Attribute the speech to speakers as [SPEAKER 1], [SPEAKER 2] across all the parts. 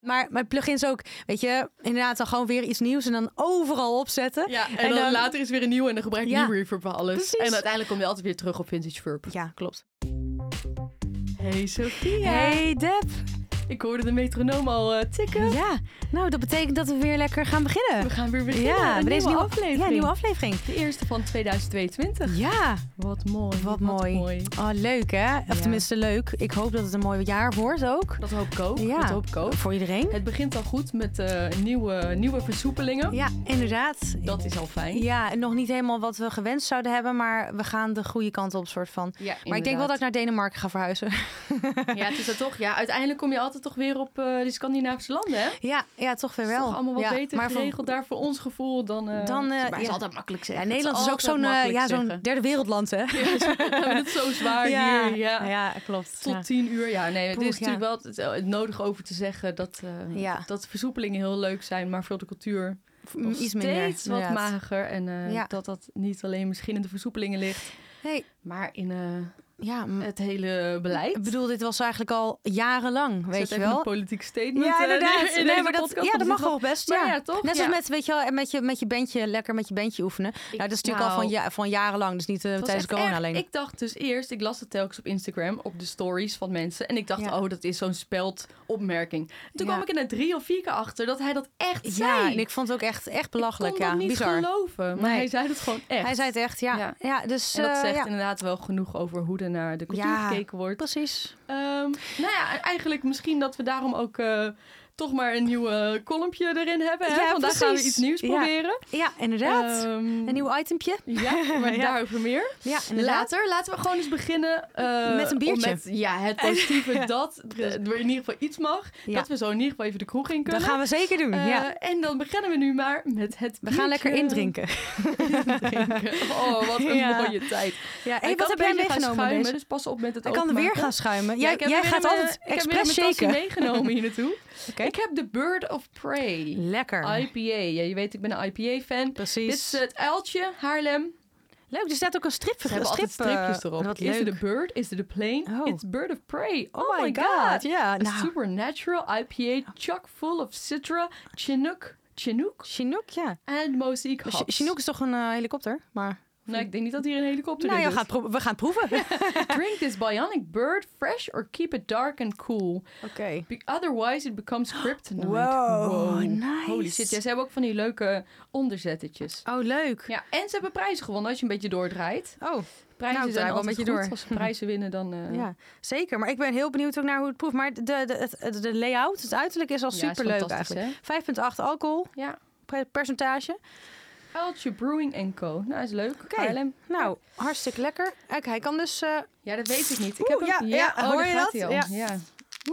[SPEAKER 1] Maar mijn plugins ook, weet je, inderdaad dan gewoon weer iets nieuws en dan overal opzetten.
[SPEAKER 2] Ja, en, dan
[SPEAKER 1] dan-
[SPEAKER 2] later is weer een nieuwe en dan gebruik je
[SPEAKER 1] Ja,
[SPEAKER 2] nieuwe reverb voor alles.
[SPEAKER 1] precies.
[SPEAKER 2] En uiteindelijk kom je altijd weer terug op vintage verb.
[SPEAKER 1] Ja.
[SPEAKER 2] klopt. Hey Sophia.
[SPEAKER 1] Hey Deb.
[SPEAKER 2] Ik hoorde de metronoom al eh, tikken.
[SPEAKER 1] Ja, nou dat betekent dat we weer lekker gaan
[SPEAKER 2] We
[SPEAKER 1] beginnen.
[SPEAKER 2] gaan weer beginnen.
[SPEAKER 1] Ja,
[SPEAKER 2] een
[SPEAKER 1] met deze
[SPEAKER 2] nieuwe
[SPEAKER 1] nieuwe
[SPEAKER 2] aflevering.
[SPEAKER 1] Ja, nieuwe aflevering.
[SPEAKER 2] De eerste van 2022.
[SPEAKER 1] Ja,
[SPEAKER 2] Wat mooi.
[SPEAKER 1] wat mooi. Oh, leuk hè? Of
[SPEAKER 2] Ja.
[SPEAKER 1] tenminste leuk. Ik hoop dat het een mooi jaar wordt ook.
[SPEAKER 2] Dat hoop ik ook.
[SPEAKER 1] Ja.
[SPEAKER 2] Dat hoop ik ook.
[SPEAKER 1] Voor iedereen.
[SPEAKER 2] Het begint al goed met eh, nieuwe, nieuwe versoepelingen.
[SPEAKER 1] Ja, inderdaad.
[SPEAKER 2] Dat is al fijn.
[SPEAKER 1] Ja, en nog niet helemaal wat we gewenst zouden hebben, maar we gaan de goede kant op soort van. Maar ik denk wel dat ik naar Denemarken ga verhuizen.
[SPEAKER 2] Ja, het is dat toch. Ja, uiteindelijk kom je altijd toch weer op eh die Scandinavische landen, hè?
[SPEAKER 1] Ja, ja toch weer
[SPEAKER 2] Het is
[SPEAKER 1] wel.
[SPEAKER 2] toch allemaal wat
[SPEAKER 1] ja,
[SPEAKER 2] beter
[SPEAKER 1] maar van-
[SPEAKER 2] geregeld daar voor ons gevoel dan... eh
[SPEAKER 1] Dan, eh,
[SPEAKER 2] maar is
[SPEAKER 1] ja.
[SPEAKER 2] altijd makkelijk
[SPEAKER 1] ja,
[SPEAKER 2] zeggen.
[SPEAKER 1] Nederland is ook zo'n eh, ja, zo'n derde wereldland, hè?
[SPEAKER 2] dat is zo zwaar hier, ja.
[SPEAKER 1] ja, klopt.
[SPEAKER 2] Tot
[SPEAKER 1] Ja.
[SPEAKER 2] tien uur, ja. Nee, het
[SPEAKER 1] Poeh,
[SPEAKER 2] is
[SPEAKER 1] ja.
[SPEAKER 2] natuurlijk wel het, het nodig over te zeggen dat, eh,
[SPEAKER 1] Ja.
[SPEAKER 2] dat versoepelingen heel leuk zijn, maar voor de cultuur
[SPEAKER 1] Mm,
[SPEAKER 2] nog
[SPEAKER 1] Iets
[SPEAKER 2] steeds
[SPEAKER 1] minder.
[SPEAKER 2] wat
[SPEAKER 1] inderdaad.
[SPEAKER 2] mager. En eh,
[SPEAKER 1] Ja.
[SPEAKER 2] dat dat niet alleen misschien in de versoepelingen ligt,
[SPEAKER 1] Hey,
[SPEAKER 2] maar in eh,
[SPEAKER 1] ja, m-
[SPEAKER 2] het hele beleid.
[SPEAKER 1] ik bedoel, dit was eigenlijk al jarenlang,
[SPEAKER 2] Zet
[SPEAKER 1] weet je
[SPEAKER 2] even
[SPEAKER 1] wel.
[SPEAKER 2] Een politiek statement.
[SPEAKER 1] Ja,
[SPEAKER 2] eh,
[SPEAKER 1] inderdaad.
[SPEAKER 2] in
[SPEAKER 1] Nee,
[SPEAKER 2] deze
[SPEAKER 1] maar dat,
[SPEAKER 2] podcast,
[SPEAKER 1] ja,
[SPEAKER 2] want
[SPEAKER 1] dat
[SPEAKER 2] er
[SPEAKER 1] mag
[SPEAKER 2] zit wel-
[SPEAKER 1] wel best. ja.
[SPEAKER 2] Maar ja, toch?
[SPEAKER 1] Net
[SPEAKER 2] Ja.
[SPEAKER 1] als met, weet je wel, met je, met je bandje, lekker met je bandje oefenen.
[SPEAKER 2] Ik-
[SPEAKER 1] nou, dat is natuurlijk al
[SPEAKER 2] nou,
[SPEAKER 1] van, ja, van jarenlang, dus niet eh,
[SPEAKER 2] het was
[SPEAKER 1] tijdens
[SPEAKER 2] echt
[SPEAKER 1] corona
[SPEAKER 2] erg.
[SPEAKER 1] alleen.
[SPEAKER 2] Ik dacht dus eerst, ik las het telkens op Instagram, op de stories van mensen. En ik dacht,
[SPEAKER 1] Ja.
[SPEAKER 2] oh, dat is zo'n speldopmerking. Toen
[SPEAKER 1] Ja.
[SPEAKER 2] kwam ik er na drie of vier keer achter dat hij dat echt zei.
[SPEAKER 1] ja, en ik vond het ook echt, echt belachelijk.
[SPEAKER 2] kon
[SPEAKER 1] ja,
[SPEAKER 2] dat niet
[SPEAKER 1] bizar.
[SPEAKER 2] geloven, maar
[SPEAKER 1] Nee.
[SPEAKER 2] hij zei het gewoon echt.
[SPEAKER 1] Hij zei het echt, ja.
[SPEAKER 2] Ja.
[SPEAKER 1] ja. dus,
[SPEAKER 2] en dat
[SPEAKER 1] eh,
[SPEAKER 2] zegt
[SPEAKER 1] ja,
[SPEAKER 2] inderdaad wel genoeg over hoe er naar de cultuur
[SPEAKER 1] Ja.
[SPEAKER 2] gekeken wordt.
[SPEAKER 1] precies.
[SPEAKER 2] Ehm, nou ja, eigenlijk misschien dat we daarom ook eh, toch maar een nieuwe kolompje erin hebben. Hè?
[SPEAKER 1] Ja,
[SPEAKER 2] Vandaag gaan we
[SPEAKER 1] precies.
[SPEAKER 2] iets nieuws
[SPEAKER 1] Ja.
[SPEAKER 2] proberen.
[SPEAKER 1] Ja, inderdaad.
[SPEAKER 2] Ehm,
[SPEAKER 1] een nieuw itempje.
[SPEAKER 2] Ja, maar
[SPEAKER 1] Ja.
[SPEAKER 2] daarover meer.
[SPEAKER 1] Ja, inderdaad.
[SPEAKER 2] Later laten we gewoon eens beginnen. eh,
[SPEAKER 1] Met een biertje.
[SPEAKER 2] om met- ja, het positieve dat eh, er in ieder geval iets mag.
[SPEAKER 1] Ja.
[SPEAKER 2] Dat we zo in ieder geval even de kroeg in kunnen.
[SPEAKER 1] Dat gaan we zeker doen,
[SPEAKER 2] Eh,
[SPEAKER 1] ja.
[SPEAKER 2] En dan beginnen we nu maar met het
[SPEAKER 1] We gaan lekker
[SPEAKER 2] biertje.
[SPEAKER 1] indrinken.
[SPEAKER 2] Drinken. Oh, wat een
[SPEAKER 1] Ja.
[SPEAKER 2] mooie tijd.
[SPEAKER 1] Ja,
[SPEAKER 2] Ik
[SPEAKER 1] hey, wat
[SPEAKER 2] kan
[SPEAKER 1] heb
[SPEAKER 2] een
[SPEAKER 1] jij
[SPEAKER 2] beetje gaan
[SPEAKER 1] meegenomen?
[SPEAKER 2] schuimen,
[SPEAKER 1] deze?
[SPEAKER 2] Dus pas op met het
[SPEAKER 1] Hij kan er weer
[SPEAKER 2] openmaken.
[SPEAKER 1] gaan schuimen.
[SPEAKER 2] Ja,
[SPEAKER 1] Jij,
[SPEAKER 2] ik heb
[SPEAKER 1] jij
[SPEAKER 2] weer
[SPEAKER 1] gaat
[SPEAKER 2] een,
[SPEAKER 1] altijd
[SPEAKER 2] eh,
[SPEAKER 1] expres
[SPEAKER 2] Ik heb weer mijn
[SPEAKER 1] shaken.
[SPEAKER 2] tasje meegenomen hier naartoe.
[SPEAKER 1] Oké.
[SPEAKER 2] Ik heb de Bird of Prey.
[SPEAKER 1] Lekker.
[SPEAKER 2] IPA. Ja, je weet, ik ben een IPA-fan. Dit
[SPEAKER 1] Precies.
[SPEAKER 2] is het uiltje, Haarlem.
[SPEAKER 1] eh, Leuk, er staat ook een strip.
[SPEAKER 2] Ze hebben altijd
[SPEAKER 1] strip, eh,
[SPEAKER 2] stripjes erop.
[SPEAKER 1] Wat
[SPEAKER 2] is
[SPEAKER 1] leuk.
[SPEAKER 2] er de bird? Is er de plane?
[SPEAKER 1] Oh.
[SPEAKER 2] It's Bird of Prey. Oh,
[SPEAKER 1] Oh
[SPEAKER 2] my god.
[SPEAKER 1] Ja,
[SPEAKER 2] A
[SPEAKER 1] nou, Oh.
[SPEAKER 2] supernatural IPA chock full of citra, chinook, chinook
[SPEAKER 1] Chinook, ja.
[SPEAKER 2] en mosaic
[SPEAKER 1] Ch-
[SPEAKER 2] hops.
[SPEAKER 1] Chinook is toch een eh, helikopter? Maar...
[SPEAKER 2] Nou, ik denk niet dat hier een helikopter
[SPEAKER 1] nou,
[SPEAKER 2] in
[SPEAKER 1] ja,
[SPEAKER 2] zit.
[SPEAKER 1] gaat pro- we gaan het proeven. Oké.
[SPEAKER 2] Drink this bionic bird fresh or keep it dark and cool. Be- otherwise it becomes kryptonite.
[SPEAKER 1] Wow,
[SPEAKER 2] Holy
[SPEAKER 1] nice.
[SPEAKER 2] shit, ja, ze hebben ook van die leuke onderzettetjes.
[SPEAKER 1] Oh, leuk.
[SPEAKER 2] Ja, en ze hebben prijzen gewonnen als je een beetje doordraait.
[SPEAKER 1] Oh,
[SPEAKER 2] Prijzen
[SPEAKER 1] Nou, ik draai
[SPEAKER 2] zijn
[SPEAKER 1] wel een
[SPEAKER 2] altijd
[SPEAKER 1] beetje
[SPEAKER 2] goed.
[SPEAKER 1] door.
[SPEAKER 2] Als ze prijzen winnen, dan... eh,
[SPEAKER 1] ja. Zeker. Maar ik ben heel benieuwd ook naar hoe het proeft. Maar de, de, het- het- de layout, het uiterlijk is al
[SPEAKER 2] Ja, is
[SPEAKER 1] superleuk
[SPEAKER 2] fantastisch,
[SPEAKER 1] eigenlijk. 5,8 alcohol,
[SPEAKER 2] Ja.
[SPEAKER 1] pre- percentage.
[SPEAKER 2] Uiltje Brewing Co. Nou, is leuk. Haarlem.
[SPEAKER 1] Nou, hartstikke lekker. Kijk, hij kan dus... eh,
[SPEAKER 2] Ja, dat weet ik niet. Ik
[SPEAKER 1] Oeh,
[SPEAKER 2] heb hem...
[SPEAKER 1] ja, ja,
[SPEAKER 2] oh,
[SPEAKER 1] hoor
[SPEAKER 2] daar
[SPEAKER 1] je
[SPEAKER 2] gaat
[SPEAKER 1] dat?
[SPEAKER 2] hij al.
[SPEAKER 1] Ja.
[SPEAKER 2] ja.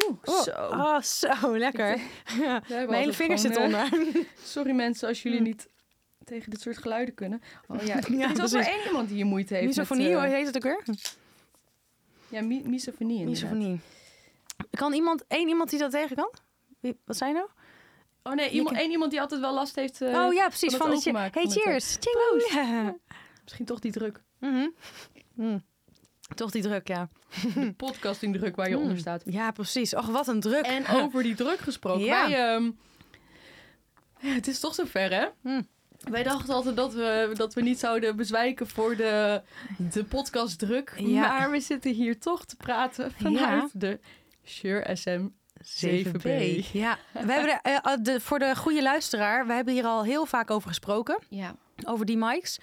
[SPEAKER 2] Oeh,
[SPEAKER 1] oh,
[SPEAKER 2] zo.
[SPEAKER 1] oh, zo lekker. Ja.
[SPEAKER 2] We hebben
[SPEAKER 1] Mijn hele
[SPEAKER 2] altijd
[SPEAKER 1] vinger
[SPEAKER 2] gewoon,
[SPEAKER 1] zit
[SPEAKER 2] eh,
[SPEAKER 1] onder. Hm.
[SPEAKER 2] Sorry mensen, als jullie niet tegen dit soort geluiden kunnen. Oh ja,
[SPEAKER 1] Ja,
[SPEAKER 2] er is altijd
[SPEAKER 1] precies.
[SPEAKER 2] maar één iemand die hier moeite heeft.
[SPEAKER 1] Misofonie,
[SPEAKER 2] met,
[SPEAKER 1] hoe
[SPEAKER 2] eh,
[SPEAKER 1] heet het ook weer?
[SPEAKER 2] Ja, mi misofonie inderdaad.
[SPEAKER 1] Misofonie. Kan iemand, één iemand die dat tegen kan? Wie, wat zijn nou?
[SPEAKER 2] Oh nee, iemand, één iemand die altijd wel last heeft. eh,
[SPEAKER 1] oh ja, precies.
[SPEAKER 2] het
[SPEAKER 1] Van de che-
[SPEAKER 2] openmaken
[SPEAKER 1] hey,
[SPEAKER 2] van het, eh,
[SPEAKER 1] cheers. Tjingoe. Ja.
[SPEAKER 2] Misschien toch die druk.
[SPEAKER 1] Mhm. Mm. Toch die druk, ja. Hm.
[SPEAKER 2] De podcastingdruk waar je
[SPEAKER 1] Mm.
[SPEAKER 2] onder staat.
[SPEAKER 1] Ja, precies. Och, wat een druk.
[SPEAKER 2] En over die druk gesproken.
[SPEAKER 1] Ja.
[SPEAKER 2] Wij, ehm, ja, het is toch zover, hè?
[SPEAKER 1] Hm.
[SPEAKER 2] Wij dachten altijd dat we, dat we niet zouden bezwijken voor de, de podcastdruk.
[SPEAKER 1] Ja.
[SPEAKER 2] Maar we zitten hier toch te praten vanuit de Sure SM 7B.
[SPEAKER 1] Ja, we hebben er, eh, eh, de, voor de goede luisteraar, we hebben hier al heel vaak over gesproken,
[SPEAKER 2] Ja,
[SPEAKER 1] over die mics.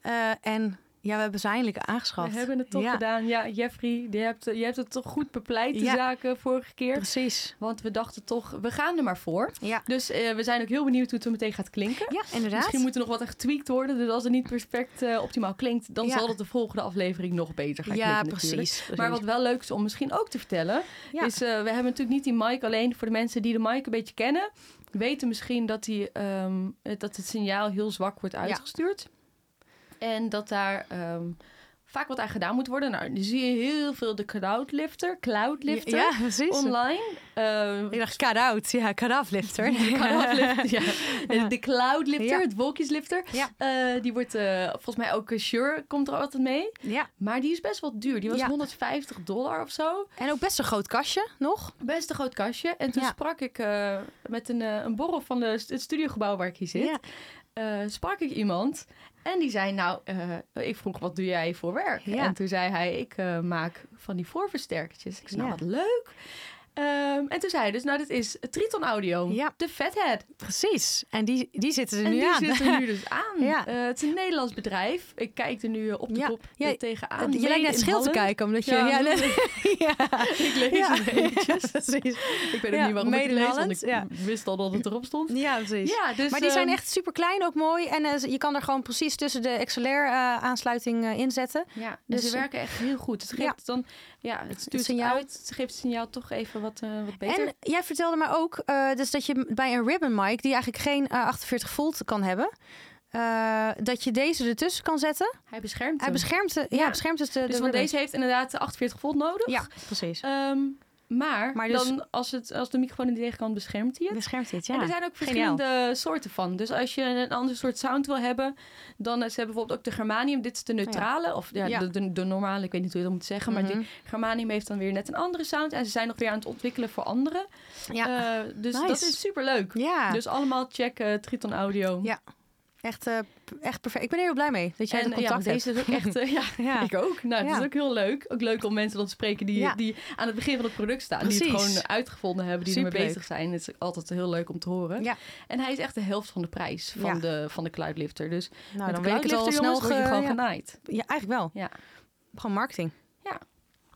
[SPEAKER 1] Eh, en ja, we hebben ze eindelijk aangeschaft.
[SPEAKER 2] we hebben het toch
[SPEAKER 1] ja,
[SPEAKER 2] gedaan. Ja, Jeffrey, je hebt, je hebt het toch goed bepleit, de
[SPEAKER 1] Ja.
[SPEAKER 2] zaken vorige keer.
[SPEAKER 1] Precies.
[SPEAKER 2] Want we dachten toch, we gaan er maar voor.
[SPEAKER 1] Ja,
[SPEAKER 2] Dus eh, we zijn ook heel benieuwd hoe het er meteen gaat klinken.
[SPEAKER 1] ja inderdaad.
[SPEAKER 2] Misschien moet er nog wat echt getweakt worden. Dus als het niet perfect eh, optimaal klinkt, dan
[SPEAKER 1] Ja.
[SPEAKER 2] zal het de volgende aflevering nog beter gaan
[SPEAKER 1] ja,
[SPEAKER 2] klinken
[SPEAKER 1] precies,
[SPEAKER 2] natuurlijk.
[SPEAKER 1] precies.
[SPEAKER 2] Maar wat wel leuk is om misschien ook te vertellen,
[SPEAKER 1] Ja.
[SPEAKER 2] is eh, we hebben natuurlijk niet die mic alleen voor de mensen die de mic een beetje kennen, weten misschien dat, die, ehm, het- dat het signaal heel zwak wordt uitgestuurd. En dat daar ehm, vaak wat aan gedaan moet worden. Nou, dan zie je heel veel de cloudlifter,
[SPEAKER 1] Ja,
[SPEAKER 2] cloudlifter
[SPEAKER 1] ja, precies.
[SPEAKER 2] online. Eh,
[SPEAKER 1] Ik dacht cut-out, ja, cut-off lifter.
[SPEAKER 2] cloudlifter, ja. De- De cloudlifter,
[SPEAKER 1] Ja.
[SPEAKER 2] het wolkjeslifter.
[SPEAKER 1] Ja.
[SPEAKER 2] Eh, die wordt eh, volgens mij ook, eh, Sure komt er altijd mee.
[SPEAKER 1] Ja,
[SPEAKER 2] Maar die is best wel duur. Die was
[SPEAKER 1] Ja.
[SPEAKER 2] 150 dollar of zo.
[SPEAKER 1] en ook best een groot kastje nog.
[SPEAKER 2] Best een groot kastje. En toen
[SPEAKER 1] Ja.
[SPEAKER 2] sprak ik eh, met een, eh, een borrel van de, st- het studiogebouw waar ik hier zit.
[SPEAKER 1] Ja.
[SPEAKER 2] eh, sprak ik iemand. En die zei, nou, eh, ik vroeg, wat doe jij voor werk?
[SPEAKER 1] Ja.
[SPEAKER 2] En toen zei hij, ik eh, maak van die voorversterkertjes. Ik zei, nou,
[SPEAKER 1] Ja.
[SPEAKER 2] wat leuk. Ehm, en toen zei hij dus, nou, dit is Triton Audio,
[SPEAKER 1] Ja.
[SPEAKER 2] de Fathead.
[SPEAKER 1] Precies. En die, die zitten er
[SPEAKER 2] En
[SPEAKER 1] nu
[SPEAKER 2] die
[SPEAKER 1] aan.
[SPEAKER 2] zit er nu dus aan.
[SPEAKER 1] Ja.
[SPEAKER 2] Eh, het is een Nederlands bedrijf. Ik kijk er nu eh, op de
[SPEAKER 1] Ja.
[SPEAKER 2] kop
[SPEAKER 1] Ja,
[SPEAKER 2] eh, tegenaan.
[SPEAKER 1] je
[SPEAKER 2] Made
[SPEAKER 1] lijkt net
[SPEAKER 2] in
[SPEAKER 1] schil te
[SPEAKER 2] Holland.
[SPEAKER 1] kijken, omdat je...
[SPEAKER 2] Ja,
[SPEAKER 1] Ja, net- ja.
[SPEAKER 2] Ik lees
[SPEAKER 1] Ja.
[SPEAKER 2] het eventjes.
[SPEAKER 1] precies.
[SPEAKER 2] Ik weet ook
[SPEAKER 1] Ja,
[SPEAKER 2] niet waarom
[SPEAKER 1] Made
[SPEAKER 2] ik het
[SPEAKER 1] in
[SPEAKER 2] lees, want
[SPEAKER 1] Holland,
[SPEAKER 2] ik
[SPEAKER 1] ja.
[SPEAKER 2] wist al dat het erop stond.
[SPEAKER 1] Ja, precies.
[SPEAKER 2] Ja, dus,
[SPEAKER 1] maar die zijn
[SPEAKER 2] ehm,
[SPEAKER 1] echt super klein, ook mooi. En eh, je kan er gewoon precies tussen de XLR-aansluiting eh, inzetten.
[SPEAKER 2] Ja, dus
[SPEAKER 1] Dus,
[SPEAKER 2] ze
[SPEAKER 1] eh,
[SPEAKER 2] werken echt heel goed. Het geeft
[SPEAKER 1] ja.
[SPEAKER 2] dan, ja, het stuurt
[SPEAKER 1] signaal.
[SPEAKER 2] uit. Het geeft het signaal toch even wat, eh, wat beter.
[SPEAKER 1] En jij vertelde me ook eh, dus dat je bij een ribbon mic, die eigenlijk geen eh, 48 volt kan hebben, eh, dat je deze ertussen kan zetten.
[SPEAKER 2] hij beschermt
[SPEAKER 1] Hij
[SPEAKER 2] hem.
[SPEAKER 1] beschermt, de, ja.
[SPEAKER 2] Ja.
[SPEAKER 1] beschermt dus de, de
[SPEAKER 2] dus want
[SPEAKER 1] ribbon.
[SPEAKER 2] deze heeft inderdaad 48 volt nodig.
[SPEAKER 1] Ja, precies.
[SPEAKER 2] Ehm, maar
[SPEAKER 1] Maar dus-
[SPEAKER 2] dan als, het, als de microfoon in de tegenkant beschermt hij het.
[SPEAKER 1] Beschermt dit,
[SPEAKER 2] En
[SPEAKER 1] ja.
[SPEAKER 2] er zijn ook
[SPEAKER 1] geniaal.
[SPEAKER 2] verschillende soorten van. Dus als je een ander soort sound wil hebben, dan eh, ze hebben bijvoorbeeld ook de germanium. Dit is de neutrale, of ja,
[SPEAKER 1] Oh Ja.
[SPEAKER 2] De, de, de normale, ik weet niet hoe je dat moet zeggen. Maar
[SPEAKER 1] Mhm.
[SPEAKER 2] die germanium heeft dan weer net een andere sound. En ze zijn nog weer aan het ontwikkelen voor anderen.
[SPEAKER 1] ja.
[SPEAKER 2] Eh, dus
[SPEAKER 1] Nice.
[SPEAKER 2] dat is super leuk.
[SPEAKER 1] Ehm, ja.
[SPEAKER 2] Dus allemaal check eh, Triton Audio.
[SPEAKER 1] Ja, echt, eh, p- echt perfect. Ik ben er heel blij mee dat jij
[SPEAKER 2] en
[SPEAKER 1] dat
[SPEAKER 2] eh, ja,
[SPEAKER 1] contact
[SPEAKER 2] want deze is ook echt, eh, ja,
[SPEAKER 1] hebt. Ja.
[SPEAKER 2] ik ook. Nou, het
[SPEAKER 1] Ja.
[SPEAKER 2] is ook heel leuk. Ook leuk om mensen dat te spreken die,
[SPEAKER 1] Ja.
[SPEAKER 2] die aan het begin van het product staan. Die het
[SPEAKER 1] Precies.
[SPEAKER 2] gewoon uitgevonden hebben, die ermee
[SPEAKER 1] Superleuk.
[SPEAKER 2] bezig zijn. Het is altijd heel leuk om te horen.
[SPEAKER 1] Ja.
[SPEAKER 2] En hij is echt de helft van de prijs van,
[SPEAKER 1] Ja.
[SPEAKER 2] de, van de cloudlifter. Dus
[SPEAKER 1] Nou,
[SPEAKER 2] met
[SPEAKER 1] dan
[SPEAKER 2] de
[SPEAKER 1] weet ik het al snel.
[SPEAKER 2] cloudlifter, jongens, word je
[SPEAKER 1] ge-
[SPEAKER 2] gewoon
[SPEAKER 1] ja.
[SPEAKER 2] genaaid.
[SPEAKER 1] ja, eigenlijk wel.
[SPEAKER 2] Ja.
[SPEAKER 1] Gewoon marketing.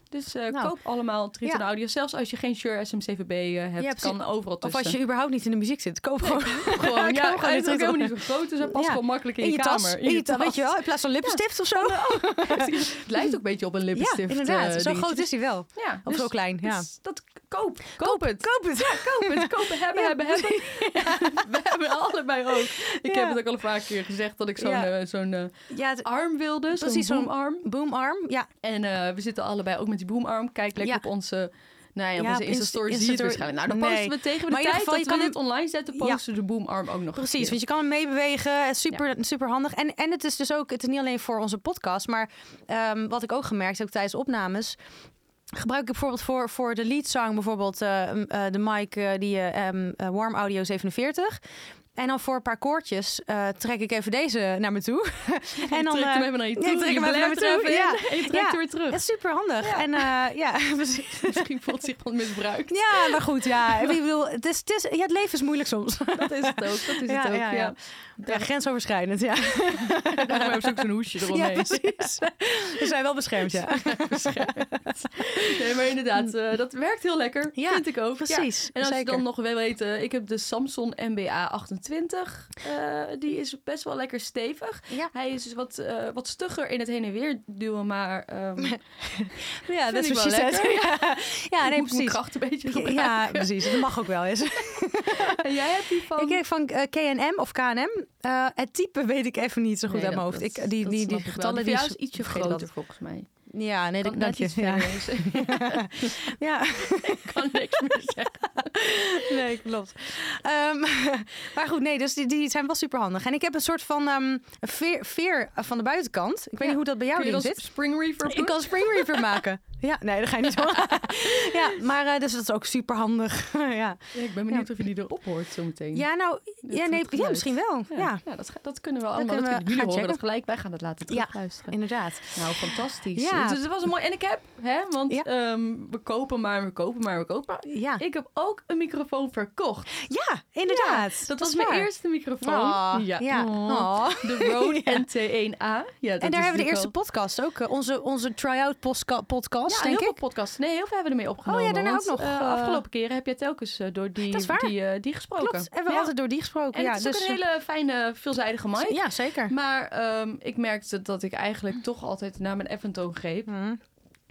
[SPEAKER 2] Dus eh,
[SPEAKER 1] Nou.
[SPEAKER 2] koop allemaal Triton
[SPEAKER 1] Ja.
[SPEAKER 2] Audio. Zelfs als je geen Shure SMCVB eh, hebt,
[SPEAKER 1] Ja, precies.
[SPEAKER 2] kan overal
[SPEAKER 1] Of
[SPEAKER 2] tussen.
[SPEAKER 1] als je überhaupt niet in de muziek zit, koop gewoon
[SPEAKER 2] eh, gewoon,
[SPEAKER 1] koop
[SPEAKER 2] ja,
[SPEAKER 1] gewoon
[SPEAKER 2] hij is
[SPEAKER 1] een Triton.
[SPEAKER 2] ook helemaal niet zo groot. Dus hij past
[SPEAKER 1] Ja.
[SPEAKER 2] gewoon makkelijk in,
[SPEAKER 1] in je
[SPEAKER 2] kamer.
[SPEAKER 1] tas. In je tas, weet je wel. In plaats van lippenstift of zo.
[SPEAKER 2] Precies. Het lijkt ook een beetje op een
[SPEAKER 1] Ja,
[SPEAKER 2] lippenstift. eh,
[SPEAKER 1] inderdaad. Zo
[SPEAKER 2] dingetje.
[SPEAKER 1] groot is hij wel.
[SPEAKER 2] Ja,
[SPEAKER 1] Of
[SPEAKER 2] dus
[SPEAKER 1] zo klein, ja.
[SPEAKER 2] dat is- Dat, koop, koop, het.
[SPEAKER 1] Koop het.
[SPEAKER 2] Koop het. Kopen, hebben,
[SPEAKER 1] Ja,
[SPEAKER 2] hebben, hebben. We hebben allebei ook. Ik
[SPEAKER 1] Ja.
[SPEAKER 2] heb het ook al een paar keer gezegd dat ik zo'n
[SPEAKER 1] Ja.
[SPEAKER 2] eh, zo'n, eh,
[SPEAKER 1] Ja, het-
[SPEAKER 2] arm wilde. Zo'n
[SPEAKER 1] Precies, zo'n-
[SPEAKER 2] boomarm.
[SPEAKER 1] boomarm. Ja,
[SPEAKER 2] En eh, we zitten allebei ook met die boomarm. Kijk lekker
[SPEAKER 1] Ja.
[SPEAKER 2] op onze... Nou ja, op
[SPEAKER 1] Ja,
[SPEAKER 2] onze
[SPEAKER 1] op
[SPEAKER 2] Insta-story
[SPEAKER 1] Insta-
[SPEAKER 2] zie
[SPEAKER 1] Insta-story.
[SPEAKER 2] je het waarschijnlijk. Nou, dan
[SPEAKER 1] Nee.
[SPEAKER 2] posten we tegen de
[SPEAKER 1] Maar in
[SPEAKER 2] tijd
[SPEAKER 1] ieder geval,
[SPEAKER 2] dat
[SPEAKER 1] je
[SPEAKER 2] we
[SPEAKER 1] kan
[SPEAKER 2] dit online zetten,
[SPEAKER 1] Ja.
[SPEAKER 2] posten we de boomarm ook nog. een
[SPEAKER 1] precies.
[SPEAKER 2] keer.
[SPEAKER 1] Want je kan hem meebewegen. Het is Super, super handig. En, en het is dus ook, het is niet alleen voor onze podcast, maar ehm, wat ik ook gemerkt heb tijdens opnames. Gebruik ik bijvoorbeeld voor, voor de lead song bijvoorbeeld eh, m, eh, de mic eh, die eh, ehm, eh, Warm Audio 47. En dan voor een paar koortjes eh, trek ik even deze naar me toe. en dan
[SPEAKER 2] je trekt hem
[SPEAKER 1] eh,
[SPEAKER 2] even naar je
[SPEAKER 1] ja,
[SPEAKER 2] toe.
[SPEAKER 1] ik trek
[SPEAKER 2] je
[SPEAKER 1] hem even naar me
[SPEAKER 2] belemmert er
[SPEAKER 1] toe,
[SPEAKER 2] even
[SPEAKER 1] ja.
[SPEAKER 2] in en je trekt
[SPEAKER 1] Ja.
[SPEAKER 2] er weer terug.
[SPEAKER 1] het is super handig.
[SPEAKER 2] Ja.
[SPEAKER 1] En eh, ja, precies.
[SPEAKER 2] Misschien voelt zich wel misbruikt.
[SPEAKER 1] Ja, maar goed, ja. Ik bedoel, het, is, het, is, ja, het leven is moeilijk soms.
[SPEAKER 2] Dat is het ook, dat is het
[SPEAKER 1] Ja,
[SPEAKER 2] ook,
[SPEAKER 1] ja,
[SPEAKER 2] ja.
[SPEAKER 1] ja. Ja, grensoverschrijdend, ja.
[SPEAKER 2] Daarom hebben ze ook zo'n hoesje eromheen.
[SPEAKER 1] Ja, precies. We zijn wel beschermd, ja.
[SPEAKER 2] Nee, maar inderdaad, eh, dat werkt heel lekker.
[SPEAKER 1] Ja,
[SPEAKER 2] vind ik ook. Ja.
[SPEAKER 1] Precies.
[SPEAKER 2] En als je
[SPEAKER 1] zeker.
[SPEAKER 2] dan nog wil weten, ik heb de Samsung MBA 28. eh, die is best wel lekker stevig.
[SPEAKER 1] Ja,
[SPEAKER 2] Hij is dus wat, eh, wat stugger in het heen en weer duwen, maar ehm ik
[SPEAKER 1] ja dat
[SPEAKER 2] Vind
[SPEAKER 1] is
[SPEAKER 2] ik
[SPEAKER 1] precies
[SPEAKER 2] wel
[SPEAKER 1] het. Ja, ja nee,
[SPEAKER 2] moet mijn
[SPEAKER 1] precies.
[SPEAKER 2] kracht een beetje gebruiken.
[SPEAKER 1] Ja, precies. Dat mag ook wel eens.
[SPEAKER 2] En jij hebt die van...
[SPEAKER 1] Ik kreeg van eh, KNM of KNM. Eh, het type weet ik even niet zo goed
[SPEAKER 2] Nee,
[SPEAKER 1] uit mijn
[SPEAKER 2] dat-
[SPEAKER 1] hoofd. Ik,
[SPEAKER 2] dat-
[SPEAKER 1] die,
[SPEAKER 2] dat
[SPEAKER 1] die,
[SPEAKER 2] snap
[SPEAKER 1] die
[SPEAKER 2] ik wel.
[SPEAKER 1] getallen
[SPEAKER 2] die
[SPEAKER 1] die
[SPEAKER 2] van jou is ietsje
[SPEAKER 1] vergeten
[SPEAKER 2] groter
[SPEAKER 1] dat.
[SPEAKER 2] volgens mij.
[SPEAKER 1] Ja, nee,
[SPEAKER 2] Kan
[SPEAKER 1] dat,
[SPEAKER 2] net
[SPEAKER 1] dank je.
[SPEAKER 2] iets
[SPEAKER 1] Ja.
[SPEAKER 2] verder zijn.
[SPEAKER 1] ja,
[SPEAKER 2] kan niks meer zeggen.
[SPEAKER 1] nee, klopt. Ehm, maar goed, nee, dus die, die zijn wel super handig. En ik heb een soort van ehm, veer, veer van de buitenkant. Ik weet
[SPEAKER 2] Ja.
[SPEAKER 1] niet hoe dat bij jou
[SPEAKER 2] Kun je
[SPEAKER 1] erin
[SPEAKER 2] dan
[SPEAKER 1] zit.
[SPEAKER 2] spring reverb
[SPEAKER 1] Ik kan Spring Reaper maken. Ja, nee, dat ga je niet horen. ja, maar eh, dus dat is ook super handig. ja.
[SPEAKER 2] Ja, ik ben benieuwd of je die erop hoort zometeen.
[SPEAKER 1] ja, nou,
[SPEAKER 2] Dat-
[SPEAKER 1] ja,
[SPEAKER 2] dat
[SPEAKER 1] nee, ja,
[SPEAKER 2] geluid.
[SPEAKER 1] misschien wel.
[SPEAKER 2] Ja,
[SPEAKER 1] Ja,
[SPEAKER 2] ja, dat, ga- dat kunnen we allemaal.
[SPEAKER 1] kunnen
[SPEAKER 2] dat
[SPEAKER 1] we
[SPEAKER 2] kunnen jullie
[SPEAKER 1] gaan
[SPEAKER 2] horen
[SPEAKER 1] checken.
[SPEAKER 2] dat gelijk. Wij gaan het laten
[SPEAKER 1] Ja.
[SPEAKER 2] terugluisteren.
[SPEAKER 1] inderdaad.
[SPEAKER 2] Nou, fantastisch.
[SPEAKER 1] Ja.
[SPEAKER 2] Dus het was een mooi... En ik heb, hè, want
[SPEAKER 1] Ja.
[SPEAKER 2] ehm, we kopen maar, we kopen maar, we kopen maar.
[SPEAKER 1] Ja,
[SPEAKER 2] Ik heb ook een microfoon verkocht.
[SPEAKER 1] ja inderdaad.
[SPEAKER 2] Dat, was mijn
[SPEAKER 1] waar.
[SPEAKER 2] eerste microfoon.
[SPEAKER 1] Oh, ja.
[SPEAKER 2] Oh.
[SPEAKER 1] Oh.
[SPEAKER 2] De Rode
[SPEAKER 1] Ja.
[SPEAKER 2] NT1A. Ja, dat
[SPEAKER 1] En
[SPEAKER 2] is
[SPEAKER 1] daar hebben we
[SPEAKER 2] dus
[SPEAKER 1] de
[SPEAKER 2] natuurlijk
[SPEAKER 1] eerste
[SPEAKER 2] wel-
[SPEAKER 1] podcast ook. eh, Onze, onze try-out postka- podcast,
[SPEAKER 2] Ja, heel
[SPEAKER 1] denk
[SPEAKER 2] veel
[SPEAKER 1] ik.
[SPEAKER 2] podcasts. Nee, heel veel hebben we ermee opgenomen.
[SPEAKER 1] ja, daarna
[SPEAKER 2] want,
[SPEAKER 1] ook nog,
[SPEAKER 2] eh,
[SPEAKER 1] eh,
[SPEAKER 2] afgelopen keren heb jij telkens eh, door die,
[SPEAKER 1] Dat is waar.
[SPEAKER 2] die, eh, die gesproken.
[SPEAKER 1] Klopt, hebben we
[SPEAKER 2] Ja.
[SPEAKER 1] altijd door die gesproken.
[SPEAKER 2] En
[SPEAKER 1] ja,
[SPEAKER 2] het is
[SPEAKER 1] dus,
[SPEAKER 2] ook een hele fijne, veelzijdige mic.
[SPEAKER 1] Ja, zeker.
[SPEAKER 2] Maar ehm, ik merkte dat ik eigenlijk toch altijd naar mijn effentoon greep.
[SPEAKER 1] Hm.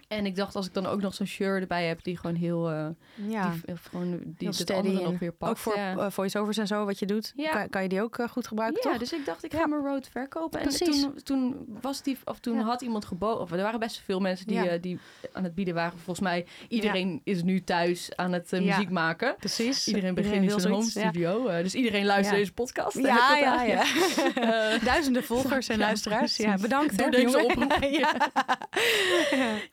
[SPEAKER 2] En ik dacht, als ik dan ook nog zo'n shirt erbij heb, die gewoon heel. eh,
[SPEAKER 1] Ja.
[SPEAKER 2] Die, of gewoon eh, die
[SPEAKER 1] Heel
[SPEAKER 2] het
[SPEAKER 1] steady
[SPEAKER 2] andere
[SPEAKER 1] en
[SPEAKER 2] nog weer pakt.
[SPEAKER 1] Ook voor
[SPEAKER 2] ja.
[SPEAKER 1] eh, voiceovers en zo, wat je doet.
[SPEAKER 2] Ja.
[SPEAKER 1] Kan, kan je die ook eh, goed gebruiken,
[SPEAKER 2] Ja,
[SPEAKER 1] toch?
[SPEAKER 2] dus ik dacht, ik
[SPEAKER 1] Ja.
[SPEAKER 2] ga mijn road verkopen. En
[SPEAKER 1] Precies.
[SPEAKER 2] toen, toen was die, of toen
[SPEAKER 1] Ja.
[SPEAKER 2] had iemand geboden. Of er waren best veel mensen die,
[SPEAKER 1] Ja.
[SPEAKER 2] eh, die aan het bieden waren. Volgens mij, iedereen is nu thuis aan het eh,
[SPEAKER 1] Ja.
[SPEAKER 2] muziek maken.
[SPEAKER 1] Precies.
[SPEAKER 2] Iedereen begint in
[SPEAKER 1] wil
[SPEAKER 2] zijn home
[SPEAKER 1] zoiets, ja.
[SPEAKER 2] studio. eh, dus iedereen luistert
[SPEAKER 1] Ja.
[SPEAKER 2] deze podcast. Eh,
[SPEAKER 1] Ja, ja, ja.
[SPEAKER 2] ja.
[SPEAKER 1] Duizenden volgers en
[SPEAKER 2] Ja,
[SPEAKER 1] luisteraars. Ja,
[SPEAKER 2] precies.
[SPEAKER 1] bedankt.
[SPEAKER 2] Door
[SPEAKER 1] hè,
[SPEAKER 2] deze
[SPEAKER 1] jongen.
[SPEAKER 2] oproep.
[SPEAKER 1] ja.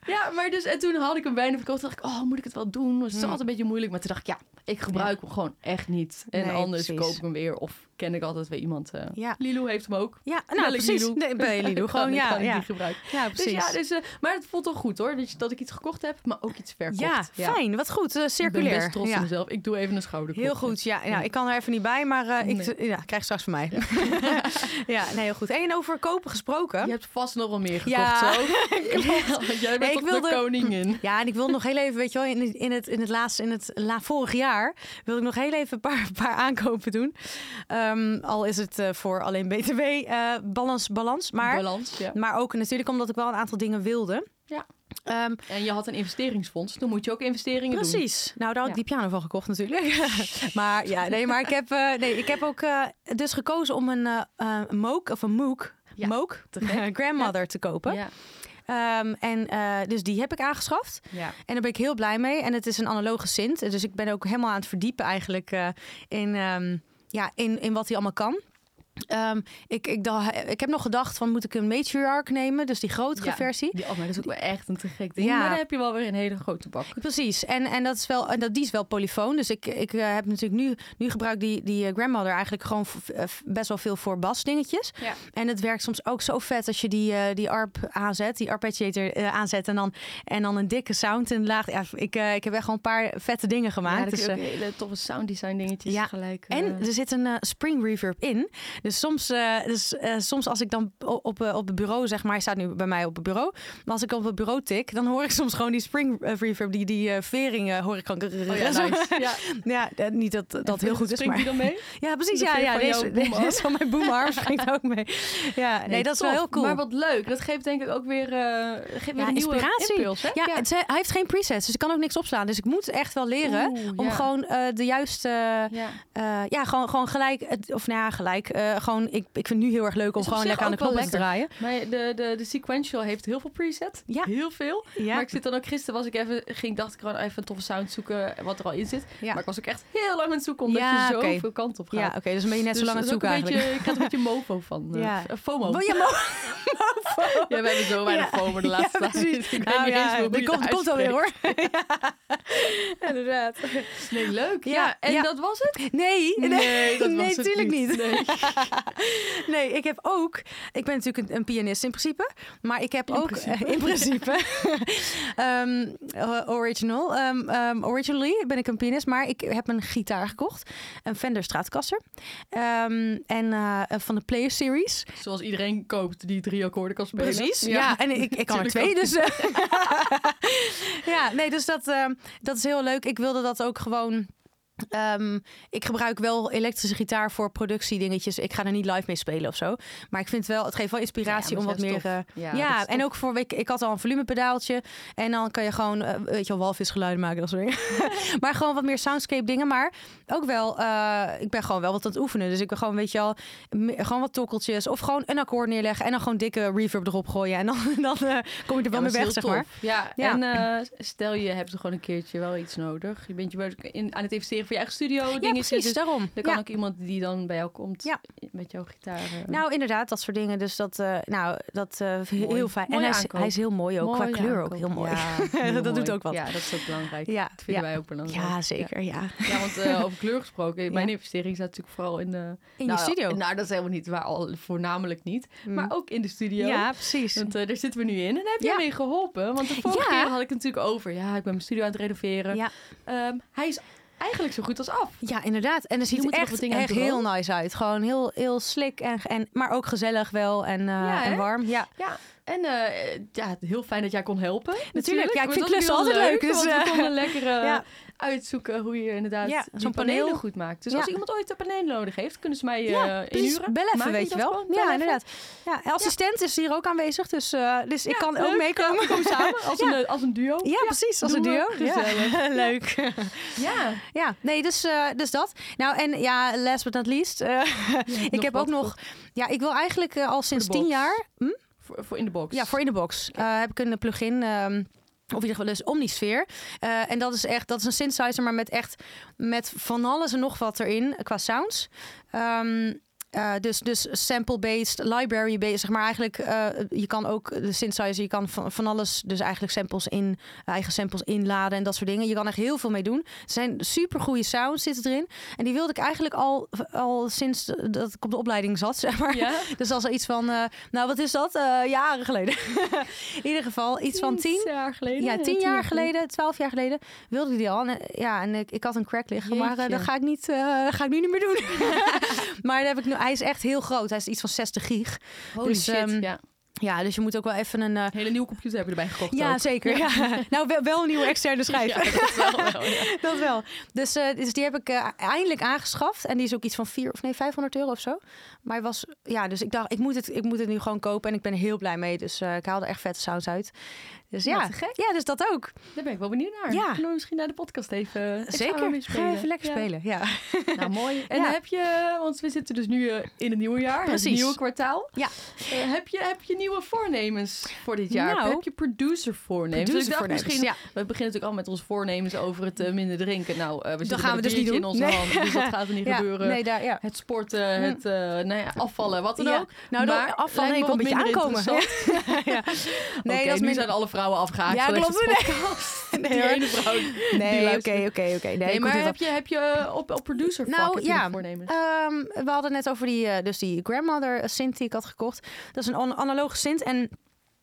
[SPEAKER 2] Ja, maar dus en toen had ik hem bijna verkocht. Toen dacht ik, oh, moet ik het wel doen? Het is
[SPEAKER 1] Hmm.
[SPEAKER 2] altijd een beetje moeilijk. Maar toen dacht ik, ja, ik gebruik hem gewoon echt niet. En
[SPEAKER 1] Nee,
[SPEAKER 2] anders
[SPEAKER 1] precies.
[SPEAKER 2] koop ik hem weer. Of ken ik altijd weer iemand. eh
[SPEAKER 1] Ja.
[SPEAKER 2] Lilo heeft hem ook.
[SPEAKER 1] ja, nou
[SPEAKER 2] Bel ik
[SPEAKER 1] precies.
[SPEAKER 2] Lilo.
[SPEAKER 1] Nee, bij jullie doen
[SPEAKER 2] Kan
[SPEAKER 1] gewoon.
[SPEAKER 2] ik-
[SPEAKER 1] Ja,
[SPEAKER 2] kan ik
[SPEAKER 1] ja.
[SPEAKER 2] die gebruiken.
[SPEAKER 1] ja, precies.
[SPEAKER 2] Dus ja, dus, eh, maar het voelt wel goed hoor. Dat, je- dat ik iets gekocht heb, maar ook iets verkocht.
[SPEAKER 1] ja, fijn. Wat goed. eh, circulair.
[SPEAKER 2] Ik ben best trots
[SPEAKER 1] ja.
[SPEAKER 2] op mezelf. Ik doe even een schouder.
[SPEAKER 1] Heel goed, ja. Nou, ik kan er even niet bij, maar eh, ik
[SPEAKER 2] Nee.
[SPEAKER 1] ja, krijg straks van mij. ja, nee, heel goed. En over kopen gesproken.
[SPEAKER 2] Je hebt vast nog wel meer gekocht
[SPEAKER 1] Ja,
[SPEAKER 2] zo. Want jij bent
[SPEAKER 1] Nee, ik
[SPEAKER 2] toch
[SPEAKER 1] wilde-
[SPEAKER 2] de koningin.
[SPEAKER 1] Ja, en ik wil nog heel even, weet je wel, in, in het, in het laatste, in het la, vorig jaar wilde ik nog heel even een paar, een paar aankopen doen. Ehm, al is het eh, voor alleen BTW, eh, balans, balans. Maar,
[SPEAKER 2] Balans, ja.
[SPEAKER 1] maar ook natuurlijk omdat ik wel een aantal dingen wilde.
[SPEAKER 2] Ja.
[SPEAKER 1] Ehm,
[SPEAKER 2] En je had een investeringsfonds. Dan moet je ook investeringen doen.
[SPEAKER 1] precies. Nou, daar had ik
[SPEAKER 2] Ja.
[SPEAKER 1] die piano van gekocht natuurlijk. maar ja, nee, maar ik heb, eh, nee, ik heb ook eh, dus gekozen om een eh eh, mook of een mook,
[SPEAKER 2] Ja,
[SPEAKER 1] mook
[SPEAKER 2] te gek.
[SPEAKER 1] grandmother te kopen.
[SPEAKER 2] Ja.
[SPEAKER 1] Ehm, en eh, dus die heb ik aangeschaft.
[SPEAKER 2] ja.
[SPEAKER 1] En daar ben ik heel blij mee. En het is een analoge Sint. Dus ik ben ook helemaal aan het verdiepen eigenlijk eh, in, ehm, ja, in, in wat hij allemaal kan. Ehm, ik, ik, dacht- ik heb nog gedacht van moet ik een matriarch nemen, dus die grotere
[SPEAKER 2] Ja.
[SPEAKER 1] versie.
[SPEAKER 2] Die, oh, maar dat is ook wel echt een te gek ding.
[SPEAKER 1] Ja.
[SPEAKER 2] Maar dan heb je wel weer een hele grote bak.
[SPEAKER 1] Precies, en, en, dat is wel, en dat, die is wel polyfoon. Dus ik, ik eh, heb natuurlijk nu, nu gebruik die, die eh, grandmother eigenlijk gewoon v- eh, v- best wel veel voor basdingetjes.
[SPEAKER 2] Ja.
[SPEAKER 1] En het werkt soms ook zo vet als je die, eh, die ARP aanzet, die arpeggiator eh, aanzet en dan, en dan een dikke sound in de laag. Ja, ik, eh, ik heb echt gewoon een paar vette dingen gemaakt.
[SPEAKER 2] ja, dat
[SPEAKER 1] Dus,
[SPEAKER 2] is
[SPEAKER 1] eh,
[SPEAKER 2] ook hele toffe sounddesign dingetjes
[SPEAKER 1] ja.
[SPEAKER 2] gelijk. eh,
[SPEAKER 1] En er zit een eh, spring reverb in. Dus soms, eh, dus, eh, soms als ik dan o- op, eh, op het bureau, zeg maar, hij staat nu bij mij op het bureau. Maar als ik op het bureau tik, dan hoor ik soms gewoon die spring eh, reverb, die, die eh, vering eh, hoor ik gewoon.
[SPEAKER 2] Oh ja, nice. ja.
[SPEAKER 1] Ja, eh, niet dat dat heel goed is,
[SPEAKER 2] Springt
[SPEAKER 1] maar...
[SPEAKER 2] die dan mee?
[SPEAKER 1] Ja, precies.
[SPEAKER 2] de
[SPEAKER 1] Ja,
[SPEAKER 2] veer
[SPEAKER 1] ja
[SPEAKER 2] van
[SPEAKER 1] deze,
[SPEAKER 2] jouw boomarm?
[SPEAKER 1] deze van mijn boomarm springt ook mee. Ja, nee, dat is wel
[SPEAKER 2] tof.
[SPEAKER 1] heel cool.
[SPEAKER 2] Maar wat leuk. Dat geeft denk ik ook weer, eh, geeft weer
[SPEAKER 1] Ja,
[SPEAKER 2] een nieuwe
[SPEAKER 1] inspiratie.
[SPEAKER 2] impuls. Hè?
[SPEAKER 1] Ja, het- hij heeft geen presets, dus ik kan ook niks opslaan. Dus ik moet echt wel leren
[SPEAKER 2] Oeh,
[SPEAKER 1] om
[SPEAKER 2] ja.
[SPEAKER 1] gewoon eh, de juiste...
[SPEAKER 2] Ja.
[SPEAKER 1] eh, ja, gewoon, gewoon gelijk... het- of nou ja, gelijk. eh, gewoon, ik, ik vind het nu heel erg leuk om
[SPEAKER 2] Is op
[SPEAKER 1] gewoon
[SPEAKER 2] zich
[SPEAKER 1] lekker aan de
[SPEAKER 2] ook wel
[SPEAKER 1] knoppen te
[SPEAKER 2] lekker.
[SPEAKER 1] draaien.
[SPEAKER 2] Maar de, de, de sequential heeft heel veel preset.
[SPEAKER 1] Ja.
[SPEAKER 2] Heel veel.
[SPEAKER 1] Ja.
[SPEAKER 2] Maar ik zit dan ook gisteren was ik even ging dacht ik gewoon even een toffe sound zoeken wat er al in zit.
[SPEAKER 1] Ja.
[SPEAKER 2] Maar ik was ook echt heel lang aan het zoeken omdat
[SPEAKER 1] Ja,
[SPEAKER 2] je zoveel
[SPEAKER 1] oké.
[SPEAKER 2] kant op gaat.
[SPEAKER 1] Ja, oké, dus dan ben je net
[SPEAKER 2] Dus
[SPEAKER 1] zo lang aan
[SPEAKER 2] dat
[SPEAKER 1] het
[SPEAKER 2] is ook
[SPEAKER 1] zoeken
[SPEAKER 2] een
[SPEAKER 1] eigenlijk.
[SPEAKER 2] Beetje, ik had er een beetje mofo van. eh,
[SPEAKER 1] Oh, Ja.
[SPEAKER 2] eh, FOMO.
[SPEAKER 1] Wil je mo-
[SPEAKER 2] Ja, we hebben zo weinig
[SPEAKER 1] Ja.
[SPEAKER 2] FOMO de laatste
[SPEAKER 1] Ja,
[SPEAKER 2] tijd.
[SPEAKER 1] precies.
[SPEAKER 2] Ik weet
[SPEAKER 1] Nou
[SPEAKER 2] niet
[SPEAKER 1] ja,
[SPEAKER 2] eens meer hoe
[SPEAKER 1] dat
[SPEAKER 2] je
[SPEAKER 1] komt,
[SPEAKER 2] het
[SPEAKER 1] komt alweer hoor.
[SPEAKER 2] uitspreekt. Inderdaad. Nee, leuk. Ja,
[SPEAKER 1] Ja,
[SPEAKER 2] en
[SPEAKER 1] ja.
[SPEAKER 2] dat was het?
[SPEAKER 1] Nee, nee, nee,
[SPEAKER 2] het
[SPEAKER 1] tuurlijk niet.
[SPEAKER 2] Nee.
[SPEAKER 1] Nee, ik heb ook. Ik ben natuurlijk een, een pianist in principe. Maar ik heb
[SPEAKER 2] In
[SPEAKER 1] ook
[SPEAKER 2] principe.
[SPEAKER 1] eh, in principe. ehm, eh, original. ehm, ehm, originally ben ik een pianist. Maar ik heb een gitaar gekocht. Een Fender Stratocaster. Ehm, en eh, van de Player Series.
[SPEAKER 2] Zoals iedereen koopt die drie akkoorden kan spelen.
[SPEAKER 1] Precies. Ja, en ik, ik kan er
[SPEAKER 2] Tuurlijk
[SPEAKER 1] twee.
[SPEAKER 2] ook.
[SPEAKER 1] Dus, eh, ja, nee, dus dat, ehm, dat is heel leuk. Ik wilde dat ook gewoon. ehm, ik gebruik wel elektrische gitaar voor productiedingetjes. Ik ga er niet live mee spelen of zo. Maar ik vind wel, het geeft wel inspiratie
[SPEAKER 2] Ja,
[SPEAKER 1] om
[SPEAKER 2] maar
[SPEAKER 1] wat
[SPEAKER 2] dat is
[SPEAKER 1] meer.
[SPEAKER 2] tof.
[SPEAKER 1] eh, ja,
[SPEAKER 2] Ja, dat is
[SPEAKER 1] en
[SPEAKER 2] tof.
[SPEAKER 1] ook voor ik, ik had al een volumepedaaltje. En dan kan je gewoon, eh, weet je wel, walvisgeluiden maken, dat soort dingen. maar gewoon wat meer soundscape dingen. Maar ook wel, eh, ik ben gewoon wel wat aan het oefenen. Dus ik ben gewoon, weet je wel, me- gewoon wat tokkeltjes. Of gewoon een akkoord neerleggen en dan gewoon dikke reverb erop gooien. En dan, dan eh, kom je er wel mee weg, zeg maar.
[SPEAKER 2] Ja,
[SPEAKER 1] Ja.
[SPEAKER 2] en eh, stel je hebt er gewoon een keertje wel iets nodig. Je bent je werk in, aan het investeren voor je eigen studio.
[SPEAKER 1] Ja,
[SPEAKER 2] dingetjes.
[SPEAKER 1] precies,
[SPEAKER 2] Dus
[SPEAKER 1] daarom.
[SPEAKER 2] er kan
[SPEAKER 1] Ja.
[SPEAKER 2] ook iemand die dan bij jou komt
[SPEAKER 1] Ja.
[SPEAKER 2] met jouw gitaar. eh,
[SPEAKER 1] Nou, inderdaad, dat soort dingen. Dus dat, eh, nou, dat eh, heel
[SPEAKER 2] Mooi.
[SPEAKER 1] fijn.
[SPEAKER 2] Mooie
[SPEAKER 1] en hij is,
[SPEAKER 2] aankoop.
[SPEAKER 1] hij is heel mooi ook,
[SPEAKER 2] mooi
[SPEAKER 1] qua kleur
[SPEAKER 2] aankoop.
[SPEAKER 1] ook heel mooi.
[SPEAKER 2] Ja, heel
[SPEAKER 1] Dat doet
[SPEAKER 2] mooi.
[SPEAKER 1] ook wat.
[SPEAKER 2] Ja, dat is ook belangrijk.
[SPEAKER 1] Ja,
[SPEAKER 2] Dat vinden
[SPEAKER 1] ja.
[SPEAKER 2] wij ook belangrijk.
[SPEAKER 1] Ja, zeker, ja.
[SPEAKER 2] Ja, want eh, over kleur gesproken,
[SPEAKER 1] Ja.
[SPEAKER 2] mijn investering staat natuurlijk vooral in de...
[SPEAKER 1] In
[SPEAKER 2] nou,
[SPEAKER 1] je studio. Mm.
[SPEAKER 2] Nou, dat is helemaal niet waar, al voornamelijk niet. Maar ook in de studio.
[SPEAKER 1] ja, precies.
[SPEAKER 2] Want eh, daar zitten we nu in. En daar heb je
[SPEAKER 1] Ja.
[SPEAKER 2] mee geholpen. Want de vorige
[SPEAKER 1] Ja.
[SPEAKER 2] keer had ik het natuurlijk over. Ja, ik ben mijn studio aan het renoveren.
[SPEAKER 1] Ja.
[SPEAKER 2] Ehm, hij is eigenlijk zo goed als af.
[SPEAKER 1] Ja, inderdaad. En er ziet er
[SPEAKER 2] moeten nog
[SPEAKER 1] echt,
[SPEAKER 2] wat dingen aan
[SPEAKER 1] echt
[SPEAKER 2] het
[SPEAKER 1] heel nice uit. Gewoon heel, heel slik, en, en, maar ook gezellig wel en, eh,
[SPEAKER 2] Ja,
[SPEAKER 1] en
[SPEAKER 2] hè?
[SPEAKER 1] warm. Ja.
[SPEAKER 2] Ja, En eh, ja, heel fijn dat jij kon helpen. Natuurlijk,
[SPEAKER 1] ja, ik
[SPEAKER 2] Want
[SPEAKER 1] vind
[SPEAKER 2] dat was
[SPEAKER 1] klussen
[SPEAKER 2] heel
[SPEAKER 1] altijd leuk, dus,
[SPEAKER 2] want we
[SPEAKER 1] eh,
[SPEAKER 2] konden lekker eh,
[SPEAKER 1] ja.
[SPEAKER 2] uitzoeken hoe je inderdaad
[SPEAKER 1] Ja,
[SPEAKER 2] zo'n
[SPEAKER 1] zo'n
[SPEAKER 2] panelen
[SPEAKER 1] paneel.
[SPEAKER 2] goed maakt. Dus
[SPEAKER 1] Ja.
[SPEAKER 2] als iemand ooit een paneel nodig heeft, kunnen ze mij eh
[SPEAKER 1] Ja, precies.
[SPEAKER 2] inhuren.
[SPEAKER 1] Bel even,
[SPEAKER 2] Maak ik
[SPEAKER 1] weet je
[SPEAKER 2] dat
[SPEAKER 1] wel.
[SPEAKER 2] gewoon? Bel
[SPEAKER 1] Ja,
[SPEAKER 2] even.
[SPEAKER 1] inderdaad. Ja, en assistent is hier ook aanwezig, dus, eh, dus ik
[SPEAKER 2] Ja,
[SPEAKER 1] kan ook
[SPEAKER 2] leuk.
[SPEAKER 1] meekomen.
[SPEAKER 2] We komen samen als, een, eh, als een duo.
[SPEAKER 1] Ja, precies, als een
[SPEAKER 2] doen
[SPEAKER 1] duo.
[SPEAKER 2] we. Gezellig.
[SPEAKER 1] Ja. Leuk.
[SPEAKER 2] Ja.
[SPEAKER 1] Ja, nee, dus, eh, dus dat. Nou, en ja, last but not least. eh, ik
[SPEAKER 2] nog
[SPEAKER 1] heb
[SPEAKER 2] wat
[SPEAKER 1] ook nog... Ja, ik wil eigenlijk eh, al sinds tien
[SPEAKER 2] box.
[SPEAKER 1] jaar... Hm?
[SPEAKER 2] Voor, voor in de box.
[SPEAKER 1] Ja, voor in de box. Eh, heb ik een plugin... ehm of in ieder geval dus Omnisphere. Eh en dat is echt, dat is een synthesizer, maar met echt met van alles en nog wat erin qua sounds. Ehm, eh, dus dus sample-based, library-based, zeg maar eigenlijk. eh, je kan ook de synthesizer, je kan van, van alles, dus eigenlijk samples in, eigen samples inladen en dat soort dingen. Je kan echt heel veel mee doen. Er zijn super goede sounds zitten erin. En die wilde ik eigenlijk al, al sinds dat ik op de opleiding zat, zeg maar.
[SPEAKER 2] Ja.
[SPEAKER 1] Dus als er iets van, eh, nou wat is dat? Eh, jaren geleden. in ieder geval iets van tien.
[SPEAKER 2] jaar geleden.
[SPEAKER 1] Ja, tien jaar geleden, twaalf jaar geleden wilde ik die al. En, eh, ja, en ik, ik had een crack liggen, maar eh, dat
[SPEAKER 2] Jeetje.
[SPEAKER 1] ga ik, niet, eh, dat ga ik nu niet meer doen. maar dat heb ik nu, hij is echt heel groot. Hij is iets van 60 gig.
[SPEAKER 2] Holy
[SPEAKER 1] Dus,
[SPEAKER 2] shit.
[SPEAKER 1] ehm,
[SPEAKER 2] ja.
[SPEAKER 1] Ja, dus je moet ook wel even een... eh,
[SPEAKER 2] Een hele nieuwe computer hebben we erbij gekocht
[SPEAKER 1] ja,
[SPEAKER 2] ook.
[SPEAKER 1] zeker. Ja. nou, wel, wel een nieuwe externe schijf.
[SPEAKER 2] Ja, dat wel, wel, ja.
[SPEAKER 1] Dat wel. Dus, eh, dus die heb ik eh, eindelijk aangeschaft. En die is ook iets van 4 of nee, 500 euro of zo. Maar hij was, ja, dus ik dacht, ik moet, het, ik moet het nu gewoon kopen. En ik ben er heel blij mee. Dus eh, ik haal er echt vette sounds uit. Dus
[SPEAKER 2] Ja,
[SPEAKER 1] ja,
[SPEAKER 2] te gek.
[SPEAKER 1] ja, dus dat ook.
[SPEAKER 2] Daar ben ik wel benieuwd naar.
[SPEAKER 1] Ja.
[SPEAKER 2] Kunnen we misschien naar de podcast even even samen mee
[SPEAKER 1] Ga even lekker
[SPEAKER 2] Ja.
[SPEAKER 1] spelen. Ja.
[SPEAKER 2] Nou, mooi. En
[SPEAKER 1] Ja.
[SPEAKER 2] heb je, want we zitten dus nu eh, in het nieuwe jaar, het
[SPEAKER 1] Precies.
[SPEAKER 2] nieuwe kwartaal.
[SPEAKER 1] Ja.
[SPEAKER 2] Eh, heb, je, heb je nieuwe voornemens voor dit jaar?
[SPEAKER 1] Nou,
[SPEAKER 2] heb je producer voornemens? Dus ik dacht
[SPEAKER 1] Producervoornemens,
[SPEAKER 2] misschien,
[SPEAKER 1] ja.
[SPEAKER 2] we beginnen natuurlijk al met onze voornemens over het eh, minder drinken. Nou, eh, we zitten
[SPEAKER 1] gaan
[SPEAKER 2] met
[SPEAKER 1] we
[SPEAKER 2] een
[SPEAKER 1] dus niet
[SPEAKER 2] biertje in
[SPEAKER 1] doen.
[SPEAKER 2] onze
[SPEAKER 1] Nee.
[SPEAKER 2] hand, dus dat gaat er niet
[SPEAKER 1] Ja,
[SPEAKER 2] gebeuren.
[SPEAKER 1] Nee, daar, ja.
[SPEAKER 2] Het sporten, het eh, nou ja, afvallen, wat dan
[SPEAKER 1] Ja.
[SPEAKER 2] ook.
[SPEAKER 1] Nou, dan
[SPEAKER 2] Maar
[SPEAKER 1] afval,
[SPEAKER 2] lijkt
[SPEAKER 1] nee, ik
[SPEAKER 2] me
[SPEAKER 1] wil een
[SPEAKER 2] wat
[SPEAKER 1] beetje
[SPEAKER 2] minder
[SPEAKER 1] aankomen.
[SPEAKER 2] interessant.
[SPEAKER 1] Ja.
[SPEAKER 2] Oké,
[SPEAKER 1] Nee, dat is
[SPEAKER 2] nu
[SPEAKER 1] minder-
[SPEAKER 2] zijn alle vrouwen afgehaakt.
[SPEAKER 1] Ja,
[SPEAKER 2] van deze
[SPEAKER 1] klopt. Nee.
[SPEAKER 2] podcast.
[SPEAKER 1] Nee,
[SPEAKER 2] Die
[SPEAKER 1] hoor.
[SPEAKER 2] ene vrouw.
[SPEAKER 1] Nee,
[SPEAKER 2] luistert.
[SPEAKER 1] oké, oké, oké. Nee,
[SPEAKER 2] Nee,
[SPEAKER 1] ik moet
[SPEAKER 2] maar
[SPEAKER 1] dit
[SPEAKER 2] heb je, heb je eh, op, op producer vak
[SPEAKER 1] Nou,
[SPEAKER 2] heb je nog
[SPEAKER 1] ja.
[SPEAKER 2] voornemens?
[SPEAKER 1] Ehm, we hadden net over die, eh, dus die grandmother synth die ik had gekocht. Dat is een an- analoge synth en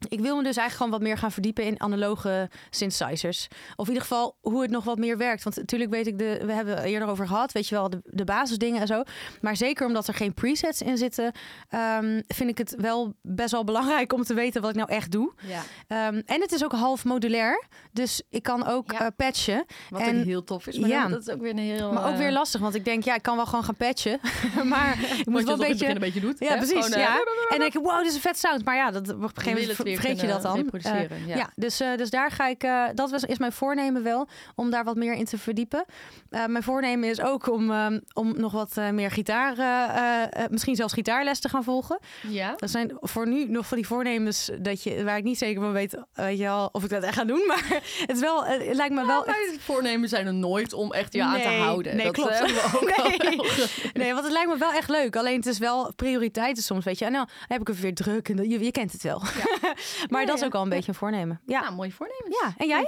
[SPEAKER 1] ik wil me dus eigenlijk gewoon wat meer gaan verdiepen in analoge synthesizers. Of in ieder geval hoe het nog wat meer werkt. Want natuurlijk weet ik, de, we hebben het eerder over gehad, weet je wel, de, de basisdingen en zo. Maar zeker omdat er geen presets in zitten, ehm, vind ik het wel best wel belangrijk om te weten wat ik nou echt doe.
[SPEAKER 2] Ja,
[SPEAKER 1] Ehm, en het is ook half modulair, dus ik kan ook
[SPEAKER 2] Ja.
[SPEAKER 1] eh, patchen.
[SPEAKER 2] wat
[SPEAKER 1] En-
[SPEAKER 2] ook heel tof is. Maar
[SPEAKER 1] ja.
[SPEAKER 2] dan- dat is ook weer een heel...
[SPEAKER 1] Maar ook
[SPEAKER 2] eh,
[SPEAKER 1] weer lastig, want ik denk, ja, ik kan wel gewoon gaan patchen. maar ik moet
[SPEAKER 2] wat je
[SPEAKER 1] wel een
[SPEAKER 2] toch in het
[SPEAKER 1] beetje...
[SPEAKER 2] begin een beetje doet.
[SPEAKER 1] Ja,
[SPEAKER 2] hè?
[SPEAKER 1] precies,
[SPEAKER 2] Gewoon, eh,
[SPEAKER 1] ja. En dan denk ik, wow, dit is een vet sound. Maar ja, dat, op een
[SPEAKER 2] je
[SPEAKER 1] gegeven
[SPEAKER 2] wil
[SPEAKER 1] moment
[SPEAKER 2] het
[SPEAKER 1] ver-
[SPEAKER 2] weer
[SPEAKER 1] vergeet je
[SPEAKER 2] kunnen
[SPEAKER 1] dat dan. Eh,
[SPEAKER 2] reproduceren,
[SPEAKER 1] ja,
[SPEAKER 2] ja.
[SPEAKER 1] dus, eh, dus daar ga ik... eh, dat was, is mijn voornemen wel, om daar wat meer in te verdiepen. Eh, mijn voornemen is ook om, ehm, om nog wat eh, meer gitaar... eh, eh, eh, misschien zelfs gitaarles te gaan volgen.
[SPEAKER 2] Ja.
[SPEAKER 1] Dat zijn voor nu nog van die voornemens dat je, waar ik niet zeker van weet, eh, weet je wel, of ik dat echt ga doen. Maar het, is wel, eh, het lijkt me wel...
[SPEAKER 2] Nou, mijn voornemen zijn er nooit om echt je aan
[SPEAKER 1] Nee,
[SPEAKER 2] te houden.
[SPEAKER 1] nee,
[SPEAKER 2] dat
[SPEAKER 1] klopt.
[SPEAKER 2] eh, hebben we ook al
[SPEAKER 1] Nee.
[SPEAKER 2] wel gezien.
[SPEAKER 1] Nee, want het lijkt me wel echt leuk. Alleen het is wel prioriteiten soms, weet je. En nou heb ik het weer druk. En dat- je, je kent het wel. maar
[SPEAKER 2] Ja,
[SPEAKER 1] dat is
[SPEAKER 2] ja.
[SPEAKER 1] ook al een beetje een voornemen. Ja.
[SPEAKER 2] Nou, mooie voornemens.
[SPEAKER 1] Ja, en jij?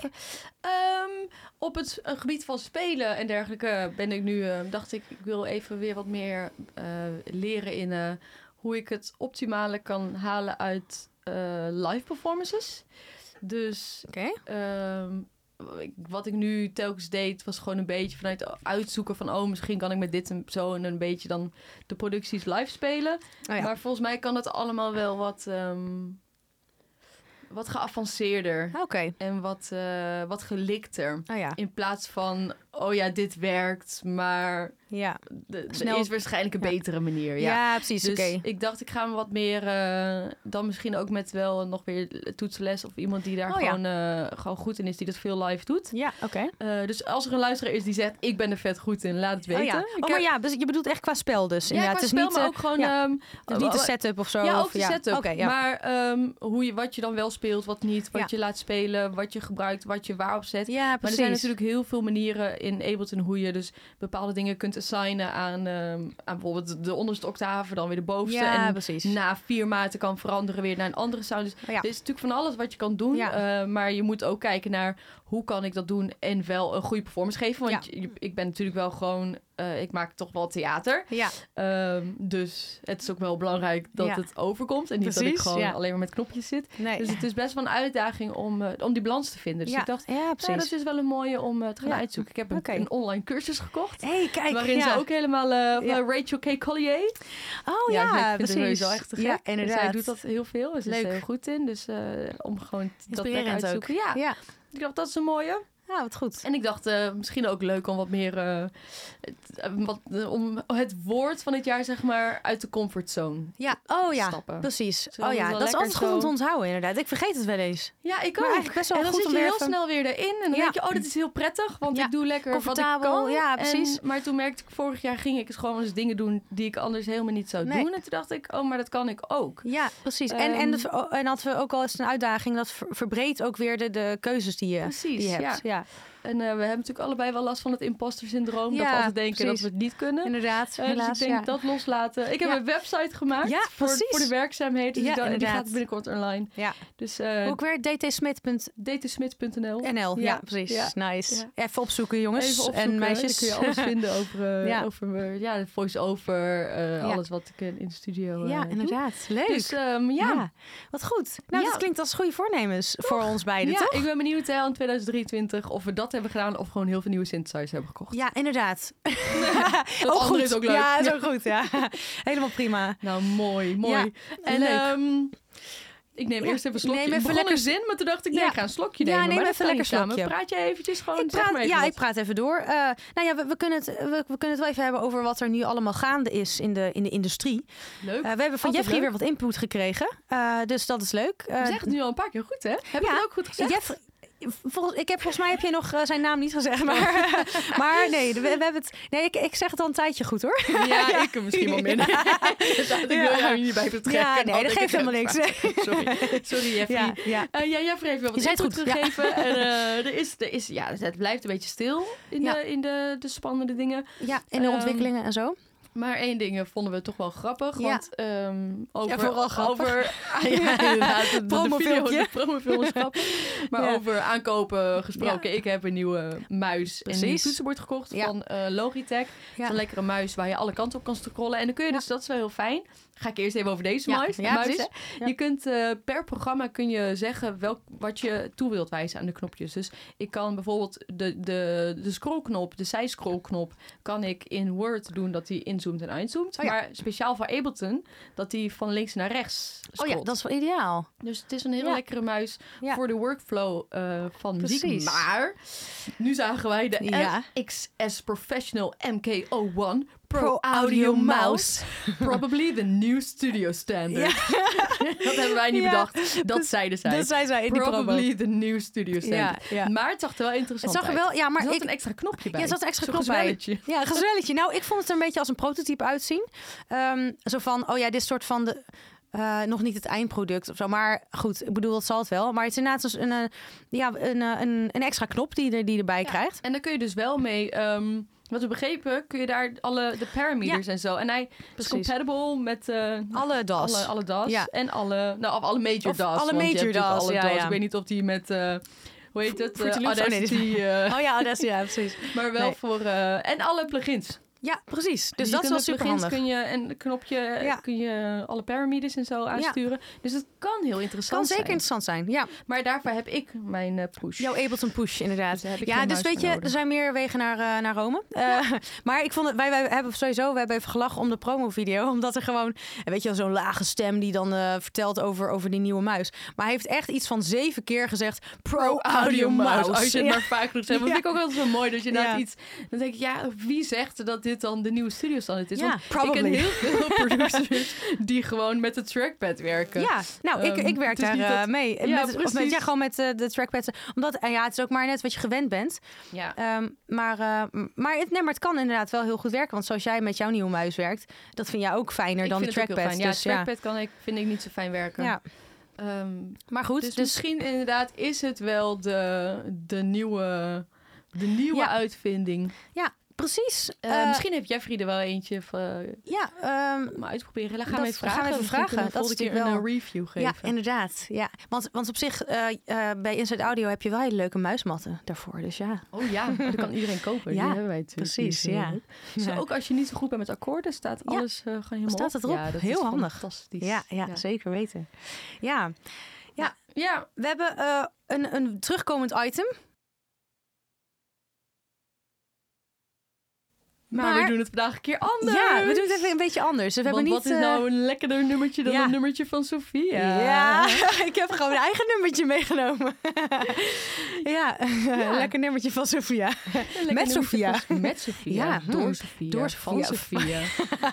[SPEAKER 2] Ehm, op het eh, gebied van spelen en dergelijke ben ik nu, eh, dacht ik, ik wil even weer wat meer eh, leren in eh, hoe ik het optimale kan halen uit eh, live performances. Dus
[SPEAKER 1] Oké.
[SPEAKER 2] Ehm, ik- wat ik nu telkens deed, was gewoon een beetje vanuit uitzoeken van... oh, misschien kan ik met dit en zo en een beetje dan de producties live spelen.
[SPEAKER 1] Oh ja.
[SPEAKER 2] Maar volgens mij kan het allemaal wel wat, ehm, wat geavanceerder
[SPEAKER 1] Oké.
[SPEAKER 2] en wat, eh, wat gelikter.
[SPEAKER 1] Oh ja.
[SPEAKER 2] In plaats van, oh ja, dit werkt, maar
[SPEAKER 1] Ja.
[SPEAKER 2] de- er
[SPEAKER 1] Snel-
[SPEAKER 2] is waarschijnlijk een
[SPEAKER 1] Ja.
[SPEAKER 2] betere manier.
[SPEAKER 1] Ja,
[SPEAKER 2] Ja.
[SPEAKER 1] precies.
[SPEAKER 2] Dus
[SPEAKER 1] Oké.
[SPEAKER 2] ik dacht, ik ga me wat meer... eh, dan misschien ook met wel nog weer toetsenles... of iemand die daar
[SPEAKER 1] Oh ja.
[SPEAKER 2] gewoon, eh, gewoon goed in is... die dat veel live doet.
[SPEAKER 1] Ja, oké. Oh
[SPEAKER 2] Eh, dus als er een luisteraar is die zegt... ik ben er vet goed in, laat het weten.
[SPEAKER 1] Oh ja.
[SPEAKER 2] Ik
[SPEAKER 1] Oh,
[SPEAKER 2] heb-
[SPEAKER 1] maar ja, dus je bedoelt echt qua spel dus.
[SPEAKER 2] ja,
[SPEAKER 1] inderdaad.
[SPEAKER 2] qua
[SPEAKER 1] het is
[SPEAKER 2] spel,
[SPEAKER 1] niet,
[SPEAKER 2] maar
[SPEAKER 1] eh,
[SPEAKER 2] ook gewoon...
[SPEAKER 1] ja.
[SPEAKER 2] ehm,
[SPEAKER 1] dus niet de
[SPEAKER 2] eh,
[SPEAKER 1] setup of zo.
[SPEAKER 2] ja,
[SPEAKER 1] of-
[SPEAKER 2] ook de setup.
[SPEAKER 1] Oké, ja.
[SPEAKER 2] Maar ehm, hoe je, wat je dan wel speelt, wat niet. Wat
[SPEAKER 1] Ja.
[SPEAKER 2] je laat spelen, wat je gebruikt, wat je waarop zet.
[SPEAKER 1] ja, precies.
[SPEAKER 2] Maar er zijn natuurlijk heel veel manieren in Ableton hoe je dus bepaalde dingen kunt assignen aan, ehm, aan bijvoorbeeld de onderste octave, dan weer de bovenste.
[SPEAKER 1] Ja,
[SPEAKER 2] en Nou,
[SPEAKER 1] precies.
[SPEAKER 2] na vier maten kan veranderen weer naar een andere sound. Dus
[SPEAKER 1] Ja.
[SPEAKER 2] er is natuurlijk van alles wat je kan doen.
[SPEAKER 1] Ja.
[SPEAKER 2] eh, maar je moet ook kijken naar hoe kan ik dat doen en wel een goede performance geven. Want je- ik ben natuurlijk wel gewoon eh, ik maak toch wel theater.
[SPEAKER 1] Ja,
[SPEAKER 2] Ehm, dus het is ook wel belangrijk dat
[SPEAKER 1] Ja.
[SPEAKER 2] het overkomt. En niet dat ik
[SPEAKER 1] Precies,
[SPEAKER 2] gewoon
[SPEAKER 1] ja.
[SPEAKER 2] alleen maar met knopjes zit.
[SPEAKER 1] nee.
[SPEAKER 2] Dus het is best wel een uitdaging om, eh, om die balans te vinden. Dus
[SPEAKER 1] ja.
[SPEAKER 2] ik dacht,
[SPEAKER 1] ja, precies.
[SPEAKER 2] nou, dat is wel een mooie om eh, te gaan
[SPEAKER 1] Ja.
[SPEAKER 2] uitzoeken. Ik heb een,
[SPEAKER 1] Oké.
[SPEAKER 2] een online cursus gekocht.
[SPEAKER 1] hey, kijk,
[SPEAKER 2] waarin
[SPEAKER 1] ja.
[SPEAKER 2] ze ook helemaal eh,
[SPEAKER 1] Ja.
[SPEAKER 2] van Rachel K. Collier.
[SPEAKER 1] Oh
[SPEAKER 2] Ja,
[SPEAKER 1] ja,
[SPEAKER 2] ik vind
[SPEAKER 1] precies.
[SPEAKER 2] het sowieso echt te gek.
[SPEAKER 1] Ja,
[SPEAKER 2] En
[SPEAKER 1] inderdaad.
[SPEAKER 2] Zij doet dat heel veel. Ze is
[SPEAKER 1] Leuk.
[SPEAKER 2] er heel goed in. Dus eh, om gewoon dat lekker uit
[SPEAKER 1] Inspirerend
[SPEAKER 2] te
[SPEAKER 1] ook.
[SPEAKER 2] zoeken. Ja.
[SPEAKER 1] Ja.
[SPEAKER 2] ik dacht dat is een mooie.
[SPEAKER 1] ja, wat goed.
[SPEAKER 2] En ik dacht eh, misschien ook leuk om wat meer... eh, het, eh, wat, eh, om het woord van het jaar zeg maar uit de comfortzone
[SPEAKER 1] Ja, oh ja,
[SPEAKER 2] stappen.
[SPEAKER 1] precies.
[SPEAKER 2] Zodat
[SPEAKER 1] Oh
[SPEAKER 2] het
[SPEAKER 1] ja, dat
[SPEAKER 2] wel
[SPEAKER 1] is
[SPEAKER 2] lekker
[SPEAKER 1] altijd goed om
[SPEAKER 2] zo-
[SPEAKER 1] te onthouden inderdaad. Ik vergeet het wel eens.
[SPEAKER 2] Ja, ik
[SPEAKER 1] Maar
[SPEAKER 2] ook.
[SPEAKER 1] eigenlijk best wel
[SPEAKER 2] en dan
[SPEAKER 1] goed
[SPEAKER 2] zit
[SPEAKER 1] om
[SPEAKER 2] je
[SPEAKER 1] weer
[SPEAKER 2] heel
[SPEAKER 1] even-
[SPEAKER 2] snel weer erin. En dan
[SPEAKER 1] Ja.
[SPEAKER 2] denk je, oh, dit is heel prettig, want
[SPEAKER 1] Ja,
[SPEAKER 2] ik doe lekker wat ik
[SPEAKER 1] comfortabel.
[SPEAKER 2] kan.
[SPEAKER 1] Ja,
[SPEAKER 2] En-
[SPEAKER 1] precies.
[SPEAKER 2] maar toen merkte ik, vorig jaar ging ik eens gewoon eens dingen doen die ik anders helemaal niet zou
[SPEAKER 1] Nee.
[SPEAKER 2] doen. En toen dacht ik, oh, maar dat kan ik ook. ehm,
[SPEAKER 1] Ja, precies. en, en, dat, oh, en hadden we ook al eens een uitdaging, dat ver- verbreedt ook weer de, de keuzes die je,
[SPEAKER 2] Precies,
[SPEAKER 1] die je
[SPEAKER 2] ja.
[SPEAKER 1] hebt. Ja,
[SPEAKER 2] En eh, we hebben natuurlijk allebei wel last van het imposter syndroom. dat
[SPEAKER 1] Ja,
[SPEAKER 2] we altijd denken
[SPEAKER 1] precies.
[SPEAKER 2] dat we het niet kunnen.
[SPEAKER 1] inderdaad.
[SPEAKER 2] Eh,
[SPEAKER 1] helaas,
[SPEAKER 2] dus ik denk
[SPEAKER 1] ja.
[SPEAKER 2] dat loslaten. Ik heb
[SPEAKER 1] Ja.
[SPEAKER 2] een website gemaakt
[SPEAKER 1] Ja,
[SPEAKER 2] voor,
[SPEAKER 1] precies.
[SPEAKER 2] voor de werkzaamheden. Dus
[SPEAKER 1] Ja,
[SPEAKER 2] ik dacht- en die
[SPEAKER 1] inderdaad.
[SPEAKER 2] gaat binnenkort online.
[SPEAKER 1] Ja.
[SPEAKER 2] Dus eh
[SPEAKER 1] Ook weer dtsmit.nl.
[SPEAKER 2] dtsmit.nl.
[SPEAKER 1] Ja,
[SPEAKER 2] Ja,
[SPEAKER 1] precies.
[SPEAKER 2] ja,
[SPEAKER 1] Nice.
[SPEAKER 2] ja.
[SPEAKER 1] Even opzoeken, jongens
[SPEAKER 2] Even
[SPEAKER 1] en
[SPEAKER 2] opzoeken.
[SPEAKER 1] meisjes.
[SPEAKER 2] Dan kun je alles vinden over, eh,
[SPEAKER 1] Ja.
[SPEAKER 2] over eh, ja, de voice-over, eh,
[SPEAKER 1] Ja.
[SPEAKER 2] alles wat ik eh, in de studio eh,
[SPEAKER 1] ja,
[SPEAKER 2] doe.
[SPEAKER 1] inderdaad. Leuk.
[SPEAKER 2] Dus ehm, ja,
[SPEAKER 1] ja. wat goed. Nou,
[SPEAKER 2] Ja.
[SPEAKER 1] dat klinkt als goede voornemens voor ons beiden,
[SPEAKER 2] Ja,
[SPEAKER 1] toch?
[SPEAKER 2] ik ben benieuwd hè, in 2023 of we dat hebben gedaan of gewoon heel veel nieuwe synthesizers hebben gekocht.
[SPEAKER 1] Ja, inderdaad.
[SPEAKER 2] Dat
[SPEAKER 1] ook
[SPEAKER 2] andere
[SPEAKER 1] goed.
[SPEAKER 2] is ook leuk.
[SPEAKER 1] Ja, is
[SPEAKER 2] Ja.
[SPEAKER 1] ook goed. Ja. Helemaal prima.
[SPEAKER 2] Nou, mooi, mooi. en
[SPEAKER 1] leuk.
[SPEAKER 2] ehm, ik neem
[SPEAKER 1] Ja,
[SPEAKER 2] eerst even een slokje.
[SPEAKER 1] neem
[SPEAKER 2] Ik
[SPEAKER 1] even
[SPEAKER 2] begon
[SPEAKER 1] lekker-
[SPEAKER 2] een zin, maar toen dacht ik, nee,
[SPEAKER 1] Ja.
[SPEAKER 2] ik ga een slokje
[SPEAKER 1] Ja,
[SPEAKER 2] nemen.
[SPEAKER 1] neem
[SPEAKER 2] maar dat
[SPEAKER 1] even
[SPEAKER 2] kan
[SPEAKER 1] lekker
[SPEAKER 2] niet samen.
[SPEAKER 1] slokje.
[SPEAKER 2] Praat je eventjes gewoon,
[SPEAKER 1] Ik
[SPEAKER 2] Oh, zeg
[SPEAKER 1] praat,
[SPEAKER 2] maar even
[SPEAKER 1] ja,
[SPEAKER 2] wat.
[SPEAKER 1] ik praat even door. Eh, nou ja, we, we kunnen het, we, we kunnen het wel even hebben over wat er nu allemaal gaande is in de, in de industrie.
[SPEAKER 2] Leuk.
[SPEAKER 1] Eh, we hebben van
[SPEAKER 2] Altijd
[SPEAKER 1] Jeffrey
[SPEAKER 2] leuk.
[SPEAKER 1] weer wat input gekregen. Eh, dus dat is leuk. Eh,
[SPEAKER 2] zeg het nu al een paar keer goed, hè? Heb
[SPEAKER 1] ja.
[SPEAKER 2] ik het ook goed gezegd?
[SPEAKER 1] Jeff, volgens, ik heb, volgens mij heb je nog eh, zijn naam niet gezegd. Maar, maar nee, we, we hebben het, nee ik, ik zeg het al een tijdje goed hoor.
[SPEAKER 2] Ja, ik hem misschien wel minder. Inderdaad, Ik wil
[SPEAKER 1] Ja.
[SPEAKER 2] jou niet bij betrekken.
[SPEAKER 1] Ja, nee,
[SPEAKER 2] want
[SPEAKER 1] dat
[SPEAKER 2] ik
[SPEAKER 1] geeft
[SPEAKER 2] heb-
[SPEAKER 1] helemaal niks.
[SPEAKER 2] Sorry, sorry Jeffrey.
[SPEAKER 1] Ja,
[SPEAKER 2] Ja.
[SPEAKER 1] ja.
[SPEAKER 2] ja, Jeffrey heeft wel wat
[SPEAKER 1] Je zei het
[SPEAKER 2] input
[SPEAKER 1] goed, ja.
[SPEAKER 2] gegeven. En, eh, er is, er is, ja, het blijft een beetje stil in,
[SPEAKER 1] Ja.
[SPEAKER 2] de, in de, de spannende dingen.
[SPEAKER 1] ja, en de
[SPEAKER 2] Ehm,
[SPEAKER 1] ontwikkelingen en zo.
[SPEAKER 2] Maar één ding eh, vonden we toch wel grappig.
[SPEAKER 1] Ja.
[SPEAKER 2] Want ehm, over...
[SPEAKER 1] vooral grappig.
[SPEAKER 2] Over, ah, ja, inderdaad. De, de
[SPEAKER 1] Promofilmpje.
[SPEAKER 2] video- de promofilm is grappig. Maar
[SPEAKER 1] Ja.
[SPEAKER 2] over aankopen gesproken. Ik heb een nieuwe muis en een
[SPEAKER 1] Precies.
[SPEAKER 2] toetsenbord gekocht
[SPEAKER 1] Ja.
[SPEAKER 2] van eh, Logitech. Het is
[SPEAKER 1] Ja.
[SPEAKER 2] een lekkere muis waar je alle kanten op kan scrollen. En dan kun je dus, dat is wel heel fijn. Ga ik eerst even over deze
[SPEAKER 1] Ja,
[SPEAKER 2] muis.
[SPEAKER 1] ja,
[SPEAKER 2] muis,
[SPEAKER 1] precies.
[SPEAKER 2] hè.
[SPEAKER 1] Ja.
[SPEAKER 2] Je kunt eh, per programma kun je zeggen welk, wat je toe wilt wijzen aan de knopjes. Dus ik kan bijvoorbeeld de, de, de scrollknop, de zijscrollknop, kan ik in Word doen dat hij inzoomt en uitzoomt.
[SPEAKER 1] Oh ja.
[SPEAKER 2] Maar speciaal voor Ableton, dat hij van links naar rechts
[SPEAKER 1] Oh ja,
[SPEAKER 2] scrolt.
[SPEAKER 1] dat is wel ideaal.
[SPEAKER 2] Dus het is een hele
[SPEAKER 1] Ja.
[SPEAKER 2] lekkere muis
[SPEAKER 1] Ja.
[SPEAKER 2] voor de workflow eh, van muziek.
[SPEAKER 1] Precies.
[SPEAKER 2] Maar nu zagen wij de
[SPEAKER 1] Ja.
[SPEAKER 2] XS Professional MK01 Pro,
[SPEAKER 1] Pro
[SPEAKER 2] Audio
[SPEAKER 1] Audio
[SPEAKER 2] Mouse. Probably the new studio standard. Dat hebben wij niet
[SPEAKER 1] Ja. Dus
[SPEAKER 2] bedacht. Dat zeiden zij.
[SPEAKER 1] Dat zijn zij in die promo.
[SPEAKER 2] Probably the new studio standard.
[SPEAKER 1] Ja, ja.
[SPEAKER 2] Maar het zag er wel interessant
[SPEAKER 1] Het zag er
[SPEAKER 2] uit.
[SPEAKER 1] wel, ja, maar
[SPEAKER 2] er zat
[SPEAKER 1] ik,
[SPEAKER 2] een extra knopje bij.
[SPEAKER 1] Ja, er zat een extra
[SPEAKER 2] Zo'n
[SPEAKER 1] knop bij.
[SPEAKER 2] gezwelletje.
[SPEAKER 1] Ja, een gezwelletje. Nou, ik vond het er een beetje als een prototype uitzien. Ehm, zo van, oh ja, dit is soort van de... eh, nog niet het eindproduct of zo. Maar goed, ik bedoel, dat zal het wel. Maar het is inderdaad dus een, eh, ja, een, eh, een, een extra knop die, er, die je erbij krijgt.
[SPEAKER 2] En dan kun je dus wel mee, ehm, wat we begrepen, kun je daar alle de parameters en zo. En hij is compatible met eh,
[SPEAKER 1] Alle DAS.
[SPEAKER 2] alle, alle DAS
[SPEAKER 1] Ja.
[SPEAKER 2] en alle, nou, of alle major
[SPEAKER 1] Of
[SPEAKER 2] DAS.
[SPEAKER 1] alle
[SPEAKER 2] want je
[SPEAKER 1] major
[SPEAKER 2] hebt natuurlijk
[SPEAKER 1] DAS,
[SPEAKER 2] alle
[SPEAKER 1] ja, ja.
[SPEAKER 2] Ik weet niet of die met, eh, hoe heet het,
[SPEAKER 1] Fruity
[SPEAKER 2] eh,
[SPEAKER 1] Loops? Oh, nee,
[SPEAKER 2] Audacity, eh,
[SPEAKER 1] Oh ja, dat is, ja, precies.
[SPEAKER 2] maar wel
[SPEAKER 1] Nee.
[SPEAKER 2] voor, eh, en alle plugins.
[SPEAKER 1] Ja, precies. Dus
[SPEAKER 2] je
[SPEAKER 1] dat is
[SPEAKER 2] kunt
[SPEAKER 1] wel
[SPEAKER 2] met
[SPEAKER 1] super
[SPEAKER 2] plugins
[SPEAKER 1] handig.
[SPEAKER 2] kun je een knopje, eh,
[SPEAKER 1] Ja.
[SPEAKER 2] kun je alle parameters en zo aansturen. Dus het kan heel interessant
[SPEAKER 1] Kan zeker
[SPEAKER 2] zijn.
[SPEAKER 1] interessant zijn. Ja,
[SPEAKER 2] Maar daarvoor heb ik mijn eh, push.
[SPEAKER 1] jouw Ableton Push
[SPEAKER 2] Dus
[SPEAKER 1] inderdaad.
[SPEAKER 2] daar heb ik
[SPEAKER 1] Ja,
[SPEAKER 2] geen
[SPEAKER 1] dus
[SPEAKER 2] muis
[SPEAKER 1] weet
[SPEAKER 2] voor
[SPEAKER 1] je, er
[SPEAKER 2] nodig.
[SPEAKER 1] zijn meer wegen naar, eh, naar Rome. Eh, maar ik vond het, wij, wij hebben sowieso, we hebben even gelachen om de promovideo. Omdat er gewoon, eh, weet je wel, zo'n lage stem die dan eh, vertelt over, over die nieuwe muis. Maar hij heeft echt iets van zeven keer gezegd, pro audio mouse.
[SPEAKER 2] Als je het
[SPEAKER 1] Ja.
[SPEAKER 2] maar vaak genoeg zegt. Dat
[SPEAKER 1] Ja.
[SPEAKER 2] vind ik ook altijd zo mooi. Dat je
[SPEAKER 1] Ja.
[SPEAKER 2] inderdaad iets... Dan denk ik, ja, wie zegt dat dit dan de nieuwe studio standaard is?
[SPEAKER 1] Ja,
[SPEAKER 2] Want ik ken
[SPEAKER 1] probably.
[SPEAKER 2] heel veel producers die gewoon met de trackpad werken.
[SPEAKER 1] Ja, nou, ik,
[SPEAKER 2] Ehm,
[SPEAKER 1] ik werk
[SPEAKER 2] het is
[SPEAKER 1] daar
[SPEAKER 2] niet
[SPEAKER 1] eh,
[SPEAKER 2] dat-
[SPEAKER 1] mee.
[SPEAKER 2] Ja,
[SPEAKER 1] met, of met,
[SPEAKER 2] precies.
[SPEAKER 1] ja, gewoon met eh, de trackpad. Omdat, en ja, het is ook maar net wat je gewend bent.
[SPEAKER 2] Ja.
[SPEAKER 1] Ehm, maar, eh, m- maar, het, nee, maar het kan inderdaad wel heel goed werken. Want zoals jij met jouw nieuwe muis werkt, dat vind jij ook fijner
[SPEAKER 2] Ik
[SPEAKER 1] dan de
[SPEAKER 2] vind het ook heel
[SPEAKER 1] trackpad.
[SPEAKER 2] fijn. Ja,
[SPEAKER 1] dus, ja.
[SPEAKER 2] trackpad kan ik, vind ik niet zo fijn werken.
[SPEAKER 1] Ja,
[SPEAKER 2] Ehm,
[SPEAKER 1] maar goed.
[SPEAKER 2] dus,
[SPEAKER 1] Dus,
[SPEAKER 2] misschien inderdaad is het wel de, de nieuwe... De nieuwe
[SPEAKER 1] Ja.
[SPEAKER 2] uitvinding.
[SPEAKER 1] Precies.
[SPEAKER 2] Eh,
[SPEAKER 1] Eh,
[SPEAKER 2] misschien heeft Jeffrey er wel eentje van, eh,
[SPEAKER 1] Ja, ehm,
[SPEAKER 2] om uitproberen. Laat
[SPEAKER 1] dat-
[SPEAKER 2] gaan we
[SPEAKER 1] gaan
[SPEAKER 2] even
[SPEAKER 1] we
[SPEAKER 2] vragen.
[SPEAKER 1] even
[SPEAKER 2] Misschien kunnen
[SPEAKER 1] vragen. Dat
[SPEAKER 2] volgende
[SPEAKER 1] is
[SPEAKER 2] keer een
[SPEAKER 1] natuurlijk
[SPEAKER 2] eh, review
[SPEAKER 1] ja
[SPEAKER 2] geven.
[SPEAKER 1] inderdaad. Ja. Want, want op zich, eh, eh, bij Inside Audio heb je wel hele leuke muismatten daarvoor. Dus ja,
[SPEAKER 2] Oh ja, dat kan iedereen kopen.
[SPEAKER 1] Ja,
[SPEAKER 2] Die hebben wij natuurlijk.
[SPEAKER 1] precies.
[SPEAKER 2] Die is heel
[SPEAKER 1] Ja.
[SPEAKER 2] leuk. Zo, ook als je niet zo goed bent met akkoorden, staat
[SPEAKER 1] Ja.
[SPEAKER 2] alles eh, gewoon helemaal
[SPEAKER 1] Staat
[SPEAKER 2] op.
[SPEAKER 1] het erop?
[SPEAKER 2] Ja, dat
[SPEAKER 1] Heel
[SPEAKER 2] is
[SPEAKER 1] handig.
[SPEAKER 2] Fantastisch.
[SPEAKER 1] ja, ja,
[SPEAKER 2] ja.
[SPEAKER 1] zeker weten. Ja,
[SPEAKER 2] Ja,
[SPEAKER 1] we hebben eh, een, een terugkomend item.
[SPEAKER 2] maar,
[SPEAKER 1] Maar-
[SPEAKER 2] Nou, we doen het vandaag een keer anders.
[SPEAKER 1] Ja, we doen het even een beetje anders. Dus we
[SPEAKER 2] Want
[SPEAKER 1] hebben
[SPEAKER 2] wat
[SPEAKER 1] niet...
[SPEAKER 2] is
[SPEAKER 1] eh,
[SPEAKER 2] nou een lekkerder nummertje dan
[SPEAKER 1] ja.
[SPEAKER 2] een nummertje van Sofia?
[SPEAKER 1] Ja. ik heb gewoon een eigen nummertje meegenomen. ja, lekker nummertje van Sofia.
[SPEAKER 2] Lekker
[SPEAKER 1] Met
[SPEAKER 2] nummertje
[SPEAKER 1] Sophia.
[SPEAKER 2] van- Met Sofia.
[SPEAKER 1] Ja, hm.
[SPEAKER 2] door Sofia.
[SPEAKER 1] Door
[SPEAKER 2] van
[SPEAKER 1] Sophia.
[SPEAKER 2] Sophia.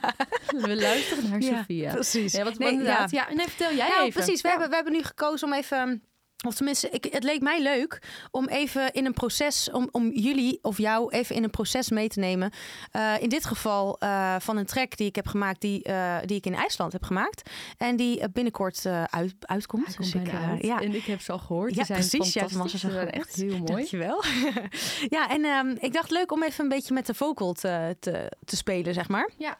[SPEAKER 2] we luisteren naar
[SPEAKER 1] Ja,
[SPEAKER 2] Sofia.
[SPEAKER 1] Precies.
[SPEAKER 2] Ja, wat
[SPEAKER 1] Nee,
[SPEAKER 2] inderdaad. Ja. nee, vertel Oh, jij
[SPEAKER 1] Nou,
[SPEAKER 2] even.
[SPEAKER 1] precies. We,
[SPEAKER 2] Ja.
[SPEAKER 1] hebben, we hebben nu gekozen om even... Of tenminste, ik, het leek mij leuk om even in een proces, om, om jullie of jou even in een proces mee te nemen. Eh, in dit geval eh, van een track die ik heb gemaakt, die, eh, die ik in IJsland heb gemaakt. En die eh, binnenkort eh, uit, uitkomt.
[SPEAKER 2] Hij komt
[SPEAKER 1] Dus ik,
[SPEAKER 2] bijna
[SPEAKER 1] eh,
[SPEAKER 2] uit.
[SPEAKER 1] ja,
[SPEAKER 2] En ik heb ze al gehoord.
[SPEAKER 1] Ja,
[SPEAKER 2] Ze zijn
[SPEAKER 1] precies. Ja, de
[SPEAKER 2] fantastisch.
[SPEAKER 1] massa
[SPEAKER 2] Ze zijn
[SPEAKER 1] zijn
[SPEAKER 2] echt heel mooi.
[SPEAKER 1] Dankjewel. ja, en ehm, ik dacht leuk om even een beetje met de vocal te, te, te spelen, zeg maar.
[SPEAKER 2] Ja.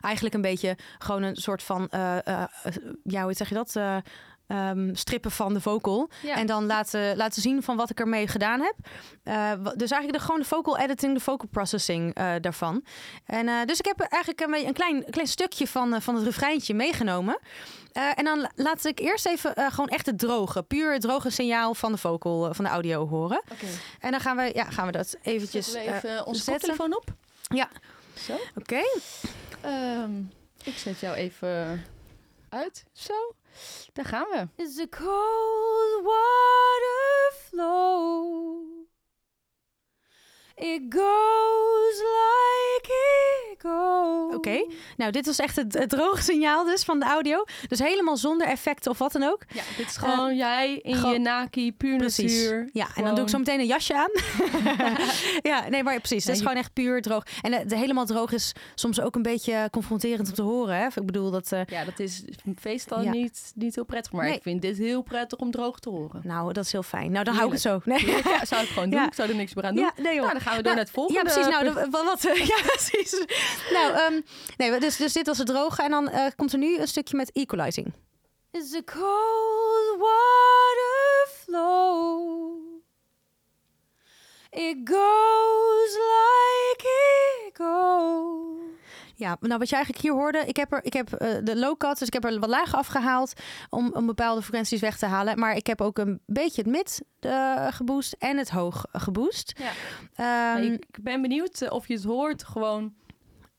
[SPEAKER 1] Eigenlijk een beetje gewoon een soort van, eh, eh, eh, ja, hoe zeg je dat? Eh, ehm, strippen van de vocal.
[SPEAKER 2] Ja.
[SPEAKER 1] En dan laten, laten zien van wat ik ermee gedaan heb. Eh, wa- dus eigenlijk de, gewoon de vocal editing, de vocal processing eh, daarvan. En, eh, dus ik heb eigenlijk een, beetje- een klein, klein stukje van, eh, van het refreintje meegenomen. Eh, en dan la- laat ik eerst even eh, gewoon echt het droge, puur het droge signaal van de vocal, eh, van de audio horen.
[SPEAKER 2] Oké.
[SPEAKER 1] En dan gaan we, ja, gaan we dat eventjes...
[SPEAKER 2] Zetten
[SPEAKER 1] eh,
[SPEAKER 2] we even onze
[SPEAKER 1] zetten.
[SPEAKER 2] koptelefoon op.
[SPEAKER 1] Ja.
[SPEAKER 2] Zo.
[SPEAKER 1] Oké.
[SPEAKER 2] Ehm, ik zet jou even uit. Zo. Daar gaan we.
[SPEAKER 1] It's a cold water flow.
[SPEAKER 2] It goes like it goes.
[SPEAKER 1] Oké, nou dit was echt het, het droge signaal dus van de audio. Dus helemaal zonder effecten of wat dan ook.
[SPEAKER 2] Ja, dit is gewoon jij in
[SPEAKER 1] Eh, gewoon-
[SPEAKER 2] je naki, puur natuur.
[SPEAKER 1] Ja, en dan doe ik zo meteen een jasje aan. ja, nee, maar precies. Het
[SPEAKER 2] Nee,
[SPEAKER 1] is
[SPEAKER 2] je-
[SPEAKER 1] gewoon echt puur droog. En eh, de helemaal droog is soms ook een beetje confronterend om te horen. Hè? Ik bedoel dat... eh,
[SPEAKER 2] Ja, dat is meestal
[SPEAKER 1] Ja.
[SPEAKER 2] niet, niet heel prettig. Maar
[SPEAKER 1] Nee.
[SPEAKER 2] ik vind dit heel prettig om droog te horen.
[SPEAKER 1] nou, dat is heel fijn. Nou, dan hou ik het zo. Nee.
[SPEAKER 2] Ja, zou ik gewoon doen.
[SPEAKER 1] Ja.
[SPEAKER 2] Ik zou er niks meer aan doen.
[SPEAKER 1] Ja, nee joh.
[SPEAKER 2] Nou, dan gaan we door
[SPEAKER 1] Nou,
[SPEAKER 2] naar het volgende.
[SPEAKER 1] Ja, precies. Nou,
[SPEAKER 2] punt.
[SPEAKER 1] de- wat, wat, eh, ja, precies. Nou, ehm, nee, dus, dus dit was het droge. En dan eh, komt er nu een stukje met equalizing. It's a cold water flow. It goes like it goes. Ja, nou wat je eigenlijk hier hoorde, ik heb, er, ik heb eh, de low cut, dus ik heb er wat laag afgehaald om, om bepaalde frequenties weg te halen. Maar ik heb ook een beetje het mid eh, geboost en het hoog eh, geboost.
[SPEAKER 2] Ja.
[SPEAKER 1] Ehm,
[SPEAKER 2] Ja, ik, ik ben benieuwd eh, of je het hoort. Gewoon,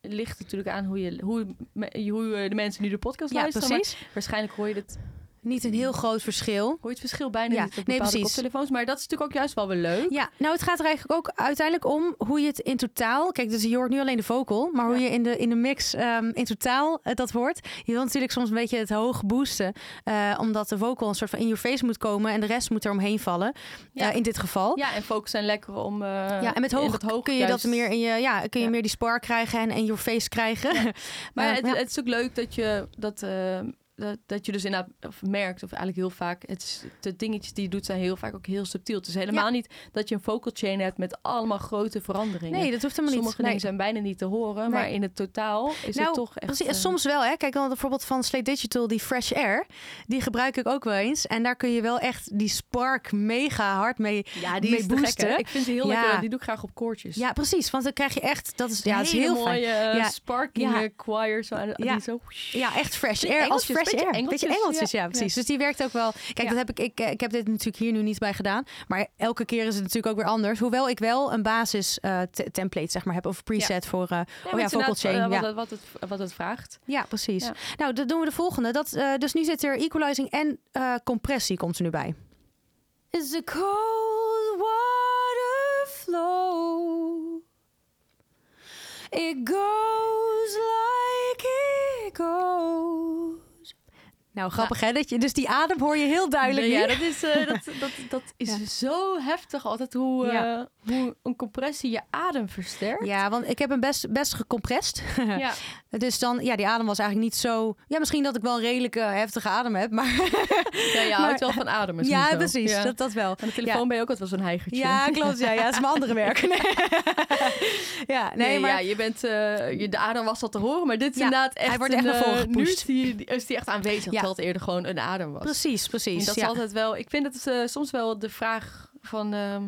[SPEAKER 2] het ligt natuurlijk aan hoe, je, hoe, me- hoe eh, de mensen nu de podcast
[SPEAKER 1] ja,
[SPEAKER 2] luisteren.
[SPEAKER 1] precies.
[SPEAKER 2] Maar waarschijnlijk hoor je, het,
[SPEAKER 1] Niet een heel groot verschil.
[SPEAKER 2] hoor je het verschil bijna
[SPEAKER 1] Ja,
[SPEAKER 2] niet op
[SPEAKER 1] nee,
[SPEAKER 2] bepaalde
[SPEAKER 1] precies.
[SPEAKER 2] koptelefoons. Maar dat is natuurlijk ook juist wel weer leuk.
[SPEAKER 1] Ja, nou het gaat er eigenlijk ook uiteindelijk om hoe je het in totaal... Kijk, dus je hoort nu alleen de vocal, maar hoe
[SPEAKER 2] Ja.
[SPEAKER 1] je in de, in de mix ehm, in totaal eh, dat hoort. Je wil natuurlijk soms een beetje het hoog boosten, eh, omdat de vocal een soort van in your face moet komen en de rest moet er omheen vallen,
[SPEAKER 2] Ja.
[SPEAKER 1] eh, in dit geval. Ja.
[SPEAKER 2] Ja, en focus zijn lekker om... eh,
[SPEAKER 1] en met
[SPEAKER 2] in
[SPEAKER 1] hoog,
[SPEAKER 2] dat hoog
[SPEAKER 1] kun je dat
[SPEAKER 2] juist-
[SPEAKER 1] meer in je, ja, kun je
[SPEAKER 2] Ja.
[SPEAKER 1] meer die spark krijgen en, en your face krijgen.
[SPEAKER 2] Maar
[SPEAKER 1] Eh,
[SPEAKER 2] het,
[SPEAKER 1] ja.
[SPEAKER 2] het is ook leuk dat je dat, eh, dat, dat je dus inderdaad of merkt, of eigenlijk heel vaak, het is, de dingetjes die je doet zijn heel vaak ook heel subtiel. Het is helemaal niet dat je een vocal chain hebt met allemaal grote veranderingen.
[SPEAKER 1] nee, dat hoeft helemaal niet.
[SPEAKER 2] Sommige
[SPEAKER 1] Nee.
[SPEAKER 2] dingen zijn bijna niet te horen,
[SPEAKER 1] Nee.
[SPEAKER 2] maar in het totaal is
[SPEAKER 1] Nou,
[SPEAKER 2] het toch echt...
[SPEAKER 1] Precies, en
[SPEAKER 2] eh,
[SPEAKER 1] soms wel, hè. Kijk dan bijvoorbeeld van Slate Digital, die Fresh Air. Die gebruik ik ook wel eens. En daar kun je wel echt die spark mega hard mee...
[SPEAKER 2] ja, die
[SPEAKER 1] mee
[SPEAKER 2] is te gek,
[SPEAKER 1] boosten.
[SPEAKER 2] hè? Ik vind ze heel
[SPEAKER 1] Ja.
[SPEAKER 2] lekker. Die doe ik graag op koortjes.
[SPEAKER 1] Ja, precies. Want dan krijg je echt... Dat is, ja, dat is
[SPEAKER 2] Hele
[SPEAKER 1] heel fijn.
[SPEAKER 2] mooie eh,
[SPEAKER 1] Ja.
[SPEAKER 2] sparking
[SPEAKER 1] Ja.
[SPEAKER 2] eh, choir. Zo, aan-
[SPEAKER 1] Ja. oh
[SPEAKER 2] Die zo...
[SPEAKER 1] Ja, echt fresh
[SPEAKER 2] Beetje
[SPEAKER 1] air. als
[SPEAKER 2] Engeltjes,
[SPEAKER 1] fresh
[SPEAKER 2] beetje
[SPEAKER 1] air.
[SPEAKER 2] Engeltjes,
[SPEAKER 1] beetje Engeltjes, ja,
[SPEAKER 2] ja.
[SPEAKER 1] precies. Dus die werkt ook wel. Kijk,
[SPEAKER 2] Ja.
[SPEAKER 1] dat heb ik, ik, eh, ik heb dit natuurlijk hier nu niet bij gedaan. Maar elke keer is het natuurlijk ook weer anders. Hoewel ik wel een basis eh, te- template zeg maar, heb of preset voor... eh,
[SPEAKER 2] Ja,
[SPEAKER 1] oh ja,
[SPEAKER 2] het is
[SPEAKER 1] vocal
[SPEAKER 2] inderdaad,
[SPEAKER 1] chain.
[SPEAKER 2] eh,
[SPEAKER 1] ja.
[SPEAKER 2] wat, het- wat, het, wat het vraagt.
[SPEAKER 1] ja, precies.
[SPEAKER 2] Ja.
[SPEAKER 1] Nou, dan doen we de volgende. Dat, eh, dus nu zit er equalizing en eh, compressie komt er nu bij. Is a cold water flow. It goes like it goes. Nou, grappig hè? Dat je, dus die adem hoor je heel duidelijk.
[SPEAKER 2] Nee,
[SPEAKER 1] nu.
[SPEAKER 2] ja, dat is, eh, dat, dat, dat is
[SPEAKER 1] Ja.
[SPEAKER 2] zo heftig altijd hoe, eh,
[SPEAKER 1] Ja.
[SPEAKER 2] hoe een compressie je adem versterkt.
[SPEAKER 1] Ja, want ik heb hem best, best gecomprest.
[SPEAKER 2] Ja.
[SPEAKER 1] Dus dan, ja, die adem was eigenlijk niet zo. Ja, misschien dat ik wel een redelijke heftige adem heb, maar.
[SPEAKER 2] Ja, je houdt wel van ademen.
[SPEAKER 1] ja,
[SPEAKER 2] sowieso.
[SPEAKER 1] precies.
[SPEAKER 2] Ja.
[SPEAKER 1] Dat, dat wel.
[SPEAKER 2] Aan de telefoon ben je ook altijd wel zo'n heigertje.
[SPEAKER 1] Ja, klopt. Ja, ja, dat is mijn andere werk. Nee. ja, nee,
[SPEAKER 2] Nee,
[SPEAKER 1] maar.
[SPEAKER 2] ja, je bent, eh, je, de adem was al te horen, maar dit is
[SPEAKER 1] Ja,
[SPEAKER 2] inderdaad echt...
[SPEAKER 1] hij wordt echt
[SPEAKER 2] een,
[SPEAKER 1] naar voren
[SPEAKER 2] eh, Nu
[SPEAKER 1] gepusht.
[SPEAKER 2] is die, die- is die echt aanwezig,
[SPEAKER 1] Ja.
[SPEAKER 2] terwijl het eerder gewoon een adem was.
[SPEAKER 1] Precies, precies.
[SPEAKER 2] En Dus dat
[SPEAKER 1] ja.
[SPEAKER 2] is altijd wel. Ik vind dat het, eh, soms wel de vraag van. ehm,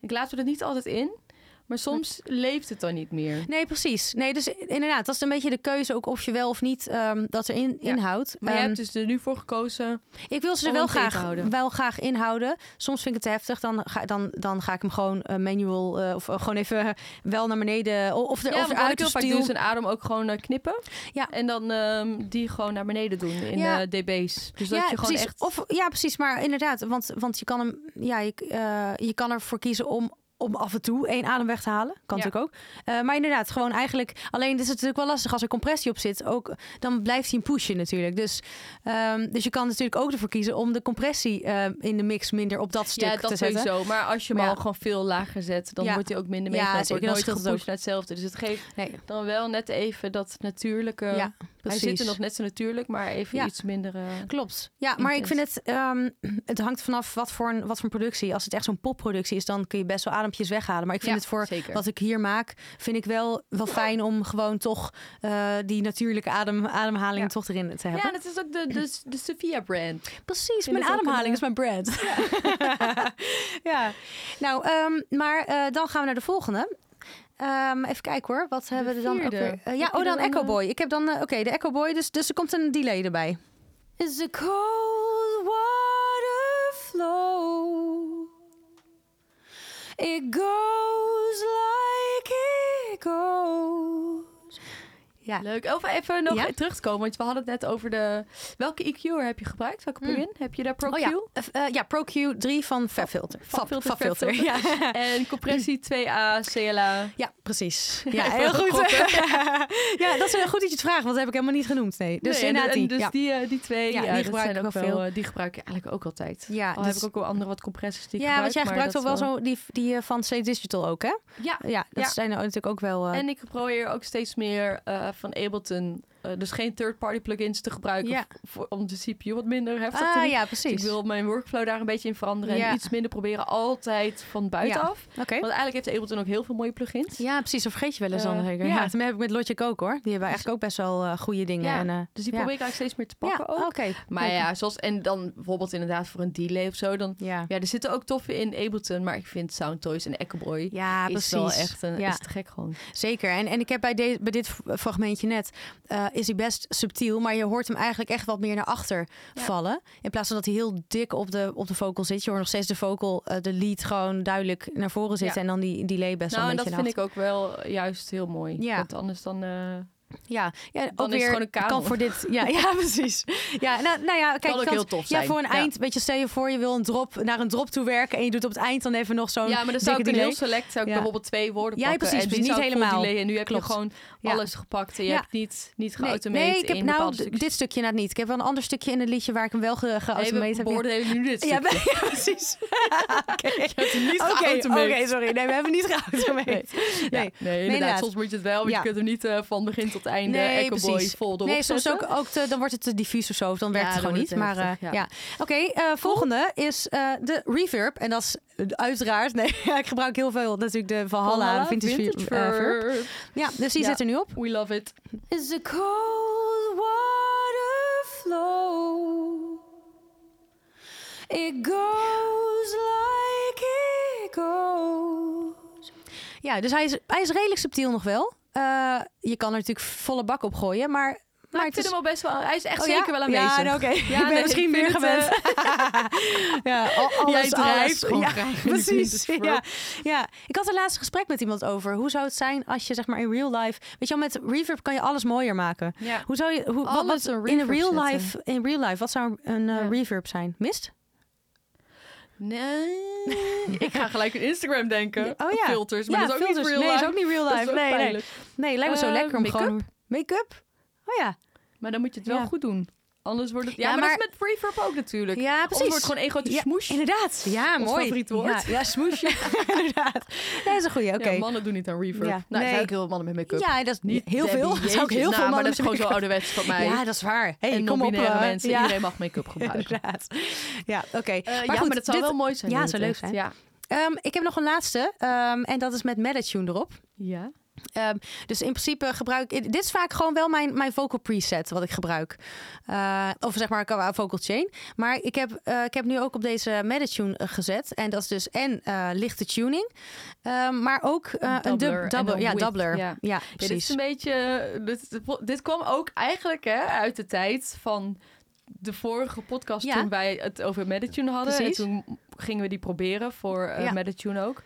[SPEAKER 2] ik laat er niet altijd in, maar soms leeft het dan niet meer.
[SPEAKER 1] Nee, precies. Nee, dus inderdaad, dat is een beetje de keuze ook of je wel of niet ehm, dat erin
[SPEAKER 2] Ja.
[SPEAKER 1] inhoudt.
[SPEAKER 2] Maar je
[SPEAKER 1] Ehm,
[SPEAKER 2] hebt dus er nu voor gekozen.
[SPEAKER 1] Ik wil ze er
[SPEAKER 2] Om
[SPEAKER 1] wel
[SPEAKER 2] hem tegen te
[SPEAKER 1] graag,
[SPEAKER 2] houden.
[SPEAKER 1] wel graag inhouden. Soms vind ik het te heftig. Dan ga, dan, dan ga ik hem gewoon eh, manual eh, of eh, gewoon even eh, wel naar beneden. o- Of, er,
[SPEAKER 2] Ja,
[SPEAKER 1] of
[SPEAKER 2] want wat ik
[SPEAKER 1] eruit
[SPEAKER 2] heel
[SPEAKER 1] of
[SPEAKER 2] vaak doe is een adem ook gewoon eh, knippen.
[SPEAKER 1] Ja.
[SPEAKER 2] En dan ehm, die gewoon naar beneden doen in
[SPEAKER 1] Ja.
[SPEAKER 2] eh, db's. Dus dat je gewoon
[SPEAKER 1] precies.
[SPEAKER 2] echt...
[SPEAKER 1] Of, ja, precies. Maar inderdaad, want, want je, kan hem, ja, je, eh, je kan ervoor kiezen om, om af en toe één adem weg te halen. Kan
[SPEAKER 2] Ja.
[SPEAKER 1] natuurlijk ook. Eh, maar inderdaad, gewoon eigenlijk... Alleen is het natuurlijk wel lastig als er compressie op zit. Ook, dan blijft hij een pushen natuurlijk. Dus, ehm, dus je kan natuurlijk ook ervoor kiezen om de compressie eh, in de mix minder op dat stuk
[SPEAKER 2] ja, dat
[SPEAKER 1] te zetten.
[SPEAKER 2] sowieso. Maar als je hem
[SPEAKER 1] Maar ja.
[SPEAKER 2] al gewoon veel lager zet, dan
[SPEAKER 1] Ja.
[SPEAKER 2] wordt hij ook minder
[SPEAKER 1] Ja,
[SPEAKER 2] meegenomen. Het
[SPEAKER 1] zeker.
[SPEAKER 2] wordt
[SPEAKER 1] Dat
[SPEAKER 2] nooit
[SPEAKER 1] scheelt ook.
[SPEAKER 2] gepusht naar hetzelfde. Dus het geeft
[SPEAKER 1] Nee,
[SPEAKER 2] dan wel net even dat natuurlijke...
[SPEAKER 1] ja,
[SPEAKER 2] hij
[SPEAKER 1] precies.
[SPEAKER 2] zit er nog net zo natuurlijk, maar even
[SPEAKER 1] Ja.
[SPEAKER 2] iets minder... eh,
[SPEAKER 1] Klopt. Ja, maar ik vind
[SPEAKER 2] Intens.
[SPEAKER 1] het... ehm, het hangt vanaf wat voor, een, wat voor een productie. Als het echt zo'n popproductie is, dan kun je best wel adempjes weghalen. Maar ik vind
[SPEAKER 2] Ja,
[SPEAKER 1] het voor
[SPEAKER 2] zeker.
[SPEAKER 1] wat ik hier maak, vind ik wel, wel fijn om gewoon toch eh, die natuurlijke adem, ademhaling
[SPEAKER 2] Ja.
[SPEAKER 1] toch erin te hebben.
[SPEAKER 2] Ja, dat is ook de, de, de Sophia brand.
[SPEAKER 1] Precies,
[SPEAKER 2] vind
[SPEAKER 1] mijn
[SPEAKER 2] het ook
[SPEAKER 1] ademhaling
[SPEAKER 2] een,
[SPEAKER 1] is mijn brand. Ja, nou, ehm, maar eh, dan gaan we naar de volgende. Ehm, even kijken hoor, wat hebben we er dan ook
[SPEAKER 2] vierde.
[SPEAKER 1] weer? Eh, ja,
[SPEAKER 2] Heb je
[SPEAKER 1] oh dan
[SPEAKER 2] er een,
[SPEAKER 1] Echo
[SPEAKER 2] eh?
[SPEAKER 1] Boy. Ik heb dan, eh, oké, de Echo Boy, dus, dus er komt een delay erbij. Is a cold water flow It goes like it goes Ja,
[SPEAKER 2] Leuk. Of even nog
[SPEAKER 1] Ja.
[SPEAKER 2] terugkomen, want we hadden het net over de... Welke EQ'er heb je gebruikt? Welke plugin? Heb je daar ProQ?
[SPEAKER 1] Hmm. Oh ja, eh, eh, ja ProQ 3 van Fabfilter.
[SPEAKER 2] Fabfilter,
[SPEAKER 1] Fabfilter, ja.
[SPEAKER 2] En compressie 2A, CLA.
[SPEAKER 1] Ja, precies.
[SPEAKER 2] Ja,
[SPEAKER 1] Ja,
[SPEAKER 2] even
[SPEAKER 1] heel goed.
[SPEAKER 2] gokken.
[SPEAKER 1] ja, dat is heel goed dat je het vraagt, want dat heb ik helemaal niet genoemd. Nee, dus
[SPEAKER 2] Nee, en-
[SPEAKER 1] inderdaad
[SPEAKER 2] en
[SPEAKER 1] die.
[SPEAKER 2] dus
[SPEAKER 1] ja.
[SPEAKER 2] die, eh, die twee,
[SPEAKER 1] Ja,
[SPEAKER 2] ja,
[SPEAKER 1] die
[SPEAKER 2] dat
[SPEAKER 1] gebruik
[SPEAKER 2] zijn
[SPEAKER 1] ik
[SPEAKER 2] ook
[SPEAKER 1] wel
[SPEAKER 2] wel,
[SPEAKER 1] veel.
[SPEAKER 2] eh, die gebruik ik eigenlijk ook altijd.
[SPEAKER 1] Ja,
[SPEAKER 2] Al
[SPEAKER 1] dus-
[SPEAKER 2] heb ik ook wel andere wat compressies die ik
[SPEAKER 1] ja, want jij
[SPEAKER 2] gebruik, maar
[SPEAKER 1] gebruikt ook wel
[SPEAKER 2] dat
[SPEAKER 1] zo die, die eh, van C-Digital ook, hè?
[SPEAKER 2] is wel- Ja,
[SPEAKER 1] Ja, dat
[SPEAKER 2] Ja.
[SPEAKER 1] zijn er natuurlijk ook wel... eh,
[SPEAKER 2] en ik probeer ook steeds meer eh, van Ableton, eh, dus geen third-party plugins te gebruiken
[SPEAKER 1] Ja.
[SPEAKER 2] v- voor, om de CPU wat minder heftig te
[SPEAKER 1] ah,
[SPEAKER 2] doen.
[SPEAKER 1] ja,
[SPEAKER 2] Dus
[SPEAKER 1] precies.
[SPEAKER 2] ik wil mijn workflow daar een beetje in veranderen
[SPEAKER 1] Ja.
[SPEAKER 2] en iets minder proberen altijd van buitenaf.
[SPEAKER 1] Oké.
[SPEAKER 2] Want eigenlijk heeft Ableton ook heel veel mooie plugins.
[SPEAKER 1] Ja, precies. Dat vergeet je wel eens dan.
[SPEAKER 2] Eh,
[SPEAKER 1] zeker.
[SPEAKER 2] ja. Dus-
[SPEAKER 1] Ja, dat heb ik met Logic ook, hoor. Die hebben eigenlijk ook best wel eh, goede dingen.
[SPEAKER 2] Ja,
[SPEAKER 1] en, eh,
[SPEAKER 2] Dus die
[SPEAKER 1] ja.
[SPEAKER 2] probeer ik eigenlijk steeds meer te
[SPEAKER 1] ja,
[SPEAKER 2] pakken ook.
[SPEAKER 1] oké.
[SPEAKER 2] Maar ja, zoals en dan bijvoorbeeld inderdaad voor een delay of zo, dan
[SPEAKER 1] Ja,
[SPEAKER 2] ja, er zitten ook toffe in Ableton, maar ik vind Soundtoys en Echoboy
[SPEAKER 1] ja
[SPEAKER 2] is
[SPEAKER 1] precies.
[SPEAKER 2] wel echt een
[SPEAKER 1] ja.
[SPEAKER 2] is te gek gewoon.
[SPEAKER 1] Zeker. En, en ik heb bij, de, bij dit fragmentje net, eh, is hij best subtiel, maar je hoort hem eigenlijk echt wat meer naar achter
[SPEAKER 2] Ja.
[SPEAKER 1] vallen. In plaats van dat hij heel dik op de, op de vocal zit. Je hoort nog steeds de vocal, eh, de lead gewoon duidelijk naar voren zitten. En
[SPEAKER 2] Ja.
[SPEAKER 1] dan die delay best wel
[SPEAKER 2] nou,
[SPEAKER 1] een
[SPEAKER 2] en dat
[SPEAKER 1] beetje
[SPEAKER 2] vind
[SPEAKER 1] naar
[SPEAKER 2] ik ook wel juist heel mooi.
[SPEAKER 1] Ja.
[SPEAKER 2] Want anders dan eh,
[SPEAKER 1] achter. Ja, ja
[SPEAKER 2] Dan
[SPEAKER 1] ook
[SPEAKER 2] is het
[SPEAKER 1] weer,
[SPEAKER 2] gewoon een kanon.
[SPEAKER 1] Kan voor dit, ja, ja, precies. Ja, nou, nou ja, kijk,
[SPEAKER 2] kan ook
[SPEAKER 1] kan-
[SPEAKER 2] heel tof zijn.
[SPEAKER 1] ja, voor een eind, weet je, stel je voor, je wil een drop, naar een drop toe werken en je doet op het eind dan even nog zo'n
[SPEAKER 2] Ja, maar dan zou
[SPEAKER 1] dikke
[SPEAKER 2] ik een
[SPEAKER 1] delay.
[SPEAKER 2] heel select, zou ik
[SPEAKER 1] Ja.
[SPEAKER 2] bijvoorbeeld twee woorden
[SPEAKER 1] Ja,
[SPEAKER 2] pakken.
[SPEAKER 1] precies,
[SPEAKER 2] en
[SPEAKER 1] dus
[SPEAKER 2] die
[SPEAKER 1] niet
[SPEAKER 2] zou ik vol
[SPEAKER 1] helemaal.
[SPEAKER 2] delayen. nu heb
[SPEAKER 1] Klopt.
[SPEAKER 2] je gewoon
[SPEAKER 1] Ja.
[SPEAKER 2] alles gepakt en je
[SPEAKER 1] Ja.
[SPEAKER 2] hebt niet, niet
[SPEAKER 1] Nee,
[SPEAKER 2] geautomeerd
[SPEAKER 1] nee, ik heb
[SPEAKER 2] in
[SPEAKER 1] nou
[SPEAKER 2] bepaalde
[SPEAKER 1] d-
[SPEAKER 2] stukjes.
[SPEAKER 1] dit stukje nou niet. Ik heb wel een ander stukje in het liedje waar ik hem wel ge-
[SPEAKER 2] Nee,
[SPEAKER 1] geautomeerd
[SPEAKER 2] we
[SPEAKER 1] heb. Ja.
[SPEAKER 2] beoordelen nu dit
[SPEAKER 1] Ja,
[SPEAKER 2] stukje.
[SPEAKER 1] we- ja, precies. Oké,
[SPEAKER 2] niet
[SPEAKER 1] Oké,
[SPEAKER 2] geautomeerd.
[SPEAKER 1] oké, sorry. Nee, we hebben niet geautomeerd.
[SPEAKER 2] Nee.
[SPEAKER 1] Nee.
[SPEAKER 2] Ja, nee, inderdaad.
[SPEAKER 1] inderdaad.
[SPEAKER 2] Soms moet je het wel, want
[SPEAKER 1] Ja.
[SPEAKER 2] je kunt hem niet eh, van begin tot einde
[SPEAKER 1] Nee,
[SPEAKER 2] Echo Boy
[SPEAKER 1] precies.
[SPEAKER 2] vol erop
[SPEAKER 1] Nee, soms ook,
[SPEAKER 2] zetten.
[SPEAKER 1] ook te- dan wordt het te diffuus of zo. of Dan werkt
[SPEAKER 2] Ja,
[SPEAKER 1] het
[SPEAKER 2] dan
[SPEAKER 1] gewoon niet.
[SPEAKER 2] wordt het
[SPEAKER 1] Maar
[SPEAKER 2] te
[SPEAKER 1] eh,
[SPEAKER 2] heftig,
[SPEAKER 1] ja. Oké, eh, volgende is eh, de reverb. En dat is uiteraard... Nee, ja, ik gebruik heel veel natuurlijk de Valhalla,
[SPEAKER 2] Valhalla,
[SPEAKER 1] vintage, eh,
[SPEAKER 2] vintage
[SPEAKER 1] reverb.
[SPEAKER 2] verb.
[SPEAKER 1] Ja, dus die
[SPEAKER 2] Ja.
[SPEAKER 1] zit er nu op.
[SPEAKER 2] We love it.
[SPEAKER 1] Is a cold water flow. It goes like it goes. Ja, dus hij is, hij is redelijk subtiel nog wel. Eh, je kan er natuurlijk volle bak op gooien, maar...
[SPEAKER 2] Maar ik vind hem al best wel... Hij is echt
[SPEAKER 1] Oh,
[SPEAKER 2] zeker
[SPEAKER 1] ja?
[SPEAKER 2] wel aanwezig.
[SPEAKER 1] Ja, nou, oké. ik ben
[SPEAKER 2] nee,
[SPEAKER 1] misschien
[SPEAKER 2] ik
[SPEAKER 1] meer
[SPEAKER 2] vind het, eh,
[SPEAKER 1] gewend. ja, al- alles, alles.
[SPEAKER 2] drijft gewoon
[SPEAKER 1] Ja,
[SPEAKER 2] graag in de
[SPEAKER 1] precies.
[SPEAKER 2] vintage
[SPEAKER 1] Ja, ja. Ik had een laatste gesprek met iemand over. Hoe zou het zijn als je zeg maar in real life... Weet je wel, met reverb kan je alles mooier maken.
[SPEAKER 2] Ja.
[SPEAKER 1] Hoe zou je... Hoe, wat,
[SPEAKER 2] Alles
[SPEAKER 1] wat- in,
[SPEAKER 2] een reverb
[SPEAKER 1] real
[SPEAKER 2] zetten.
[SPEAKER 1] life, in real life, wat zou een eh,
[SPEAKER 2] Ja.
[SPEAKER 1] reverb zijn? Mist?
[SPEAKER 2] Nee. ik ga gelijk aan Instagram denken.
[SPEAKER 1] Oh ja.
[SPEAKER 2] Filters, Dus, maar
[SPEAKER 1] ja,
[SPEAKER 2] dat is ook
[SPEAKER 1] filters.
[SPEAKER 2] niet real
[SPEAKER 1] nee,
[SPEAKER 2] life.
[SPEAKER 1] is ook niet real
[SPEAKER 2] Dat is
[SPEAKER 1] life.
[SPEAKER 2] ook
[SPEAKER 1] Nee, nee.
[SPEAKER 2] pijnlijk.
[SPEAKER 1] nee, lijkt me zo
[SPEAKER 2] Eh,
[SPEAKER 1] lekker om
[SPEAKER 2] make-up?
[SPEAKER 1] gewoon... Make-up? Oh ja.
[SPEAKER 2] Maar dan moet je het wel
[SPEAKER 1] Ja.
[SPEAKER 2] goed doen. Anders wordt het... Ja,
[SPEAKER 1] Ja,
[SPEAKER 2] maar, dat
[SPEAKER 1] maar-
[SPEAKER 2] is met reverb ook natuurlijk.
[SPEAKER 1] Ja,
[SPEAKER 2] Anders
[SPEAKER 1] precies.
[SPEAKER 2] wordt het gewoon één grote
[SPEAKER 1] Ja,
[SPEAKER 2] smoes.
[SPEAKER 1] Inderdaad. Ja,
[SPEAKER 2] Ons
[SPEAKER 1] mooi.
[SPEAKER 2] favoriete woord.
[SPEAKER 1] Ja, ja smoes. Ja, inderdaad. Nee, dat is een goeie. Oké.
[SPEAKER 2] Ja, mannen doen niet aan reverb.
[SPEAKER 1] Ja.
[SPEAKER 2] Nou, er zijn
[SPEAKER 1] Nee.
[SPEAKER 2] ook heel veel mannen met make-up.
[SPEAKER 1] Ja, dat is niet heel
[SPEAKER 2] Debbie,
[SPEAKER 1] veel. Dat zou ook
[SPEAKER 2] jezus,
[SPEAKER 1] heel veel
[SPEAKER 2] nou, maar
[SPEAKER 1] mannen
[SPEAKER 2] dat is gewoon zo
[SPEAKER 1] zeggen.
[SPEAKER 2] ouderwets van mij.
[SPEAKER 1] Ja, dat is waar. Hey,
[SPEAKER 2] en
[SPEAKER 1] kom op.
[SPEAKER 2] non-binaire
[SPEAKER 1] eh,
[SPEAKER 2] mensen.
[SPEAKER 1] Ja,
[SPEAKER 2] Iedereen mag make-up gebruiken.
[SPEAKER 1] inderdaad. Ja, oké.
[SPEAKER 2] Eh, ja,
[SPEAKER 1] maar goed,
[SPEAKER 2] maar dat zou
[SPEAKER 1] dit-
[SPEAKER 2] wel mooi zijn.
[SPEAKER 1] ja,
[SPEAKER 2] in het
[SPEAKER 1] zou leuk
[SPEAKER 2] echt.
[SPEAKER 1] zijn.
[SPEAKER 2] Ja.
[SPEAKER 1] Ehm, ik heb nog een laatste. ehm, en dat is met Metatune erop.
[SPEAKER 2] ja.
[SPEAKER 1] Ehm, dus in principe gebruik ik... Dit is vaak gewoon wel mijn, mijn vocal preset wat ik gebruik. Eh, of zeg maar qua vocal chain. Maar ik heb, eh, ik heb nu ook op deze Metatune eh, gezet. En dat is dus en eh, lichte tuning. ehm, maar ook eh,
[SPEAKER 2] Een
[SPEAKER 1] een dub-
[SPEAKER 2] doubler en
[SPEAKER 1] doubler.
[SPEAKER 2] een
[SPEAKER 1] Ja,
[SPEAKER 2] width,
[SPEAKER 1] doubler.
[SPEAKER 2] ja.
[SPEAKER 1] Ja,
[SPEAKER 2] Ja, dit is
[SPEAKER 1] precies.
[SPEAKER 2] een beetje. eh, Dit, dit- dit kwam ook eigenlijk hè, uit de tijd van de vorige podcast
[SPEAKER 1] Ja.
[SPEAKER 2] toen wij het over Meditune hadden.
[SPEAKER 1] Precies.
[SPEAKER 2] En toen gingen we die proberen voor eh
[SPEAKER 1] Ja.
[SPEAKER 2] Meditune ook.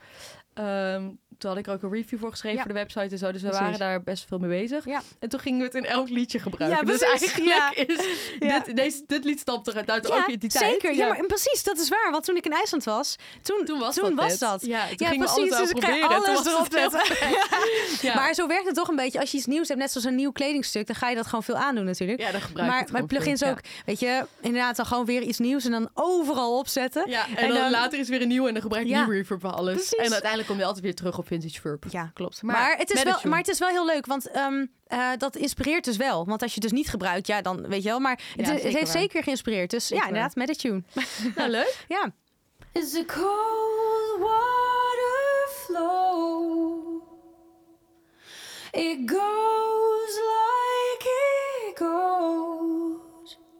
[SPEAKER 2] Ehm, toen had ik er ook een review voor geschreven
[SPEAKER 1] Ja.
[SPEAKER 2] voor de website en zo. Dus we
[SPEAKER 1] Precies.
[SPEAKER 2] waren daar best veel mee bezig.
[SPEAKER 1] Ja.
[SPEAKER 2] En toen gingen we het in elk liedje gebruiken.
[SPEAKER 1] Ja,
[SPEAKER 2] Dus
[SPEAKER 1] precies.
[SPEAKER 2] eigenlijk
[SPEAKER 1] Ja.
[SPEAKER 2] is
[SPEAKER 1] Ja.
[SPEAKER 2] dit, deze, dit lied stamt eruit uit ook in die tijd.
[SPEAKER 1] zeker. Ja, maar en precies, dat is waar. Want toen ik in IJsland was, toen,
[SPEAKER 2] Toen was dat. net. Ja, toen
[SPEAKER 1] Ja,
[SPEAKER 2] gingen we
[SPEAKER 1] precies. Dus
[SPEAKER 2] alles wel
[SPEAKER 1] ik ga
[SPEAKER 2] proberen. Toen
[SPEAKER 1] alles
[SPEAKER 2] was
[SPEAKER 1] erop
[SPEAKER 2] het heel
[SPEAKER 1] zetten.
[SPEAKER 2] Ja.
[SPEAKER 1] Maar zo werkt het toch een beetje. Als je iets nieuws hebt, net zoals een nieuw kledingstuk, dan ga je dat gewoon veel aandoen natuurlijk.
[SPEAKER 2] Ja, dan gebruik ik
[SPEAKER 1] maar
[SPEAKER 2] het
[SPEAKER 1] mijn
[SPEAKER 2] gewoon
[SPEAKER 1] plugins
[SPEAKER 2] veel,
[SPEAKER 1] ook, weet je, inderdaad dan gewoon weer iets nieuws en dan overal opzetten.
[SPEAKER 2] Ja, en,
[SPEAKER 1] En
[SPEAKER 2] dan,
[SPEAKER 1] dan-
[SPEAKER 2] later is weer een nieuwe en dan gebruik je
[SPEAKER 1] Ja.
[SPEAKER 2] nieuwe reverb voor alles.
[SPEAKER 1] Precies.
[SPEAKER 2] En uiteindelijk kom je altijd weer terug op vintage verb.
[SPEAKER 1] Ja.
[SPEAKER 2] klopt.
[SPEAKER 1] Maar, het is wel,
[SPEAKER 2] Meditune.
[SPEAKER 1] maar het is wel heel leuk, want ehm, eh, dat inspireert dus wel. Want als je het dus niet gebruikt, ja, dan weet je wel. Maar het, het
[SPEAKER 2] Ja, zeker
[SPEAKER 1] heeft
[SPEAKER 2] waar.
[SPEAKER 1] zeker geïnspireerd. Dus
[SPEAKER 2] Zeker
[SPEAKER 1] ja, inderdaad, met de tune.
[SPEAKER 2] nou, leuk.
[SPEAKER 1] Ja.
[SPEAKER 3] Is a cold water flow. It goes like it
[SPEAKER 1] Ja.
[SPEAKER 3] goes.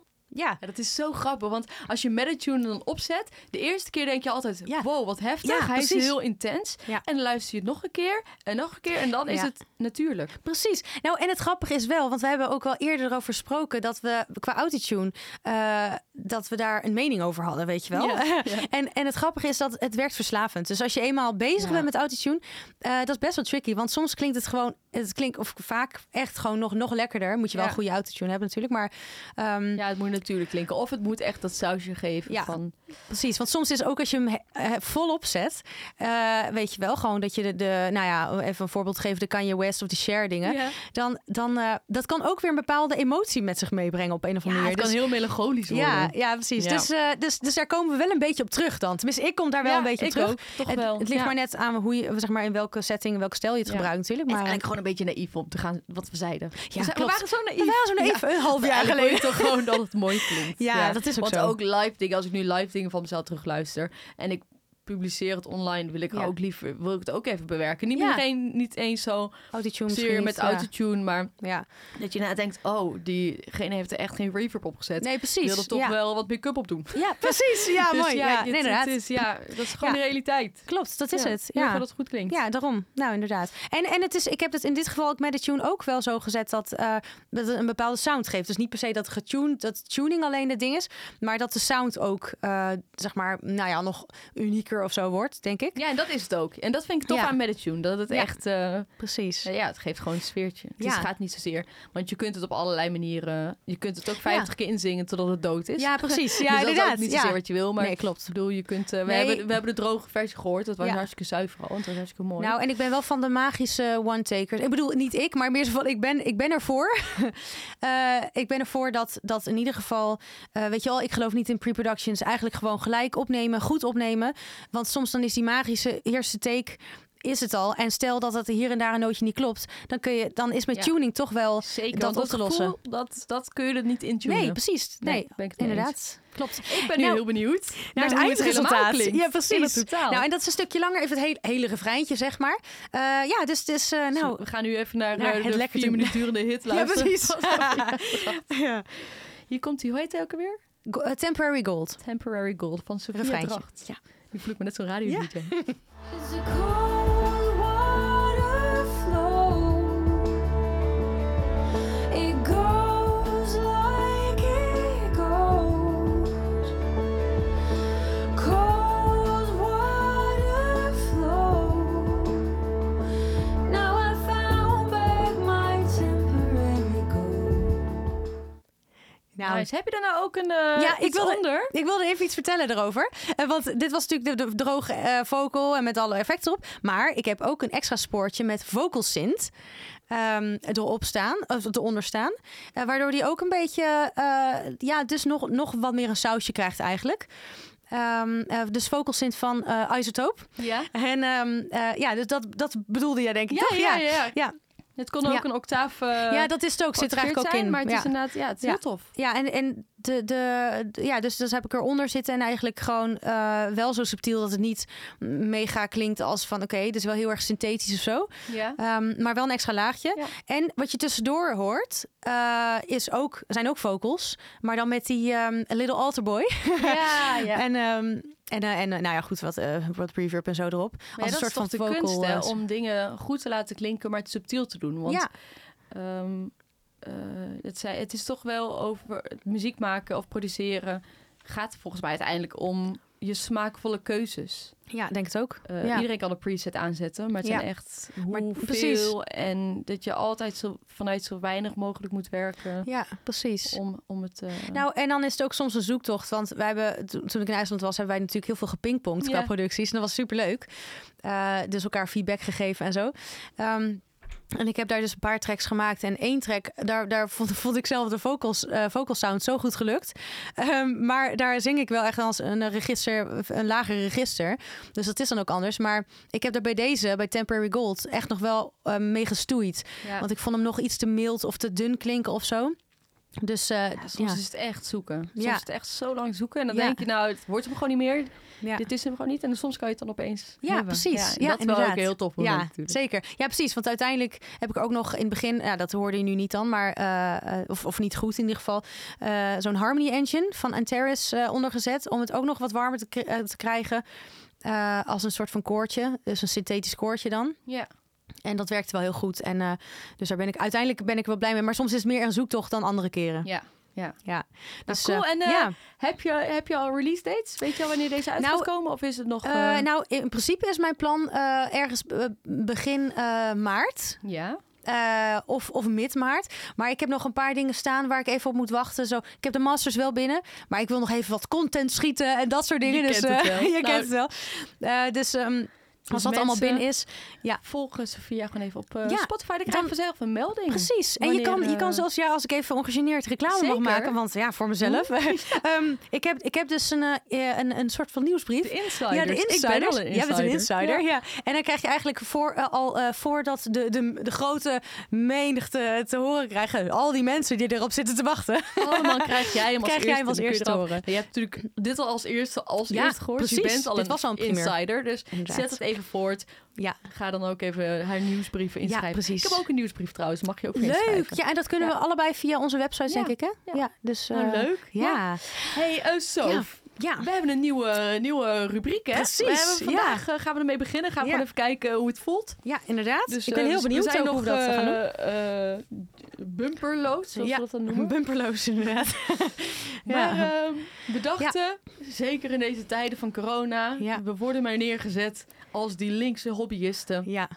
[SPEAKER 2] Ja, dat is zo grappig, want als je Meditune dan opzet, de eerste keer denk je altijd,
[SPEAKER 1] Ja.
[SPEAKER 2] wow, wat heftig.
[SPEAKER 1] Ja,
[SPEAKER 2] Hij is
[SPEAKER 1] precies.
[SPEAKER 2] heel intens.
[SPEAKER 1] Ja.
[SPEAKER 2] En dan luister je het nog een keer en nog een keer en dan is
[SPEAKER 1] Ja.
[SPEAKER 2] het natuurlijk.
[SPEAKER 1] Precies. Nou, en het grappige is wel, want we hebben ook wel eerder erover gesproken dat we qua autotune, eh dat we daar een mening over hadden, weet je wel.
[SPEAKER 2] Ja, ja.
[SPEAKER 1] En, en het grappige is dat het werkt verslavend. Dus als je eenmaal bezig
[SPEAKER 2] Ja.
[SPEAKER 1] bent met autotune, eh, dat is best wel tricky. Want soms klinkt het gewoon, het klinkt of vaak echt gewoon nog, nog lekkerder. Moet je wel
[SPEAKER 2] Ja.
[SPEAKER 1] een goede autotune hebben natuurlijk, maar ehm,
[SPEAKER 2] Ja, het moet natuurlijk klinken. Of het moet echt dat sausje geven
[SPEAKER 1] Ja.
[SPEAKER 2] van...
[SPEAKER 1] Precies, want soms is ook als je hem eh, eh, volop zet, eh, weet je wel, gewoon dat je de, de, nou ja, even een voorbeeld geven, de Kanye West of de Cher dingen,
[SPEAKER 2] Ja.
[SPEAKER 1] dan, dan eh, dat kan ook weer een bepaalde emotie met zich meebrengen op een of
[SPEAKER 2] Ja,
[SPEAKER 1] andere
[SPEAKER 2] het
[SPEAKER 1] manier.
[SPEAKER 2] kan
[SPEAKER 1] Dus-
[SPEAKER 2] heel melancholisch worden.
[SPEAKER 1] ja, ja, precies.
[SPEAKER 2] Ja.
[SPEAKER 1] Dus, eh, dus, dus daar komen we wel een beetje op terug dan. Tenminste, ik kom daar wel
[SPEAKER 2] Ja,
[SPEAKER 1] een beetje op
[SPEAKER 2] ik
[SPEAKER 1] terug.
[SPEAKER 2] ook, toch
[SPEAKER 1] het,
[SPEAKER 2] wel.
[SPEAKER 1] het ligt
[SPEAKER 2] Ja.
[SPEAKER 1] maar net aan hoe je, zeg maar, in welke setting, in welke stijl je het
[SPEAKER 2] Ja.
[SPEAKER 1] gebruikt natuurlijk. Maar
[SPEAKER 2] Eigenlijk gewoon een beetje naïef om te gaan wat we zeiden. we, zijn- we
[SPEAKER 1] klopt.
[SPEAKER 2] waren zo naïef.
[SPEAKER 1] we waren zo naïef een half jaar
[SPEAKER 2] Eigenlijk wil
[SPEAKER 1] geleden.
[SPEAKER 2] je toch gewoon dat het mooi klinkt.
[SPEAKER 1] Ja, dat is ook
[SPEAKER 2] Want
[SPEAKER 1] zo.
[SPEAKER 2] ook live dingen, als ik nu live dingen van mezelf terugluister en ik publiceer het online, wil ik
[SPEAKER 1] Ja.
[SPEAKER 2] ook liever, wil ik het ook even bewerken. Niet,
[SPEAKER 1] Ja.
[SPEAKER 2] meteen, niet eens zo
[SPEAKER 1] Autotune misschien
[SPEAKER 2] zeer
[SPEAKER 1] niet,
[SPEAKER 2] met
[SPEAKER 1] ja.
[SPEAKER 2] autotune, maar
[SPEAKER 1] Ja.
[SPEAKER 2] dat je nou denkt, oh, diegene heeft er echt geen reverb op gezet.
[SPEAKER 1] Nee,
[SPEAKER 2] Ik
[SPEAKER 1] precies.
[SPEAKER 2] wil er toch
[SPEAKER 1] ja.
[SPEAKER 2] wel wat make-up op doen.
[SPEAKER 1] ja, precies. Ja,
[SPEAKER 2] Dus
[SPEAKER 1] mooi. Ja,
[SPEAKER 2] dit-
[SPEAKER 1] nee,
[SPEAKER 2] het
[SPEAKER 1] inderdaad.
[SPEAKER 2] is, ja, dat is gewoon
[SPEAKER 1] Ja.
[SPEAKER 2] de realiteit.
[SPEAKER 1] Klopt, dat is
[SPEAKER 2] Ja,
[SPEAKER 1] het.
[SPEAKER 2] Zorg
[SPEAKER 1] Ja.
[SPEAKER 2] dat het goed klinkt.
[SPEAKER 1] Ja, daarom. Nou, inderdaad. En, en het is, ik heb het in dit geval ook met de tune ook wel zo gezet dat, eh, dat het een bepaalde sound geeft. Dus niet per se dat getuned, dat tuning alleen het ding is, maar dat de sound ook, eh, zeg maar, nou ja, nog unieker of zo wordt, denk ik.
[SPEAKER 2] Ja, en dat is het ook. En dat vind ik tof
[SPEAKER 1] Ja.
[SPEAKER 2] aan Meditune. Dat het
[SPEAKER 1] Ja.
[SPEAKER 2] echt... eh,
[SPEAKER 1] Precies.
[SPEAKER 2] Nou Ja, het geeft gewoon een sfeertje. Dus
[SPEAKER 1] Ja.
[SPEAKER 2] het gaat niet zozeer. Want je kunt het op allerlei manieren. Je kunt het ook 50 keer inzingen totdat het dood is.
[SPEAKER 1] Ja, precies. Ja,
[SPEAKER 2] dus dat
[SPEAKER 1] inderdaad.
[SPEAKER 2] is ook niet
[SPEAKER 1] ja.
[SPEAKER 2] zozeer wat je wil. Maar
[SPEAKER 1] Nee,
[SPEAKER 2] klopt. Ik bedoel, je kunt. eh, we,
[SPEAKER 1] Nee.
[SPEAKER 2] hebben, we hebben de droge versie gehoord. Dat was
[SPEAKER 1] Ja.
[SPEAKER 2] hartstikke zuiver al. En dat was hartstikke mooi.
[SPEAKER 1] Nou, en ik ben wel van de magische one-takers. Ik bedoel, niet ik, maar meer zo van, ik ben, ik ben ervoor. Eh, ik ben ervoor dat, dat in ieder geval, eh, weet je wel, ik geloof niet in pre-productions. Eigenlijk gewoon gelijk opnemen, goed opnemen. Want soms dan is die magische eerste take, is het al. En stel dat het hier en daar een nootje niet klopt, dan, kun je, dan is met
[SPEAKER 2] Ja.
[SPEAKER 1] tuning toch wel
[SPEAKER 2] zeker.
[SPEAKER 1] dat
[SPEAKER 2] want
[SPEAKER 1] op te lossen.
[SPEAKER 2] gevoel, dat, dat kun je er niet intunen.
[SPEAKER 1] Nee, precies. Nee,
[SPEAKER 2] Nee, ben ik het mee
[SPEAKER 1] inderdaad. Klopt.
[SPEAKER 2] Ik ben nu
[SPEAKER 1] Nou,
[SPEAKER 2] heel benieuwd
[SPEAKER 1] naar het
[SPEAKER 2] hoe helemaal
[SPEAKER 1] eindresultaat.
[SPEAKER 2] klinkt.
[SPEAKER 1] Ja, precies.
[SPEAKER 2] In het totaal.
[SPEAKER 1] Nou, en dat is een stukje langer, even het hele, hele refreintje, zeg maar. Eh, ja, dus het is, eh, nou,
[SPEAKER 2] we gaan nu even naar,
[SPEAKER 1] naar
[SPEAKER 2] eh,
[SPEAKER 1] het
[SPEAKER 2] de
[SPEAKER 1] lekker
[SPEAKER 2] vier
[SPEAKER 1] doen.
[SPEAKER 2] minuten durende hit
[SPEAKER 1] ja,
[SPEAKER 2] luisteren.
[SPEAKER 1] precies. ja.
[SPEAKER 2] Hier komt die, hoe heet hij ook alweer?
[SPEAKER 1] Go- eh, temporary gold.
[SPEAKER 2] Temporary Gold van Sophia
[SPEAKER 1] Refreintje.
[SPEAKER 2] Dracht.
[SPEAKER 1] Ja.
[SPEAKER 2] Die vloekt me net zo'n radio
[SPEAKER 1] Ja.
[SPEAKER 2] DJ.
[SPEAKER 3] Is a cold water flow. It goes like it goes. Cold water flow. Now I found back my temporary gold.
[SPEAKER 1] Nou,
[SPEAKER 2] Nice. Heb je daar nou ook een eh
[SPEAKER 1] Ja,
[SPEAKER 2] ja,
[SPEAKER 1] ik
[SPEAKER 2] ik wil
[SPEAKER 1] wilde-
[SPEAKER 2] onder?
[SPEAKER 1] Ik wilde even iets vertellen erover. Eh, want dit was natuurlijk de, de droge eh, vocal en met alle effecten erop. Maar ik heb ook een extra spoortje met vocal synth ehm, erop staan, of eronder staan. Eh, waardoor die ook een beetje, eh, ja, dus nog, nog wat meer een sausje krijgt eigenlijk. Ehm, eh, dus vocal synth van eh Isotope.
[SPEAKER 2] Ja.
[SPEAKER 1] En ehm, eh, ja, dus dat, dat bedoelde jij denk ik
[SPEAKER 2] Ja,
[SPEAKER 1] toch?
[SPEAKER 2] ja, ja,
[SPEAKER 1] Ja.
[SPEAKER 2] Het kon ook
[SPEAKER 1] Ja.
[SPEAKER 2] een octaaf. eh
[SPEAKER 1] Ja, dat is het ook. Zit er
[SPEAKER 2] geactiveerd
[SPEAKER 1] eigenlijk ook
[SPEAKER 2] zijn,
[SPEAKER 1] in.
[SPEAKER 2] Maar het
[SPEAKER 1] ja.
[SPEAKER 2] is inderdaad, ja, het is
[SPEAKER 1] Ja.
[SPEAKER 2] heel tof.
[SPEAKER 1] Ja, en, en de, de, de- ja, dus dat heb ik eronder zitten. En eigenlijk gewoon eh, wel zo subtiel dat het niet mega klinkt als van... oké, dit is wel heel erg synthetisch of zo.
[SPEAKER 2] Ja.
[SPEAKER 1] Ehm, maar wel een extra laagje.
[SPEAKER 2] Ja.
[SPEAKER 1] En wat je tussendoor hoort, eh, is ook, zijn ook vocals. Maar dan met die ehm, Little Alter Boy.
[SPEAKER 2] ja, ja.
[SPEAKER 1] En, ehm, en, eh, en eh, nou ja, goed, wat, eh wat reverb en zo erop.
[SPEAKER 2] Maar ja,
[SPEAKER 1] als een
[SPEAKER 2] dat is
[SPEAKER 1] soort van
[SPEAKER 2] toch de
[SPEAKER 1] vocal,
[SPEAKER 2] kunst hè,
[SPEAKER 1] eh,
[SPEAKER 2] om dingen goed te laten klinken, maar het subtiel te doen. Want
[SPEAKER 1] ja,
[SPEAKER 2] ehm, eh, het, zei, het is toch wel over het muziek maken of produceren. Gaat volgens mij uiteindelijk om je smaakvolle keuzes.
[SPEAKER 1] ja, denk het ook.
[SPEAKER 2] Eh,
[SPEAKER 1] ja.
[SPEAKER 2] Iedereen kan een preset aanzetten, maar het
[SPEAKER 1] Ja.
[SPEAKER 2] zijn echt
[SPEAKER 1] Maar-
[SPEAKER 2] hoeveel
[SPEAKER 1] precies.
[SPEAKER 2] en dat je altijd zo, vanuit zo weinig mogelijk moet werken
[SPEAKER 1] ja, precies.
[SPEAKER 2] om, om het. eh,
[SPEAKER 1] Nou, en dan is het ook soms een zoektocht. Want wij hebben, to- toen ik in IJsland was, hebben wij natuurlijk heel veel gepingpongd qua
[SPEAKER 2] Ja.
[SPEAKER 1] producties. En dat was superleuk. Eh dus elkaar feedback gegeven en zo. Ehm, en ik heb daar dus een paar tracks gemaakt. En één track, daar, daar vond, vond ik zelf de vocals, eh, vocal sound zo goed gelukt. Ehm, maar daar zing ik wel echt als een eh, register, een lager register. Dus dat is dan ook anders. Maar ik heb daar bij deze, bij Temporary Gold, echt nog wel eh, mee gestoeid.
[SPEAKER 2] ja.
[SPEAKER 1] Want ik vond hem nog iets te mild of te dun klinken of zo. Dus eh,
[SPEAKER 2] Ja, soms
[SPEAKER 1] ja.
[SPEAKER 2] is het echt zoeken. Soms
[SPEAKER 1] Ja.
[SPEAKER 2] is het echt zo lang zoeken. En dan
[SPEAKER 1] Ja.
[SPEAKER 2] denk je, nou, het wordt hem gewoon niet meer.
[SPEAKER 1] Ja.
[SPEAKER 2] Dit is hem gewoon niet. En dan soms kan je het dan opeens
[SPEAKER 1] Ja,
[SPEAKER 2] hebben.
[SPEAKER 1] precies. Ja,
[SPEAKER 2] dat is wel
[SPEAKER 1] inderdaad.
[SPEAKER 2] ook heel tof moment
[SPEAKER 1] Ja,
[SPEAKER 2] natuurlijk.
[SPEAKER 1] zeker. Ja, precies. Want uiteindelijk heb ik ook nog in het begin, ja, dat hoorde je nu niet dan, maar eh, eh, of, of niet goed in ieder geval, eh, zo'n Harmony Engine van Antares eh, ondergezet om het ook nog wat warmer te, kri- eh, te krijgen eh, als een soort van koortje, dus een synthetisch koortje dan.
[SPEAKER 2] Ja.
[SPEAKER 1] En dat werkte wel heel goed. En eh, dus daar ben ik uiteindelijk ben ik wel blij mee. Maar soms is het meer een zoektocht dan andere keren.
[SPEAKER 2] Ja.
[SPEAKER 1] dus,
[SPEAKER 2] cool.
[SPEAKER 1] eh,
[SPEAKER 2] En, eh,
[SPEAKER 1] ja.
[SPEAKER 2] Heb, je, heb je al release dates? Weet je al wanneer deze uit
[SPEAKER 1] Nou,
[SPEAKER 2] gaat komen? Of is het nog...
[SPEAKER 1] Eh,
[SPEAKER 2] eh,
[SPEAKER 1] nou, in principe is mijn plan eh, ergens eh, begin eh, maart.
[SPEAKER 2] ja.
[SPEAKER 1] Eh, of, of mid maart. Maar ik heb nog een paar dingen staan waar ik even op moet wachten. Zo, ik heb de masters wel binnen, maar ik wil nog even wat content schieten en dat soort dingen.
[SPEAKER 2] Je
[SPEAKER 1] dus,
[SPEAKER 2] kent het
[SPEAKER 1] eh,
[SPEAKER 2] wel.
[SPEAKER 1] je
[SPEAKER 2] Nou,
[SPEAKER 1] kent het wel. Eh, dus ehm, als dat allemaal
[SPEAKER 2] mensen-
[SPEAKER 1] binnen is,
[SPEAKER 2] Volg Sofia gewoon even op eh,
[SPEAKER 1] Ja,
[SPEAKER 2] Spotify. Dan krijg
[SPEAKER 1] dan-
[SPEAKER 2] je vanzelf een melding.
[SPEAKER 1] precies. En je
[SPEAKER 2] Wanneer,
[SPEAKER 1] kan, je kan
[SPEAKER 2] eh,
[SPEAKER 1] zelfs, ja, als ik even ongegeneerd reclame mag
[SPEAKER 2] Zeker. Hm.
[SPEAKER 1] maken, want ja, voor mezelf. Ehm, ik, heb, ik heb dus een, eh, eh, een, een soort van nieuwsbrief.
[SPEAKER 2] De insiders.
[SPEAKER 1] Ja, de insider.
[SPEAKER 2] Ik ben al een insider.
[SPEAKER 1] Jij bent een insider,
[SPEAKER 2] Ja.
[SPEAKER 1] ja. En dan krijg je eigenlijk voor, eh, al eh, voordat de, de, de grote menigte te horen krijgen... al die mensen die erop zitten te wachten.
[SPEAKER 2] Allemaal krijg jij hem als
[SPEAKER 1] Krijg
[SPEAKER 2] eerste.
[SPEAKER 1] jij hem als
[SPEAKER 2] dan kun je
[SPEAKER 1] eerste
[SPEAKER 2] eraf.
[SPEAKER 1] horen.
[SPEAKER 2] Je hebt natuurlijk dit al als eerste als
[SPEAKER 1] Ja,
[SPEAKER 2] eerste gehoord. Dus je
[SPEAKER 1] precies.
[SPEAKER 2] bent al
[SPEAKER 1] Dit
[SPEAKER 2] een,
[SPEAKER 1] was al een primeur.
[SPEAKER 2] insider. Dus
[SPEAKER 1] Inderdaad.
[SPEAKER 2] zet het even voort.
[SPEAKER 1] Ja.
[SPEAKER 2] Ga dan ook even haar nieuwsbrieven
[SPEAKER 1] Ja,
[SPEAKER 2] inschrijven.
[SPEAKER 1] precies.
[SPEAKER 2] Ik heb ook een nieuwsbrief trouwens. Mag je ook weer
[SPEAKER 1] Leuk.
[SPEAKER 2] inschrijven.
[SPEAKER 1] Ja, en dat kunnen
[SPEAKER 2] Ja.
[SPEAKER 1] we allebei via onze website,
[SPEAKER 2] Ja,
[SPEAKER 1] denk ik, hè?
[SPEAKER 2] ja.
[SPEAKER 1] dus...
[SPEAKER 2] Nou,
[SPEAKER 1] eh,
[SPEAKER 2] leuk.
[SPEAKER 1] Ja.
[SPEAKER 2] Hey, eh Sof.
[SPEAKER 1] Ja.
[SPEAKER 2] We hebben een nieuwe, nieuwe rubriek, hè?
[SPEAKER 1] Precies,
[SPEAKER 2] We hebben
[SPEAKER 1] ja.
[SPEAKER 2] vandaag eh, gaan we ermee beginnen. Gaan we
[SPEAKER 1] Ja.
[SPEAKER 2] gewoon even kijken eh, hoe het voelt.
[SPEAKER 1] Ja, inderdaad.
[SPEAKER 2] Dus,
[SPEAKER 1] ik ben
[SPEAKER 2] eh,
[SPEAKER 1] heel
[SPEAKER 2] dus
[SPEAKER 1] benieuwd
[SPEAKER 2] we zijn
[SPEAKER 1] ook
[SPEAKER 2] nog,
[SPEAKER 1] hoe we dat gaan doen.
[SPEAKER 2] eh, eh, bumperloos, zoals
[SPEAKER 1] Ja.
[SPEAKER 2] we dat dan noemen.
[SPEAKER 1] Bumperloos, inderdaad.
[SPEAKER 2] Maar ehm, we dachten, zeker in deze tijden van corona,
[SPEAKER 1] Ja.
[SPEAKER 2] we worden maar neergezet als die linkse hobbyisten.
[SPEAKER 1] ja.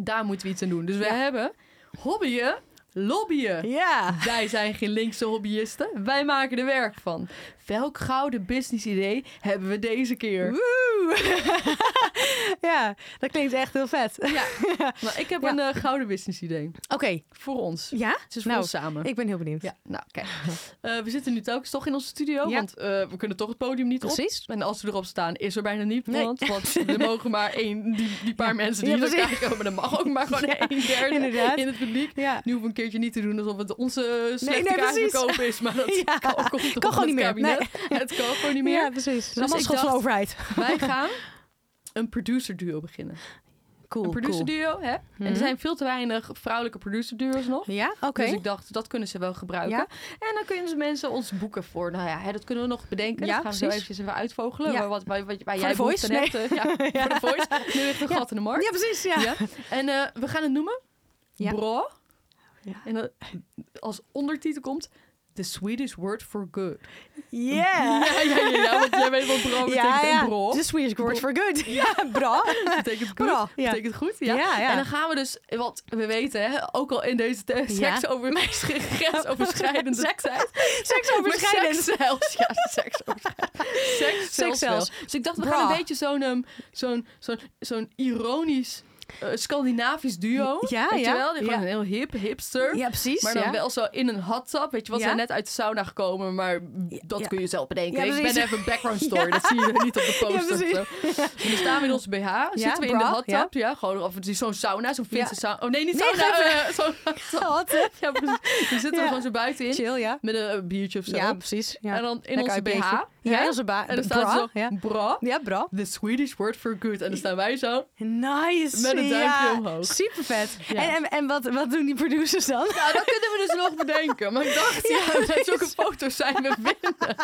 [SPEAKER 2] Daar moeten we iets aan doen. Dus we
[SPEAKER 1] Ja.
[SPEAKER 2] hebben hobbyen, lobbyen.
[SPEAKER 1] Ja.
[SPEAKER 2] Wij zijn geen linkse hobbyisten. Wij maken er werk van. Welk gouden businessidee hebben we deze keer?
[SPEAKER 1] Woe! ja, dat klinkt echt heel vet. Oké.
[SPEAKER 2] Nou, ik heb
[SPEAKER 1] Ja.
[SPEAKER 2] een eh, gouden businessidee. Voor ons.
[SPEAKER 1] Ja?
[SPEAKER 2] Het is voor
[SPEAKER 1] Nou,
[SPEAKER 2] ons samen.
[SPEAKER 1] Ik ben heel benieuwd.
[SPEAKER 2] Ja, nou kijk. Eh, we zitten nu telkens toch in onze studio.
[SPEAKER 1] Ja.
[SPEAKER 2] Want eh, we kunnen toch het podium niet op.
[SPEAKER 1] Precies.
[SPEAKER 2] En als we erop staan, is er bijna niet
[SPEAKER 1] Nee.
[SPEAKER 2] niemand. Want er mogen maar één, die, die paar
[SPEAKER 1] Ja.
[SPEAKER 2] mensen die
[SPEAKER 1] Ja,
[SPEAKER 2] hier
[SPEAKER 1] precies.
[SPEAKER 2] elkaar komen. Dan mag ook maar gewoon
[SPEAKER 1] Ja,
[SPEAKER 2] één derde
[SPEAKER 1] inderdaad.
[SPEAKER 2] in het publiek.
[SPEAKER 1] Ja.
[SPEAKER 2] Nu hoeven we een keertje niet te doen alsof het onze slechte
[SPEAKER 1] nee, precies.
[SPEAKER 2] kaartverkoop is. Maar dat
[SPEAKER 1] Ja.
[SPEAKER 2] kan, komt toch
[SPEAKER 1] Kan gewoon
[SPEAKER 2] van
[SPEAKER 1] niet
[SPEAKER 2] het
[SPEAKER 1] meer. Nee.
[SPEAKER 2] kabinet. Het kan gewoon niet meer.
[SPEAKER 1] Ja, precies. Dus allemaal
[SPEAKER 2] ik
[SPEAKER 1] schuld van de
[SPEAKER 2] dacht-
[SPEAKER 1] overheid.
[SPEAKER 2] Wij gaan een producer duo beginnen.
[SPEAKER 1] Cool,
[SPEAKER 2] een producer duo, hè? En
[SPEAKER 1] Mhm.
[SPEAKER 2] er zijn veel te weinig vrouwelijke producer duo's nog.
[SPEAKER 1] Ja, oké.
[SPEAKER 2] Dus ik dacht, dat kunnen ze wel gebruiken.
[SPEAKER 1] Ja.
[SPEAKER 2] En dan kunnen ze mensen ons boeken voor. Nou ja, hè, dat kunnen we nog bedenken.
[SPEAKER 1] Ja,
[SPEAKER 2] dat gaan we zo
[SPEAKER 1] precies.
[SPEAKER 2] eventjes even uitvogelen.
[SPEAKER 1] Ja.
[SPEAKER 2] Maar Wat, wat, wat, waar
[SPEAKER 1] Voor
[SPEAKER 2] jij
[SPEAKER 1] de Voice?
[SPEAKER 2] behoefte aan hebt. eh, Ja, voor de voice. Nu ligt een
[SPEAKER 1] Ja.
[SPEAKER 2] gat in de markt.
[SPEAKER 1] Ja, precies. Ja.
[SPEAKER 2] Ja. En eh, we gaan het noemen.
[SPEAKER 1] Ja.
[SPEAKER 2] Bro.
[SPEAKER 1] Ja.
[SPEAKER 2] En dan, als ondertitel komt... The Swedish word for good.
[SPEAKER 1] Yeah!
[SPEAKER 2] Ja, ja, ja, ja, want jij weet wat bra betekent en bro.
[SPEAKER 1] The Swedish word for good. Ja, bra.
[SPEAKER 2] betekent goed.
[SPEAKER 1] Bra, ja.
[SPEAKER 2] Betekent goed, ja.
[SPEAKER 1] Ja, ja.
[SPEAKER 2] En dan gaan we dus, want we weten, hè, ook al in deze test,
[SPEAKER 1] Ja.
[SPEAKER 2] seks over grensoverschrijdende
[SPEAKER 1] Seks-
[SPEAKER 2] tijd.
[SPEAKER 1] Seksoverschrijdend.
[SPEAKER 2] Maar Seks zelfs, ja, seks overschrijdend. Seks zelfs.
[SPEAKER 1] zelfs.
[SPEAKER 2] wel. Dus ik dacht, we
[SPEAKER 1] Bra.
[SPEAKER 2] gaan een beetje zo'n ehm, zo'n zo'n zo'n ironisch eh, Scandinavisch duo.
[SPEAKER 1] Ja,
[SPEAKER 2] weet
[SPEAKER 1] ja.
[SPEAKER 2] Je wel? Die Gewoon
[SPEAKER 1] Ja.
[SPEAKER 2] een heel hip, hipster.
[SPEAKER 1] Ja, precies.
[SPEAKER 2] Maar dan
[SPEAKER 1] ja.
[SPEAKER 2] wel zo in een hot tub. Weet je, wat
[SPEAKER 1] Ja.
[SPEAKER 2] zijn net uit de sauna gekomen, maar dat
[SPEAKER 1] ja.
[SPEAKER 2] kun je zelf bedenken.
[SPEAKER 1] Ja,
[SPEAKER 2] ik ben
[SPEAKER 1] precies.
[SPEAKER 2] even background story,
[SPEAKER 1] Ja.
[SPEAKER 2] dat zie je niet op de
[SPEAKER 1] Ja,
[SPEAKER 2] poster.
[SPEAKER 1] precies.
[SPEAKER 2] of zo. Dus we staan we in onze BH, zitten we in
[SPEAKER 1] bra,
[SPEAKER 2] de hot tub. Ja,
[SPEAKER 1] ja.
[SPEAKER 2] gewoon of het is zo'n sauna, zo'n
[SPEAKER 1] Ja.
[SPEAKER 2] Finse sauna. Oh nee, niet
[SPEAKER 1] Nee,
[SPEAKER 2] sauna,
[SPEAKER 1] geef
[SPEAKER 2] eh, zo'n hot tub.
[SPEAKER 1] Wat, hè?
[SPEAKER 2] Ja, precies. Dan zitten we
[SPEAKER 1] Ja.
[SPEAKER 2] gewoon zo buiten in,
[SPEAKER 1] Chill, ja.
[SPEAKER 2] met een eh, biertje of zo.
[SPEAKER 1] Ja, precies. Ja.
[SPEAKER 2] En dan in
[SPEAKER 1] Lekker
[SPEAKER 2] onze BH.
[SPEAKER 1] uitbeetje. Ja, in onze ba-
[SPEAKER 2] En dan
[SPEAKER 1] bra.
[SPEAKER 2] staat zo,
[SPEAKER 1] ja.
[SPEAKER 2] bra,
[SPEAKER 1] ja, bra.
[SPEAKER 2] the Swedish word for good. En dan staan wij zo.
[SPEAKER 1] Nice.
[SPEAKER 2] Met een duimpje
[SPEAKER 1] ja.
[SPEAKER 2] omhoog.
[SPEAKER 1] Super vet.
[SPEAKER 2] Ja.
[SPEAKER 1] En, en, en wat, wat doen die producers dan?
[SPEAKER 2] Nou, dat kunnen we dus nog bedenken. Maar ik dacht, ja, met zulke foto's zijn we binnen.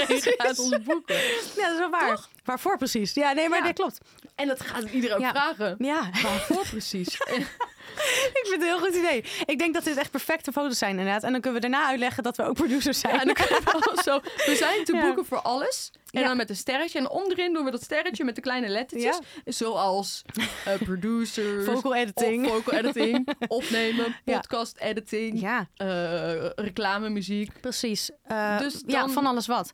[SPEAKER 2] Iedereen gaat ons boeken.
[SPEAKER 1] Ja, dat is wel waar. Waarvoor precies? Ja, nee, maar
[SPEAKER 2] Ja.
[SPEAKER 1] dat klopt.
[SPEAKER 2] En dat gaat iedereen ook
[SPEAKER 1] Ja.
[SPEAKER 2] vragen.
[SPEAKER 1] Ja.
[SPEAKER 2] Waarvoor precies?
[SPEAKER 1] Ik vind het een heel goed idee. Ik denk dat dit echt perfecte foto's zijn inderdaad. En dan kunnen we daarna uitleggen dat we ook producers zijn.
[SPEAKER 2] Ja, en dan kunnen we wel zo. We zijn te
[SPEAKER 1] Ja.
[SPEAKER 2] boeken voor alles. En
[SPEAKER 1] Ja.
[SPEAKER 2] dan met een sterretje. En onderin doen we dat sterretje met de kleine lettertjes. Zoals eh, producers.
[SPEAKER 1] Vocal editing.
[SPEAKER 2] Of vocal editing. opnemen.
[SPEAKER 1] Ja.
[SPEAKER 2] Podcast editing.
[SPEAKER 1] Ja,
[SPEAKER 2] eh, reclame muziek.
[SPEAKER 1] precies. Eh,
[SPEAKER 2] Dus
[SPEAKER 1] Ja,
[SPEAKER 2] dan-
[SPEAKER 1] van alles wat.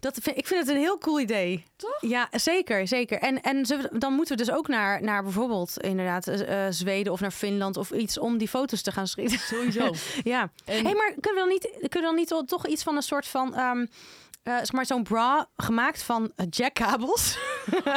[SPEAKER 1] Dat vind, ik vind het een heel cool idee.
[SPEAKER 2] Toch?
[SPEAKER 1] Ja, zeker, zeker. En, en zullen we- dan moeten we dus ook naar, naar bijvoorbeeld inderdaad eh, eh, Zweden of naar Finland of iets om die foto's te gaan schieten.
[SPEAKER 2] Sowieso.
[SPEAKER 1] ja.
[SPEAKER 2] En
[SPEAKER 1] hey, maar kunnen we dan niet, kunnen we dan niet wel toch iets van een soort van, ehm, eh, zeg maar zo'n bra gemaakt van eh, jackkabels?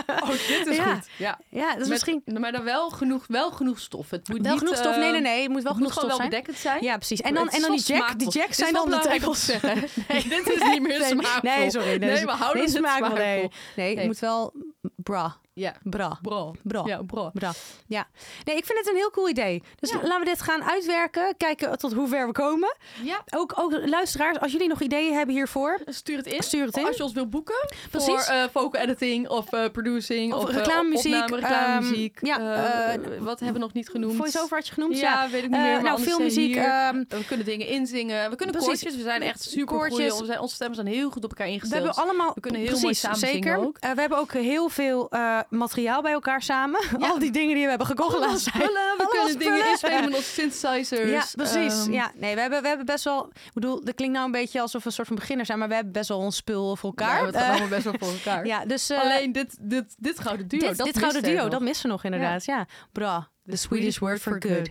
[SPEAKER 2] oh, dit is
[SPEAKER 1] Ja.
[SPEAKER 2] goed. Ja.
[SPEAKER 1] ja, dat is
[SPEAKER 2] Met- nou,
[SPEAKER 1] misschien
[SPEAKER 2] Maar dan wel genoeg, wel genoeg stof. Het moet
[SPEAKER 1] wel
[SPEAKER 2] niet,
[SPEAKER 1] genoeg stof.
[SPEAKER 2] eh,
[SPEAKER 1] Nee, nee, nee. Het moet wel
[SPEAKER 2] Het moet
[SPEAKER 1] genoeg stof
[SPEAKER 2] gewoon wel
[SPEAKER 1] zijn.
[SPEAKER 2] bedekkend zijn.
[SPEAKER 1] Ja, precies. En dan,
[SPEAKER 2] Het is
[SPEAKER 1] en dan die
[SPEAKER 2] wel
[SPEAKER 1] jack, die
[SPEAKER 2] smaakvol.
[SPEAKER 1] jacks
[SPEAKER 2] Dit is
[SPEAKER 1] zijn
[SPEAKER 2] wel
[SPEAKER 1] dan de
[SPEAKER 2] belangrijk om
[SPEAKER 1] tegels.
[SPEAKER 2] te zeggen. Nee, dit is niet meer smaakvol.
[SPEAKER 1] Nee, sorry.
[SPEAKER 2] Nee,
[SPEAKER 1] dus-
[SPEAKER 2] we houden
[SPEAKER 1] nee,
[SPEAKER 2] het
[SPEAKER 1] smaakvol. Nee,
[SPEAKER 2] smaakvol.
[SPEAKER 1] nee het
[SPEAKER 2] Nee.
[SPEAKER 1] moet wel bra,
[SPEAKER 2] Ja,
[SPEAKER 1] bra,
[SPEAKER 2] bro.
[SPEAKER 1] bra.
[SPEAKER 2] Ja, bro.
[SPEAKER 1] Bra. Ja. Nee, ik vind het een heel cool idee. Dus
[SPEAKER 2] Ja.
[SPEAKER 1] laten we dit gaan uitwerken. Kijken tot hoe ver we komen.
[SPEAKER 2] Ja,
[SPEAKER 1] Ook, ook luisteraars, als jullie nog ideeën hebben hiervoor,
[SPEAKER 2] stuur het in.
[SPEAKER 1] stuur het in.
[SPEAKER 2] Oh, Als je ons wil boeken voor
[SPEAKER 1] Precies.
[SPEAKER 2] eh vocal editing of eh, producing
[SPEAKER 1] Of
[SPEAKER 2] of, eh,
[SPEAKER 1] reclamemuziek,
[SPEAKER 2] opname, reclamemuziek.
[SPEAKER 1] ehm, ja,
[SPEAKER 2] eh,
[SPEAKER 1] eh,
[SPEAKER 2] wat hebben we nog niet genoemd?
[SPEAKER 1] Voice-over had je genoemd?
[SPEAKER 2] Ja, weet ik niet
[SPEAKER 1] Eh,
[SPEAKER 2] meer. maar
[SPEAKER 1] nou,
[SPEAKER 2] anders
[SPEAKER 1] filmmuziek.
[SPEAKER 2] zijn hier-
[SPEAKER 1] ehm,
[SPEAKER 2] we kunnen dingen inzingen. We kunnen
[SPEAKER 1] Precies.
[SPEAKER 2] koortjes. We zijn echt super
[SPEAKER 1] Koortjes.
[SPEAKER 2] goeie. Onze, onze stemmen zijn heel goed op elkaar
[SPEAKER 1] we
[SPEAKER 2] ingesteld.
[SPEAKER 1] hebben allemaal...
[SPEAKER 2] We kunnen heel
[SPEAKER 1] precies,
[SPEAKER 2] mooi samen zingen
[SPEAKER 1] zeker.
[SPEAKER 2] ook.
[SPEAKER 1] Eh, we hebben ook heel veel eh, materiaal bij elkaar samen. Al die dingen die we hebben gekocht
[SPEAKER 2] Allemaal
[SPEAKER 1] laatst.
[SPEAKER 2] spullen. We
[SPEAKER 1] Allemaal
[SPEAKER 2] kunnen dingen
[SPEAKER 1] spullen.
[SPEAKER 2] inspelen met onze synthesizers.
[SPEAKER 1] Ja, precies.
[SPEAKER 2] Ehm,
[SPEAKER 1] ja, nee, we hebben, we hebben best wel... Ik bedoel, dat klinkt nou een beetje alsof we een soort van beginners zijn. Maar we hebben best wel ons spul voor
[SPEAKER 2] Ja,
[SPEAKER 1] elkaar.
[SPEAKER 2] we gaan
[SPEAKER 1] Eh,
[SPEAKER 2] allemaal best wel voor elkaar.
[SPEAKER 1] ja, dus... eh,
[SPEAKER 2] Alleen dit, dit, dit gouden duo.
[SPEAKER 1] dit,
[SPEAKER 2] dat
[SPEAKER 1] dit gouden
[SPEAKER 2] miste
[SPEAKER 1] duo,
[SPEAKER 2] er nog.
[SPEAKER 1] dat missen we nog inderdaad. Ja. Bra, the Swedish word for good.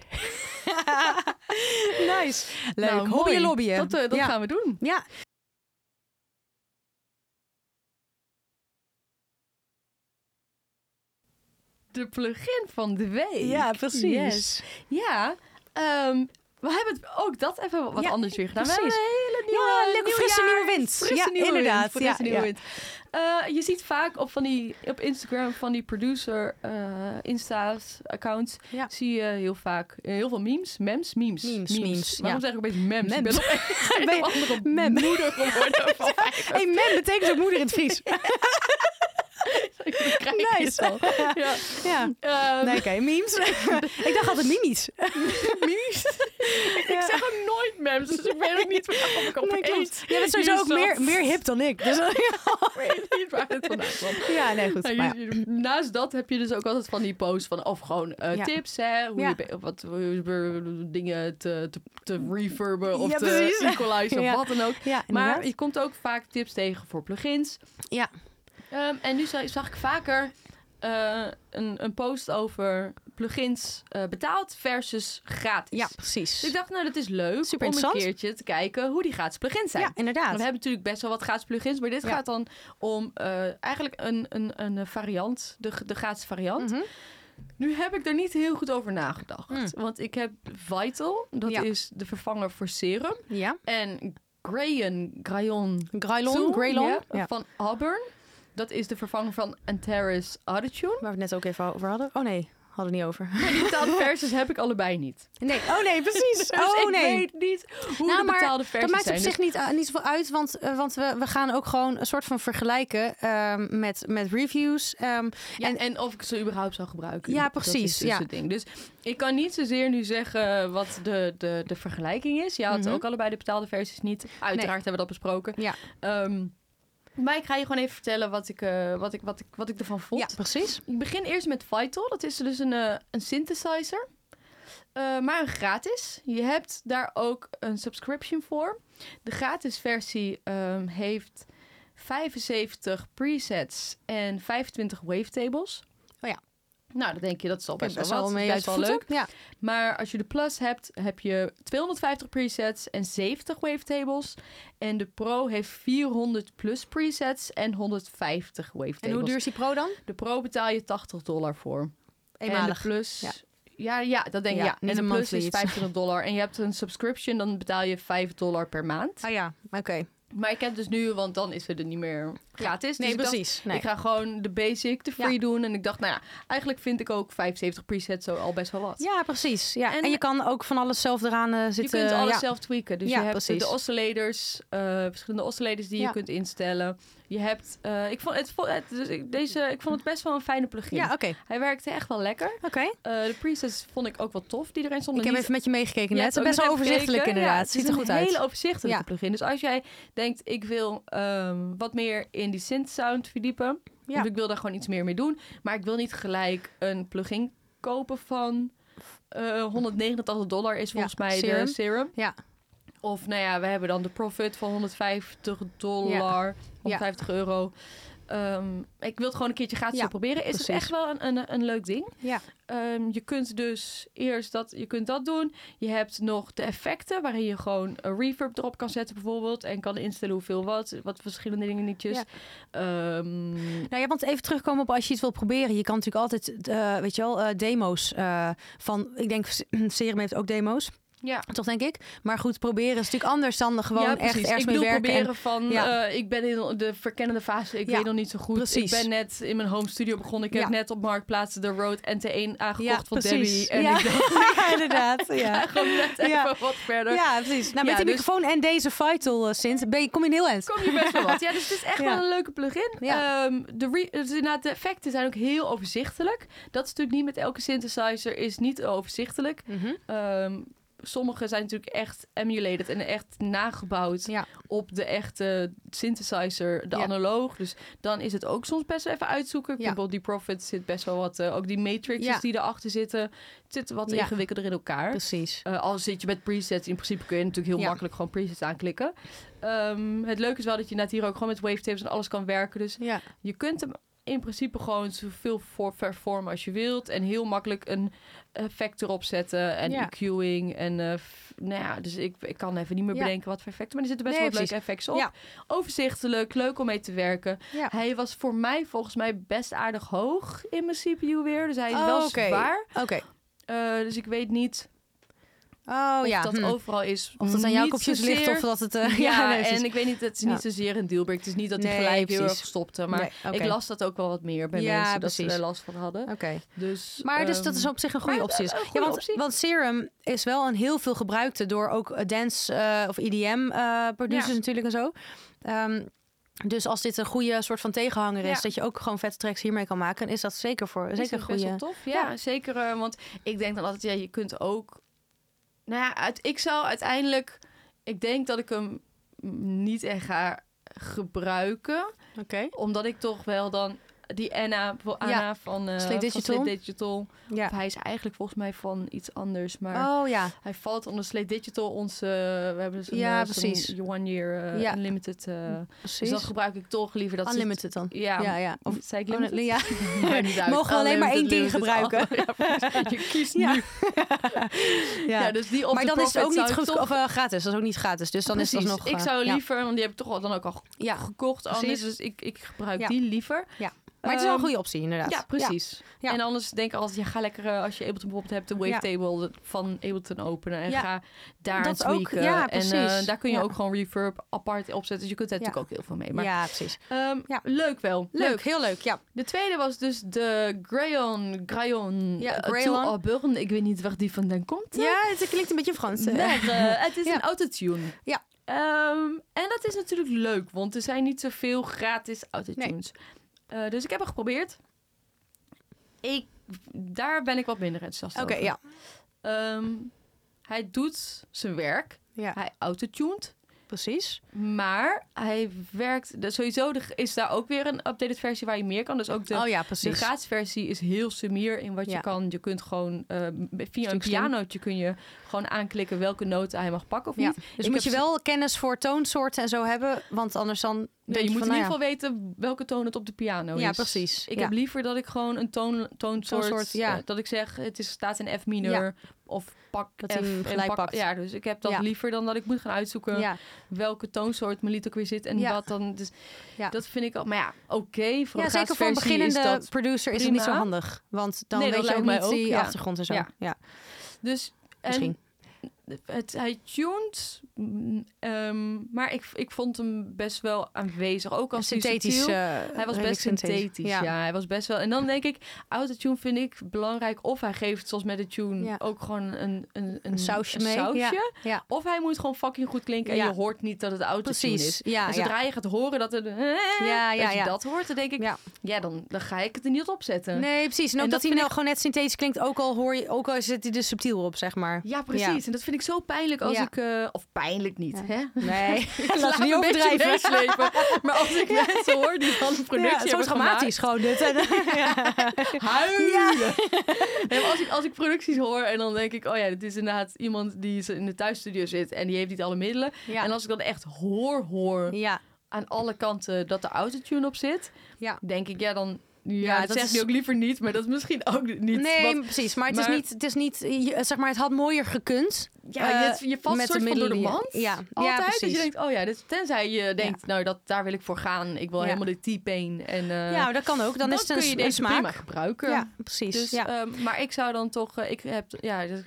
[SPEAKER 1] nice. Leuk.
[SPEAKER 2] Nou,
[SPEAKER 1] Hobby
[SPEAKER 2] mooi.
[SPEAKER 1] en lobbyen.
[SPEAKER 2] Dat, eh, dat
[SPEAKER 1] ja.
[SPEAKER 2] gaan we doen.
[SPEAKER 1] Ja.
[SPEAKER 2] De plugin van de week.
[SPEAKER 1] ja, precies.
[SPEAKER 2] Yes. Ja, ehm, we hebben het- ook dat even wat
[SPEAKER 1] Ja,
[SPEAKER 2] anders weer gedaan. dus We
[SPEAKER 1] precies.
[SPEAKER 2] hebben een hele nieuwe,
[SPEAKER 1] Ja, leuke
[SPEAKER 2] nieuw
[SPEAKER 1] frisse
[SPEAKER 2] jaar.
[SPEAKER 1] nieuwe wind.
[SPEAKER 2] Frisse
[SPEAKER 1] ja,
[SPEAKER 2] nieuwe wind,
[SPEAKER 1] inderdaad.
[SPEAKER 2] frisse
[SPEAKER 1] ja,
[SPEAKER 2] nieuwe
[SPEAKER 1] ja.
[SPEAKER 2] wind. Eh, je ziet vaak op, van die, op Instagram van die producer eh, Insta's, accounts,
[SPEAKER 1] Ja.
[SPEAKER 2] zie je heel vaak eh, heel veel memes, memes, memes.
[SPEAKER 1] Memes, memes,
[SPEAKER 2] Waarom
[SPEAKER 1] ja.
[SPEAKER 2] zeg ik opeens memes? Ik ben
[SPEAKER 1] Memes.
[SPEAKER 2] opeens een
[SPEAKER 1] Ben je-
[SPEAKER 2] of andere
[SPEAKER 1] mem.
[SPEAKER 2] Oh, moeder geworden van
[SPEAKER 1] Hey, mem betekent ook moeder in het Fries.
[SPEAKER 2] Ik krijg het
[SPEAKER 1] Nice.
[SPEAKER 2] al. Ja.
[SPEAKER 1] ja.
[SPEAKER 2] Ehm,
[SPEAKER 1] Nee, oké, memes. ik dacht altijd minis.
[SPEAKER 2] memes. Ik zeg ook nooit memes, dus ik weet ook niet waarom ik
[SPEAKER 1] Nee,
[SPEAKER 2] opeens...
[SPEAKER 1] klopt. Jij bent sowieso ook
[SPEAKER 2] hier
[SPEAKER 1] meer,
[SPEAKER 2] zat.
[SPEAKER 1] meer hip dan ik. Dus,
[SPEAKER 2] Ik weet niet waar het vandaan kwam.
[SPEAKER 1] ja, nee, goed.
[SPEAKER 2] Nou,
[SPEAKER 1] maar ja.
[SPEAKER 2] je- je- Naast dat heb je dus ook altijd van die posts van of gewoon eh,
[SPEAKER 1] Ja.
[SPEAKER 2] tips, hè, hoe
[SPEAKER 1] Ja.
[SPEAKER 2] je be- wat hoe je be- dingen te, te, te reverben of
[SPEAKER 1] Ja,
[SPEAKER 2] te
[SPEAKER 1] precies.
[SPEAKER 2] equalizen of
[SPEAKER 1] Ja.
[SPEAKER 2] wat dan ook.
[SPEAKER 1] Ja,
[SPEAKER 2] Maar
[SPEAKER 1] inderdaad.
[SPEAKER 2] je komt ook vaak tips tegen voor plugins.
[SPEAKER 1] Ja.
[SPEAKER 2] Ehm, en nu za- zag ik vaker eh, een, een post over plugins eh, betaald versus gratis.
[SPEAKER 1] ja,
[SPEAKER 2] Dus ik
[SPEAKER 1] precies.
[SPEAKER 2] dacht, nou dat is leuk
[SPEAKER 1] Super
[SPEAKER 2] om een
[SPEAKER 1] interessant.
[SPEAKER 2] keertje te kijken hoe die gratis plugins zijn.
[SPEAKER 1] Ja, inderdaad.
[SPEAKER 2] Want we hebben natuurlijk best wel wat gratis plugins, maar dit
[SPEAKER 1] Ja.
[SPEAKER 2] gaat dan om eh, eigenlijk een, een, een variant, de, de gratis variant.
[SPEAKER 1] Mhm.
[SPEAKER 2] Nu heb ik er niet heel goed over nagedacht,
[SPEAKER 1] Mm.
[SPEAKER 2] want ik heb Vital, dat
[SPEAKER 1] Ja.
[SPEAKER 2] is de vervanger voor serum,
[SPEAKER 1] Ja.
[SPEAKER 2] en Grayon, Grayon, Tool,
[SPEAKER 1] Graylon, Graylon.
[SPEAKER 2] ja,
[SPEAKER 1] Ja.
[SPEAKER 2] van Auburn. Dat is de vervanger van Antares Attitude.
[SPEAKER 1] Waar we het net ook even over hadden. Oh nee, Hadden we niet over.
[SPEAKER 2] Die betaalde verses heb ik allebei niet.
[SPEAKER 1] Nee, oh nee, precies.
[SPEAKER 2] Dus
[SPEAKER 1] oh
[SPEAKER 2] ik
[SPEAKER 1] nee.
[SPEAKER 2] weet niet hoe
[SPEAKER 1] Nou,
[SPEAKER 2] de
[SPEAKER 1] maar
[SPEAKER 2] betaalde verses
[SPEAKER 1] Dat maakt op
[SPEAKER 2] zijn. Dus
[SPEAKER 1] zich niet, niet zoveel uit, want, eh, want we, we gaan ook gewoon een soort van vergelijken ehm, met, met reviews. ehm,
[SPEAKER 2] Dus- ja, en, of ik ze überhaupt zou gebruiken.
[SPEAKER 1] Ja,
[SPEAKER 2] Dat
[SPEAKER 1] precies,
[SPEAKER 2] is dus
[SPEAKER 1] ja.
[SPEAKER 2] het ding. Dus ik kan niet zozeer nu zeggen wat de, de, de vergelijking is. Ja, had
[SPEAKER 1] Mhm.
[SPEAKER 2] ook allebei de betaalde versies niet. Uiteraard
[SPEAKER 1] Nee.
[SPEAKER 2] hebben we dat besproken.
[SPEAKER 1] Ja.
[SPEAKER 2] Ehm, maar ik ga je gewoon even vertellen wat ik, eh, wat ik, wat ik, wat ik ervan vond.
[SPEAKER 1] ja, precies.
[SPEAKER 2] Ik begin eerst met Vital. Dat is dus een, eh, een synthesizer. Eh, maar gratis. Je hebt daar ook een subscription voor. De gratis versie ehm, heeft 75 presets en 25 wavetables.
[SPEAKER 1] Oh ja.
[SPEAKER 2] Nou, dan denk je dat is al best
[SPEAKER 1] Best
[SPEAKER 2] wel
[SPEAKER 1] wel
[SPEAKER 2] wat.
[SPEAKER 1] mee
[SPEAKER 2] Best
[SPEAKER 1] uit
[SPEAKER 2] wel
[SPEAKER 1] voeten.
[SPEAKER 2] leuk.
[SPEAKER 1] Ja.
[SPEAKER 2] Maar als je de Plus hebt, heb je 250 presets en 70 wavetables. En de Pro heeft 400 plus presets en 150 wavetables.
[SPEAKER 1] En hoe duur is die pro dan?
[SPEAKER 2] De Pro betaal je 80 dollar voor. En de
[SPEAKER 1] Eenmalig.
[SPEAKER 2] plus...
[SPEAKER 1] Ja.
[SPEAKER 2] Ja. Ja, dat denk ik.
[SPEAKER 1] Ja,
[SPEAKER 2] Ja,
[SPEAKER 1] niet
[SPEAKER 2] En de
[SPEAKER 1] een
[SPEAKER 2] plus
[SPEAKER 1] monthly
[SPEAKER 2] is
[SPEAKER 1] iets.
[SPEAKER 2] 25 dollar. En je hebt een subscription, dan betaal je 5 dollar per maand.
[SPEAKER 1] Ah ja, oké.
[SPEAKER 2] Maar ik heb dus nu, want dan is het er niet meer gratis.
[SPEAKER 1] Nee,
[SPEAKER 2] dus ik dacht,
[SPEAKER 1] precies. nee.
[SPEAKER 2] ik ga gewoon de basic, de free
[SPEAKER 1] Ja.
[SPEAKER 2] doen. En ik dacht, nou ja, eigenlijk vind ik ook 75 presets zo al best wel wat.
[SPEAKER 1] Ja, precies. Ja. En,
[SPEAKER 2] En-
[SPEAKER 1] je kan ook van alles zelf eraan eh, zitten.
[SPEAKER 2] je kunt alles
[SPEAKER 1] ja.
[SPEAKER 2] zelf tweaken. Dus
[SPEAKER 1] Ja,
[SPEAKER 2] je hebt
[SPEAKER 1] precies.
[SPEAKER 2] de oscillators, eh, verschillende oscillators die
[SPEAKER 1] Ja.
[SPEAKER 2] je kunt instellen. Je hebt, eh, ik vond het, vo- het- dus ik, deze, ik vond het best wel een fijne plugin.
[SPEAKER 1] Ja, oké.
[SPEAKER 2] Hij werkte echt wel lekker.
[SPEAKER 1] Oké.
[SPEAKER 2] Eh, de presets vond ik ook wel tof die erin stonden.
[SPEAKER 1] Ik heb
[SPEAKER 2] Niet-
[SPEAKER 1] even met je meegekeken
[SPEAKER 2] Ja,
[SPEAKER 1] net.
[SPEAKER 2] ook
[SPEAKER 1] Best
[SPEAKER 2] nog
[SPEAKER 1] wel
[SPEAKER 2] even
[SPEAKER 1] overzichtelijk
[SPEAKER 2] gekeken.
[SPEAKER 1] inderdaad.
[SPEAKER 2] Ja, het
[SPEAKER 1] Ziet
[SPEAKER 2] is
[SPEAKER 1] er
[SPEAKER 2] een
[SPEAKER 1] goed uit.
[SPEAKER 2] hele overzichtelijke
[SPEAKER 1] Ja.
[SPEAKER 2] plugin. Dus als jij denkt, ik wil ehm, wat meer in die synth sound verdiepen.
[SPEAKER 1] Ja.
[SPEAKER 2] Of ik wil daar gewoon iets meer mee doen. Maar ik wil niet gelijk een plugin kopen van eh 189 dollar is volgens mij
[SPEAKER 1] Serum.
[SPEAKER 2] de serum.
[SPEAKER 1] Ja.
[SPEAKER 2] Of nou ja, we hebben dan de profit van 150 dollar, 150 euro. Ehm, ik wil het gewoon een keertje gratis
[SPEAKER 1] Ja,
[SPEAKER 2] proberen. Is
[SPEAKER 1] precies.
[SPEAKER 2] het echt wel een, een, een leuk ding?
[SPEAKER 1] Ja.
[SPEAKER 2] Ehm, je kunt dus eerst dat, je kunt dat doen. Je hebt nog de effecten waarin je gewoon een reverb erop kan zetten bijvoorbeeld. En kan instellen hoeveel wat, wat verschillende dingetjes.
[SPEAKER 1] Ja.
[SPEAKER 2] Ehm,
[SPEAKER 1] Nou ja, want even terugkomen op als je iets wilt proberen. Je kan natuurlijk altijd, eh, weet je wel, eh, demo's eh, van... Ik denk, Serum heeft ook demo's.
[SPEAKER 2] ja.
[SPEAKER 1] Toch denk ik? Maar goed, proberen is natuurlijk anders dan gewoon
[SPEAKER 2] Ja,
[SPEAKER 1] echt
[SPEAKER 2] precies.
[SPEAKER 1] ergens
[SPEAKER 2] ik
[SPEAKER 1] mee
[SPEAKER 2] bedoel
[SPEAKER 1] werken. en-
[SPEAKER 2] proberen van,
[SPEAKER 1] ja.
[SPEAKER 2] eh, ik ben in de verkennende fase, ik
[SPEAKER 1] Ja,
[SPEAKER 2] weet nog niet zo goed.
[SPEAKER 1] precies.
[SPEAKER 2] Ik ben net in mijn home studio begonnen. Ik heb
[SPEAKER 1] Ja.
[SPEAKER 2] net op Marktplaats de Road NT1 aangekocht
[SPEAKER 1] ja,
[SPEAKER 2] van
[SPEAKER 1] precies.
[SPEAKER 2] Debbie. En
[SPEAKER 1] ja.
[SPEAKER 2] ik dacht,
[SPEAKER 1] Ja, inderdaad. Ja.
[SPEAKER 2] ga gewoon net even
[SPEAKER 1] Ja.
[SPEAKER 2] wat verder.
[SPEAKER 1] ja, precies. Nou, met
[SPEAKER 2] Ja,
[SPEAKER 1] die
[SPEAKER 2] dus-
[SPEAKER 1] microfoon en deze Vital eh, Synth ben je, kom je in heel eind.
[SPEAKER 2] Kom je best wel wat. Ja, dus het is echt
[SPEAKER 1] Ja.
[SPEAKER 2] wel een leuke plugin.
[SPEAKER 1] Ja.
[SPEAKER 2] Ehm, de, re- dus inderdaad, de effecten zijn ook heel overzichtelijk. Dat is natuurlijk niet met elke synthesizer, is niet overzichtelijk.
[SPEAKER 1] Mhm,
[SPEAKER 2] Ehm, sommige zijn natuurlijk echt emulated en echt nagebouwd
[SPEAKER 1] Ja.
[SPEAKER 2] op de echte synthesizer, de
[SPEAKER 1] Ja.
[SPEAKER 2] analoog. Dus dan is het ook soms best wel even uitzoeken.
[SPEAKER 1] Ja.
[SPEAKER 2] Bijvoorbeeld die Prophet zit best wel wat, eh, ook die matrices
[SPEAKER 1] Ja.
[SPEAKER 2] die erachter zitten, het zit wat
[SPEAKER 1] Ja.
[SPEAKER 2] ingewikkelder in elkaar.
[SPEAKER 1] Precies.
[SPEAKER 2] Eh, al zit je met presets, in principe kun je natuurlijk heel
[SPEAKER 1] Ja.
[SPEAKER 2] makkelijk gewoon presets aanklikken. Ehm, het leuke is wel dat je net hier ook gewoon met wavetapes en alles kan werken. Dus
[SPEAKER 1] Ja.
[SPEAKER 2] je kunt hem in principe gewoon zoveel voor vervormen als je wilt. En heel makkelijk een effect erop zetten en
[SPEAKER 1] Ja.
[SPEAKER 2] EQing. En eh, f- nou ja, dus ik, ik kan even niet meer
[SPEAKER 1] Ja.
[SPEAKER 2] bedenken wat voor effecten. Maar er zitten best
[SPEAKER 1] Nee,
[SPEAKER 2] wel wat leuke effects op.
[SPEAKER 1] Ja.
[SPEAKER 2] Overzichtelijk, leuk om mee te werken.
[SPEAKER 1] Ja.
[SPEAKER 2] Hij was voor mij volgens mij best aardig hoog in mijn CPU weer. Dus hij is
[SPEAKER 1] Oh,
[SPEAKER 2] wel
[SPEAKER 1] oké.
[SPEAKER 2] zwaar.
[SPEAKER 1] Oké.
[SPEAKER 2] Eh, dus ik weet niet
[SPEAKER 1] Oh
[SPEAKER 2] of
[SPEAKER 1] ja.
[SPEAKER 2] dat
[SPEAKER 1] hm.
[SPEAKER 2] overal is.
[SPEAKER 1] Of dat aan jouw
[SPEAKER 2] Niet
[SPEAKER 1] kopjes ligt
[SPEAKER 2] zozeer-
[SPEAKER 1] of dat het... eh,
[SPEAKER 2] ja,
[SPEAKER 1] nee, precies.
[SPEAKER 2] en ik weet niet, het is
[SPEAKER 1] Ja.
[SPEAKER 2] niet zozeer een dealbreak. Het is niet dat hij
[SPEAKER 1] Nee,
[SPEAKER 2] gelijk heel
[SPEAKER 1] precies.
[SPEAKER 2] erg stopte. Maar
[SPEAKER 1] Nee, oké.
[SPEAKER 2] ik las dat ook wel wat meer bij
[SPEAKER 1] Ja,
[SPEAKER 2] mensen dat
[SPEAKER 1] precies.
[SPEAKER 2] ze er last van hadden.
[SPEAKER 1] Oké.
[SPEAKER 2] Dus,
[SPEAKER 1] Maar dus dat
[SPEAKER 2] ehm,
[SPEAKER 1] is op zich een goede
[SPEAKER 2] maar
[SPEAKER 1] optie.
[SPEAKER 2] een- een
[SPEAKER 1] ja,
[SPEAKER 2] goede
[SPEAKER 1] want,
[SPEAKER 2] optie.
[SPEAKER 1] want Serum is wel een heel veel gebruikte door ook eh, dance eh, of EDM eh, producers
[SPEAKER 2] Ja.
[SPEAKER 1] natuurlijk en zo. Ehm, dus als dit een goede soort van tegenhanger is,
[SPEAKER 2] Ja.
[SPEAKER 1] dat je ook gewoon vette tracks hiermee kan maken, is dat zeker voor
[SPEAKER 2] is
[SPEAKER 1] zeker
[SPEAKER 2] het
[SPEAKER 1] een
[SPEAKER 2] best
[SPEAKER 1] goede.
[SPEAKER 2] wel tof. Ja,
[SPEAKER 1] Ja.
[SPEAKER 2] zeker. eh, want ik denk dan altijd, ja, je kunt ook... Nou ja, uit, ik zou uiteindelijk... Ik denk dat ik hem niet echt ga gebruiken.
[SPEAKER 1] Oké.
[SPEAKER 2] Omdat ik toch wel dan... Die Anna, voor
[SPEAKER 1] Ja.
[SPEAKER 2] Anna van, eh
[SPEAKER 1] Slit
[SPEAKER 2] van
[SPEAKER 1] Digital.
[SPEAKER 2] Slit Digital.
[SPEAKER 1] Ja.
[SPEAKER 2] Hij is eigenlijk volgens mij van iets anders. Maar
[SPEAKER 1] Oh ja.
[SPEAKER 2] Hij valt onder Slate Digital. Onze, we hebben dus een,
[SPEAKER 1] Ja,
[SPEAKER 2] eh, zo'n
[SPEAKER 1] precies.
[SPEAKER 2] one year eh,
[SPEAKER 1] Ja.
[SPEAKER 2] unlimited. eh, dus
[SPEAKER 1] Precies.
[SPEAKER 2] dat gebruik ik toch liever. Dat ze het-
[SPEAKER 1] Unlimited dan.
[SPEAKER 2] ja,
[SPEAKER 1] Ja, ja. Of
[SPEAKER 2] Of zei ik
[SPEAKER 1] Oh, nee,
[SPEAKER 2] limited?
[SPEAKER 1] ja.
[SPEAKER 2] Maakt niet uit.
[SPEAKER 1] Mogen we alleen maar één
[SPEAKER 2] Unlimited,
[SPEAKER 1] ding
[SPEAKER 2] limited,
[SPEAKER 1] gebruiken.
[SPEAKER 2] allemaal. Ja, precies. je kiest
[SPEAKER 1] Ja.
[SPEAKER 2] nu. Ja. dus die op
[SPEAKER 1] maar
[SPEAKER 2] de
[SPEAKER 1] dan is het
[SPEAKER 2] Prophet
[SPEAKER 1] ook
[SPEAKER 2] zou
[SPEAKER 1] niet
[SPEAKER 2] ik
[SPEAKER 1] goed
[SPEAKER 2] toch-
[SPEAKER 1] of eh, gratis. Dat is ook niet gratis. Dus dan is
[SPEAKER 2] Precies.
[SPEAKER 1] het nog.
[SPEAKER 2] Ik zou liever, want die heb ik toch al dan ook al
[SPEAKER 1] Ja.
[SPEAKER 2] gekocht anders.
[SPEAKER 1] Precies.
[SPEAKER 2] Dus ik, ik gebruik
[SPEAKER 1] Ja.
[SPEAKER 2] die liever.
[SPEAKER 1] Ja. Maar het is wel een
[SPEAKER 2] Ehm,
[SPEAKER 1] goede optie, inderdaad.
[SPEAKER 2] Ja, precies.
[SPEAKER 1] Ja.
[SPEAKER 2] En anders denk ik altijd, ja, ga lekker eh, als je Ableton bijvoorbeeld hebt, de wavetable van Ableton openen en
[SPEAKER 1] Ja.
[SPEAKER 2] ga daar
[SPEAKER 1] Dat
[SPEAKER 2] aan
[SPEAKER 1] ook,
[SPEAKER 2] tweaken.
[SPEAKER 1] ja,
[SPEAKER 2] en eh,
[SPEAKER 1] precies.
[SPEAKER 2] daar kun je
[SPEAKER 1] Ja.
[SPEAKER 2] ook gewoon reverb apart opzetten. Dus je kunt daar
[SPEAKER 1] Ja.
[SPEAKER 2] natuurlijk ook heel veel mee.
[SPEAKER 1] Ja,
[SPEAKER 2] Maar
[SPEAKER 1] ja precies.
[SPEAKER 2] ehm,
[SPEAKER 1] Ja.
[SPEAKER 2] leuk wel.
[SPEAKER 1] Leuk, heel leuk. Ja,
[SPEAKER 2] De tweede was dus de Grayon. Grayon.
[SPEAKER 1] Ja,
[SPEAKER 2] eh,
[SPEAKER 1] Grayon.
[SPEAKER 2] Till Auburn. Ik weet niet waar die vandaan komt.
[SPEAKER 1] ja het klinkt een beetje Frans. eh.
[SPEAKER 2] Maar eh, het is
[SPEAKER 1] Ja.
[SPEAKER 2] een autotune.
[SPEAKER 1] Ja.
[SPEAKER 2] Ehm, en dat is natuurlijk leuk, want er zijn niet zoveel gratis autotunes. Eh, dus ik heb het geprobeerd. Ik, daar ben ik wat minder enthousiast
[SPEAKER 1] Oké,
[SPEAKER 2] over.
[SPEAKER 1] ja.
[SPEAKER 2] Ehm, hij doet zijn werk.
[SPEAKER 1] Ja,
[SPEAKER 2] Hij autotunt.
[SPEAKER 1] precies.
[SPEAKER 2] Maar hij werkt... de- Sowieso de- is daar ook weer een updated versie waar je meer kan. Dus ook de
[SPEAKER 1] oh ja,
[SPEAKER 2] de
[SPEAKER 1] precies.
[SPEAKER 2] gratis versie is heel sumier in wat
[SPEAKER 1] Ja.
[SPEAKER 2] je kan. Je kunt gewoon eh, via een
[SPEAKER 1] Stuk slim.
[SPEAKER 2] pianootje kun je gewoon aanklikken welke noten hij mag pakken of
[SPEAKER 1] Ja.
[SPEAKER 2] niet.
[SPEAKER 1] Dus
[SPEAKER 2] Ik
[SPEAKER 1] moet je
[SPEAKER 2] heb
[SPEAKER 1] wel kennis voor toonsoorten en zo hebben, want anders dan...
[SPEAKER 2] Nee,
[SPEAKER 1] denk
[SPEAKER 2] je moet
[SPEAKER 1] van,
[SPEAKER 2] in
[SPEAKER 1] nou
[SPEAKER 2] ieder geval weten welke toon het op de piano is.
[SPEAKER 1] Ja, precies.
[SPEAKER 2] Ik
[SPEAKER 1] Ja.
[SPEAKER 2] heb liever dat ik gewoon een toon, toonsoort...
[SPEAKER 1] Toonsoort, ja.
[SPEAKER 2] eh, dat ik zeg, het is, staat in F minor
[SPEAKER 1] Ja.
[SPEAKER 2] of pak
[SPEAKER 1] Dat
[SPEAKER 2] F
[SPEAKER 1] hij hem
[SPEAKER 2] en
[SPEAKER 1] gelijk
[SPEAKER 2] pak-
[SPEAKER 1] pakt.
[SPEAKER 2] Ja, dus ik heb dat
[SPEAKER 1] Ja.
[SPEAKER 2] liever dan dat ik moet gaan uitzoeken
[SPEAKER 1] ja.
[SPEAKER 2] welke toonsoort mijn lied ook weer zit en
[SPEAKER 1] Ja.
[SPEAKER 2] wat dan. Dus
[SPEAKER 1] Ja.
[SPEAKER 2] dat vind ik al... Maar ja, oké. voor
[SPEAKER 1] Ja, zeker
[SPEAKER 2] een
[SPEAKER 1] voor een
[SPEAKER 2] gratis versie
[SPEAKER 1] beginnende
[SPEAKER 2] is dat
[SPEAKER 1] producer is het niet zo
[SPEAKER 2] prima.
[SPEAKER 1] handig. Want dan
[SPEAKER 2] Nee, dat
[SPEAKER 1] weet je ook
[SPEAKER 2] lijkt mij
[SPEAKER 1] niet die
[SPEAKER 2] ook, ja.
[SPEAKER 1] achtergrond en zo. Ja,
[SPEAKER 2] Ja. Dus en
[SPEAKER 1] misschien.
[SPEAKER 2] het, hij tuned, mm, ehm, maar ik, ik vond hem best wel aanwezig. Ook als hij
[SPEAKER 1] Synthetisch.
[SPEAKER 2] subtiel-
[SPEAKER 1] eh,
[SPEAKER 2] hij was
[SPEAKER 1] redelijk
[SPEAKER 2] best synthetisch, ja. Hij was best wel... En dan denk ik, autotune vind ik belangrijk. Of hij geeft, zoals met de tune,
[SPEAKER 1] Ja.
[SPEAKER 2] ook gewoon een, een, een,
[SPEAKER 1] sausje
[SPEAKER 2] een
[SPEAKER 1] mee, ja.
[SPEAKER 2] sausje.
[SPEAKER 1] Ja.
[SPEAKER 2] Of hij moet gewoon fucking goed klinken en
[SPEAKER 1] Ja.
[SPEAKER 2] je hoort niet dat het autotune
[SPEAKER 1] Precies.
[SPEAKER 2] is.
[SPEAKER 1] Ja, ja.
[SPEAKER 2] en zodra je gaat horen dat het...
[SPEAKER 1] Ja, ja,
[SPEAKER 2] als je
[SPEAKER 1] ja.
[SPEAKER 2] dat hoort, dan denk ik,
[SPEAKER 1] Ja.
[SPEAKER 2] ja, dan, dan ga ik het er niet op zetten.
[SPEAKER 1] Nee, precies. En ook dat,
[SPEAKER 2] En dat
[SPEAKER 1] hij
[SPEAKER 2] vind
[SPEAKER 1] nou gewoon net synthetisch klinkt, ook al hoor je, ook al zit hij er subtiel op, zeg maar.
[SPEAKER 2] Ja, precies. En dat vind ik zo pijnlijk als
[SPEAKER 1] Ja.
[SPEAKER 2] ik... eh, of pijnlijk niet,
[SPEAKER 1] Ja.
[SPEAKER 2] hè?
[SPEAKER 1] Nee,
[SPEAKER 2] Laat
[SPEAKER 1] laten we niet
[SPEAKER 2] me een beetje
[SPEAKER 1] overdrijven.
[SPEAKER 2] meeslepen. Maar als ik mensen hoor die van een productie
[SPEAKER 1] Ja,
[SPEAKER 2] hebben
[SPEAKER 1] zo dramatisch gewoon dit. En,
[SPEAKER 2] gemaakt, huilen. Nee, maar als, ik, als ik producties hoor en dan denk ik... oh ja, dit is inderdaad iemand die in de thuisstudio zit... en die heeft niet alle middelen.
[SPEAKER 1] Ja.
[SPEAKER 2] En als ik dan echt hoor, hoor
[SPEAKER 1] ja.
[SPEAKER 2] aan alle kanten dat de autotune op zit...
[SPEAKER 1] Ja.
[SPEAKER 2] denk ik, ja dan... Ja,
[SPEAKER 1] Ja,
[SPEAKER 2] dat,
[SPEAKER 1] dat
[SPEAKER 2] zegt
[SPEAKER 1] is-
[SPEAKER 2] hij ook liever niet, maar dat is misschien ook niet.
[SPEAKER 1] Nee,
[SPEAKER 2] want-
[SPEAKER 1] precies. Maar het is
[SPEAKER 2] maar-
[SPEAKER 1] niet, het is niet eh, je- zeg maar, het had mooier gekund.
[SPEAKER 2] ja,
[SPEAKER 1] eh,
[SPEAKER 2] je, je valt
[SPEAKER 1] met
[SPEAKER 2] soort
[SPEAKER 1] de
[SPEAKER 2] van door de
[SPEAKER 1] middelen
[SPEAKER 2] mand.
[SPEAKER 1] die- ja. Ja,
[SPEAKER 2] altijd. dat
[SPEAKER 1] precies.
[SPEAKER 2] je denkt, oh ja, dit, tenzij je denkt, nou, dat, daar wil ik voor gaan. Ik wil
[SPEAKER 1] Ja.
[SPEAKER 2] helemaal de T-pain. En, eh,
[SPEAKER 1] ja, dat kan ook. Dan, is het
[SPEAKER 2] kun
[SPEAKER 1] een,
[SPEAKER 2] je
[SPEAKER 1] een
[SPEAKER 2] deze
[SPEAKER 1] smaak.
[SPEAKER 2] prima gebruiken.
[SPEAKER 1] Ja, precies.
[SPEAKER 2] Dus,
[SPEAKER 1] ja.
[SPEAKER 2] ehm, maar ik zou dan toch, eh, ik heb, ja, dus,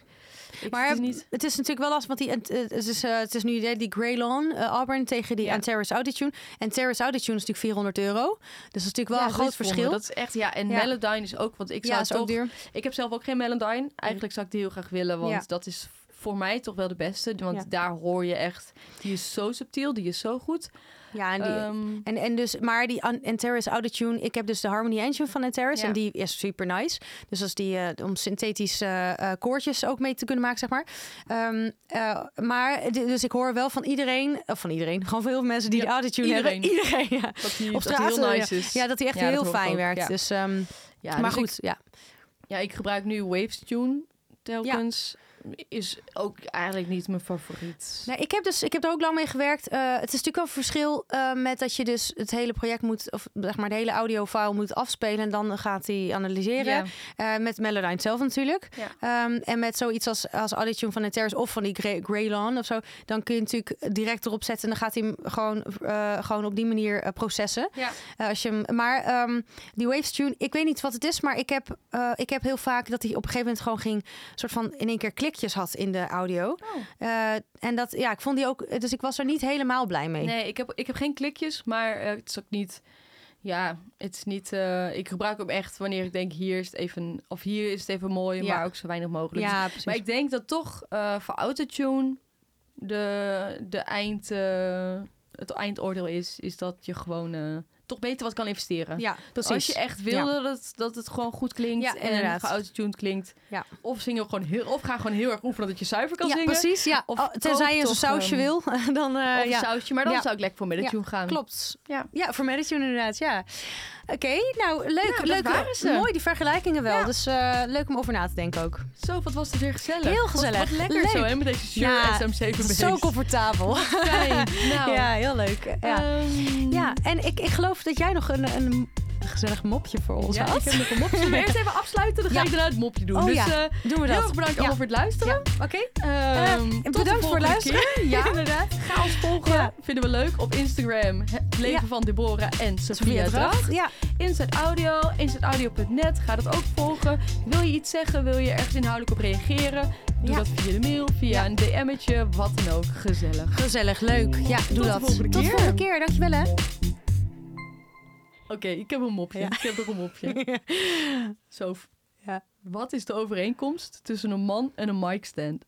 [SPEAKER 2] ik
[SPEAKER 1] Maar
[SPEAKER 2] het is niet.
[SPEAKER 1] het is natuurlijk wel lastig, want die, het, het is, eh, het is nu die, die Greylon eh, Auburn tegen die
[SPEAKER 2] Ja.
[SPEAKER 1] Antares Auditune. En Antares Auditune is natuurlijk 400 euro. Dus dat is natuurlijk wel
[SPEAKER 2] Ja,
[SPEAKER 1] een groot
[SPEAKER 2] dit vonden we.
[SPEAKER 1] verschil.
[SPEAKER 2] Dat is echt, ja. En
[SPEAKER 1] Ja.
[SPEAKER 2] Melodyne is ook, want ik
[SPEAKER 1] ja,
[SPEAKER 2] zou
[SPEAKER 1] is
[SPEAKER 2] toch,
[SPEAKER 1] ook duur.
[SPEAKER 2] ik heb zelf ook geen Melodyne. Eigenlijk zou ik die heel graag willen, want
[SPEAKER 1] Ja.
[SPEAKER 2] dat is voor mij toch wel de beste. Want
[SPEAKER 1] Ja.
[SPEAKER 2] daar hoor je echt, die is zo subtiel, die is zo goed.
[SPEAKER 1] Ja, en die,
[SPEAKER 2] Ehm,
[SPEAKER 1] En, en dus, maar die An- Antares Autotune, ik heb dus de Harmony Engine van Antares
[SPEAKER 2] Ja.
[SPEAKER 1] en die is super nice. Dus als die eh, om synthetische eh, eh, koortjes ook mee te kunnen maken, zeg maar. Ehm, eh, maar d- dus ik hoor wel van iedereen, of van iedereen, gewoon van heel veel mensen die
[SPEAKER 2] Ja,
[SPEAKER 1] de Autotune hebben.
[SPEAKER 2] iedereen.
[SPEAKER 1] Iedereen, ja.
[SPEAKER 2] dat die,
[SPEAKER 1] Op
[SPEAKER 2] dat die
[SPEAKER 1] straat,
[SPEAKER 2] heel
[SPEAKER 1] eh,
[SPEAKER 2] nice is.
[SPEAKER 1] Ja, dat die echt
[SPEAKER 2] Ja, dat
[SPEAKER 1] heel
[SPEAKER 2] hoor ik
[SPEAKER 1] fijn
[SPEAKER 2] ook,
[SPEAKER 1] werkt.
[SPEAKER 2] ja.
[SPEAKER 1] Dus, ehm,
[SPEAKER 2] Ja,
[SPEAKER 1] maar
[SPEAKER 2] dus ik-
[SPEAKER 1] goed, ja.
[SPEAKER 2] ja, ik gebruik nu Waves Tune telkens. Is ook eigenlijk niet mijn favoriet.
[SPEAKER 1] Nee, ik heb dus, ik heb er ook lang mee gewerkt. Eh, het is natuurlijk wel een verschil eh, met dat je dus het hele project moet, of zeg maar de hele audiofile moet afspelen en dan gaat hij analyseren.
[SPEAKER 2] Ja.
[SPEAKER 1] Eh, met Melodyne zelf natuurlijk. Ehm, en met zoiets als, als Auditune van de Terrace of van die Grey- Greylon of zo. Dan kun je natuurlijk direct erop zetten. En dan gaat hij hem gewoon, eh, gewoon op die manier eh, processen.
[SPEAKER 2] Ja.
[SPEAKER 1] Eh, als je hem, maar ehm, die Waves Tune, ik weet niet wat het is. Maar ik heb, eh, ik heb heel vaak dat hij op een gegeven moment gewoon ging. soort van in één keer klikjes had in de audio. Eh, en dat, ja, ik vond die ook. Dus ik was er niet helemaal blij mee.
[SPEAKER 2] Nee, ik heb, ik heb geen klikjes, maar eh, het is ook niet. Ja, het is niet. eh, ik gebruik hem echt wanneer ik denk hier is het even. Of hier is het even mooi,
[SPEAKER 1] Ja.
[SPEAKER 2] maar ook zo weinig mogelijk. Dus
[SPEAKER 1] ja, precies.
[SPEAKER 2] maar ik denk dat toch eh voor autotune de, de eind, eh, het eindoordeel is, is dat je gewoon eh, toch beter wat kan investeren.
[SPEAKER 1] ja, precies.
[SPEAKER 2] Als je echt wil
[SPEAKER 1] Ja.
[SPEAKER 2] dat, het, dat het gewoon goed klinkt
[SPEAKER 1] Ja,
[SPEAKER 2] en
[SPEAKER 1] inderdaad.
[SPEAKER 2] geautotuned klinkt.
[SPEAKER 1] Ja.
[SPEAKER 2] Of, zingen we gewoon heel, of ga gewoon heel erg oefenen dat je zuiver kan
[SPEAKER 1] ja,
[SPEAKER 2] zingen.
[SPEAKER 1] precies. Ja.
[SPEAKER 2] Of
[SPEAKER 1] Oh, tenzij
[SPEAKER 2] koop
[SPEAKER 1] je zo'n
[SPEAKER 2] toch,
[SPEAKER 1] sausje
[SPEAKER 2] ehm,
[SPEAKER 1] wil, dan eh,
[SPEAKER 2] Of een
[SPEAKER 1] ja.
[SPEAKER 2] sausje, maar dan
[SPEAKER 1] Ja.
[SPEAKER 2] zou ik lekker voor Metatune gaan.
[SPEAKER 1] Klopt.
[SPEAKER 2] Ja.
[SPEAKER 1] ja, voor Meditune inderdaad, ja. Oké, nou leuk.
[SPEAKER 2] dat
[SPEAKER 1] leuk
[SPEAKER 2] waren ze.
[SPEAKER 1] Mooi, die vergelijkingen wel.
[SPEAKER 2] Ja.
[SPEAKER 1] Dus eh, leuk om over na te denken ook.
[SPEAKER 2] Zo, wat was het weer gezellig.
[SPEAKER 1] Heel
[SPEAKER 2] Wat-
[SPEAKER 1] gezellig.
[SPEAKER 2] Wat, lekker
[SPEAKER 1] Leuk.
[SPEAKER 2] zo, hè, met deze sure
[SPEAKER 1] Ja,
[SPEAKER 2] SMC van
[SPEAKER 1] Zo comfortabel.
[SPEAKER 2] Nou,
[SPEAKER 1] Ja, heel leuk. Ja,
[SPEAKER 2] ehm,
[SPEAKER 1] ja en ik, ik geloof dat jij nog een, een gezellig mopje voor ons
[SPEAKER 2] ja,
[SPEAKER 1] had.
[SPEAKER 2] ik heb nog een mopje. Zullen we eerst even afsluiten? Dan ga
[SPEAKER 1] Ja.
[SPEAKER 2] ik daarna het mopje doen.
[SPEAKER 1] Oh
[SPEAKER 2] dus
[SPEAKER 1] ja,
[SPEAKER 2] eh,
[SPEAKER 1] Doen we
[SPEAKER 2] heel
[SPEAKER 1] dat.
[SPEAKER 2] erg bedankt
[SPEAKER 1] Ja.
[SPEAKER 2] allemaal voor het luisteren.
[SPEAKER 1] Oké,
[SPEAKER 2] Ehm,
[SPEAKER 1] Eh,
[SPEAKER 2] tot de
[SPEAKER 1] bedankt voor het
[SPEAKER 2] volgende keer.
[SPEAKER 1] luisteren.
[SPEAKER 2] Ja,
[SPEAKER 1] inderdaad.
[SPEAKER 2] ga ons volgen
[SPEAKER 1] Ja.
[SPEAKER 2] Vinden we leuk. Op Instagram, het leven
[SPEAKER 1] Ja.
[SPEAKER 2] van Deborah en Sophia
[SPEAKER 1] Sophia
[SPEAKER 2] Dracht.
[SPEAKER 1] Dracht. Ja,
[SPEAKER 2] Inside Audio, insideaudio.net. Ga dat ook volgen. Wil je iets zeggen? Wil je ergens inhoudelijk op reageren? Doe
[SPEAKER 1] Ja.
[SPEAKER 2] dat via de mail, via
[SPEAKER 1] Ja.
[SPEAKER 2] een DM'tje, wat dan ook. Gezellig.
[SPEAKER 1] gezellig, leuk. Ja, doe
[SPEAKER 2] de
[SPEAKER 1] dat.
[SPEAKER 2] volgende
[SPEAKER 1] Tot de
[SPEAKER 2] keer.
[SPEAKER 1] volgende keer, dankjewel hè.
[SPEAKER 2] Oké, ik heb een mopje.
[SPEAKER 1] Ja.
[SPEAKER 2] Ik heb er een mopje. Zo.
[SPEAKER 1] Ja.
[SPEAKER 2] Wat is de overeenkomst tussen een man en een mic stand?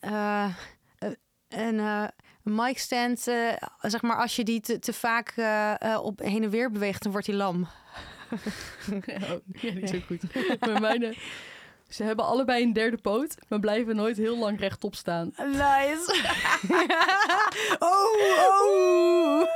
[SPEAKER 1] Eh, eh, een eh, mic stand, eh, zeg maar, als je die te, te vaak eh, eh, op heen en weer beweegt, dan wordt hij lam.
[SPEAKER 2] Oh, ja, niet zo goed. maar mijne, ze hebben allebei een derde poot, maar blijven nooit heel lang rechtop staan.
[SPEAKER 1] Nice. oh, oh.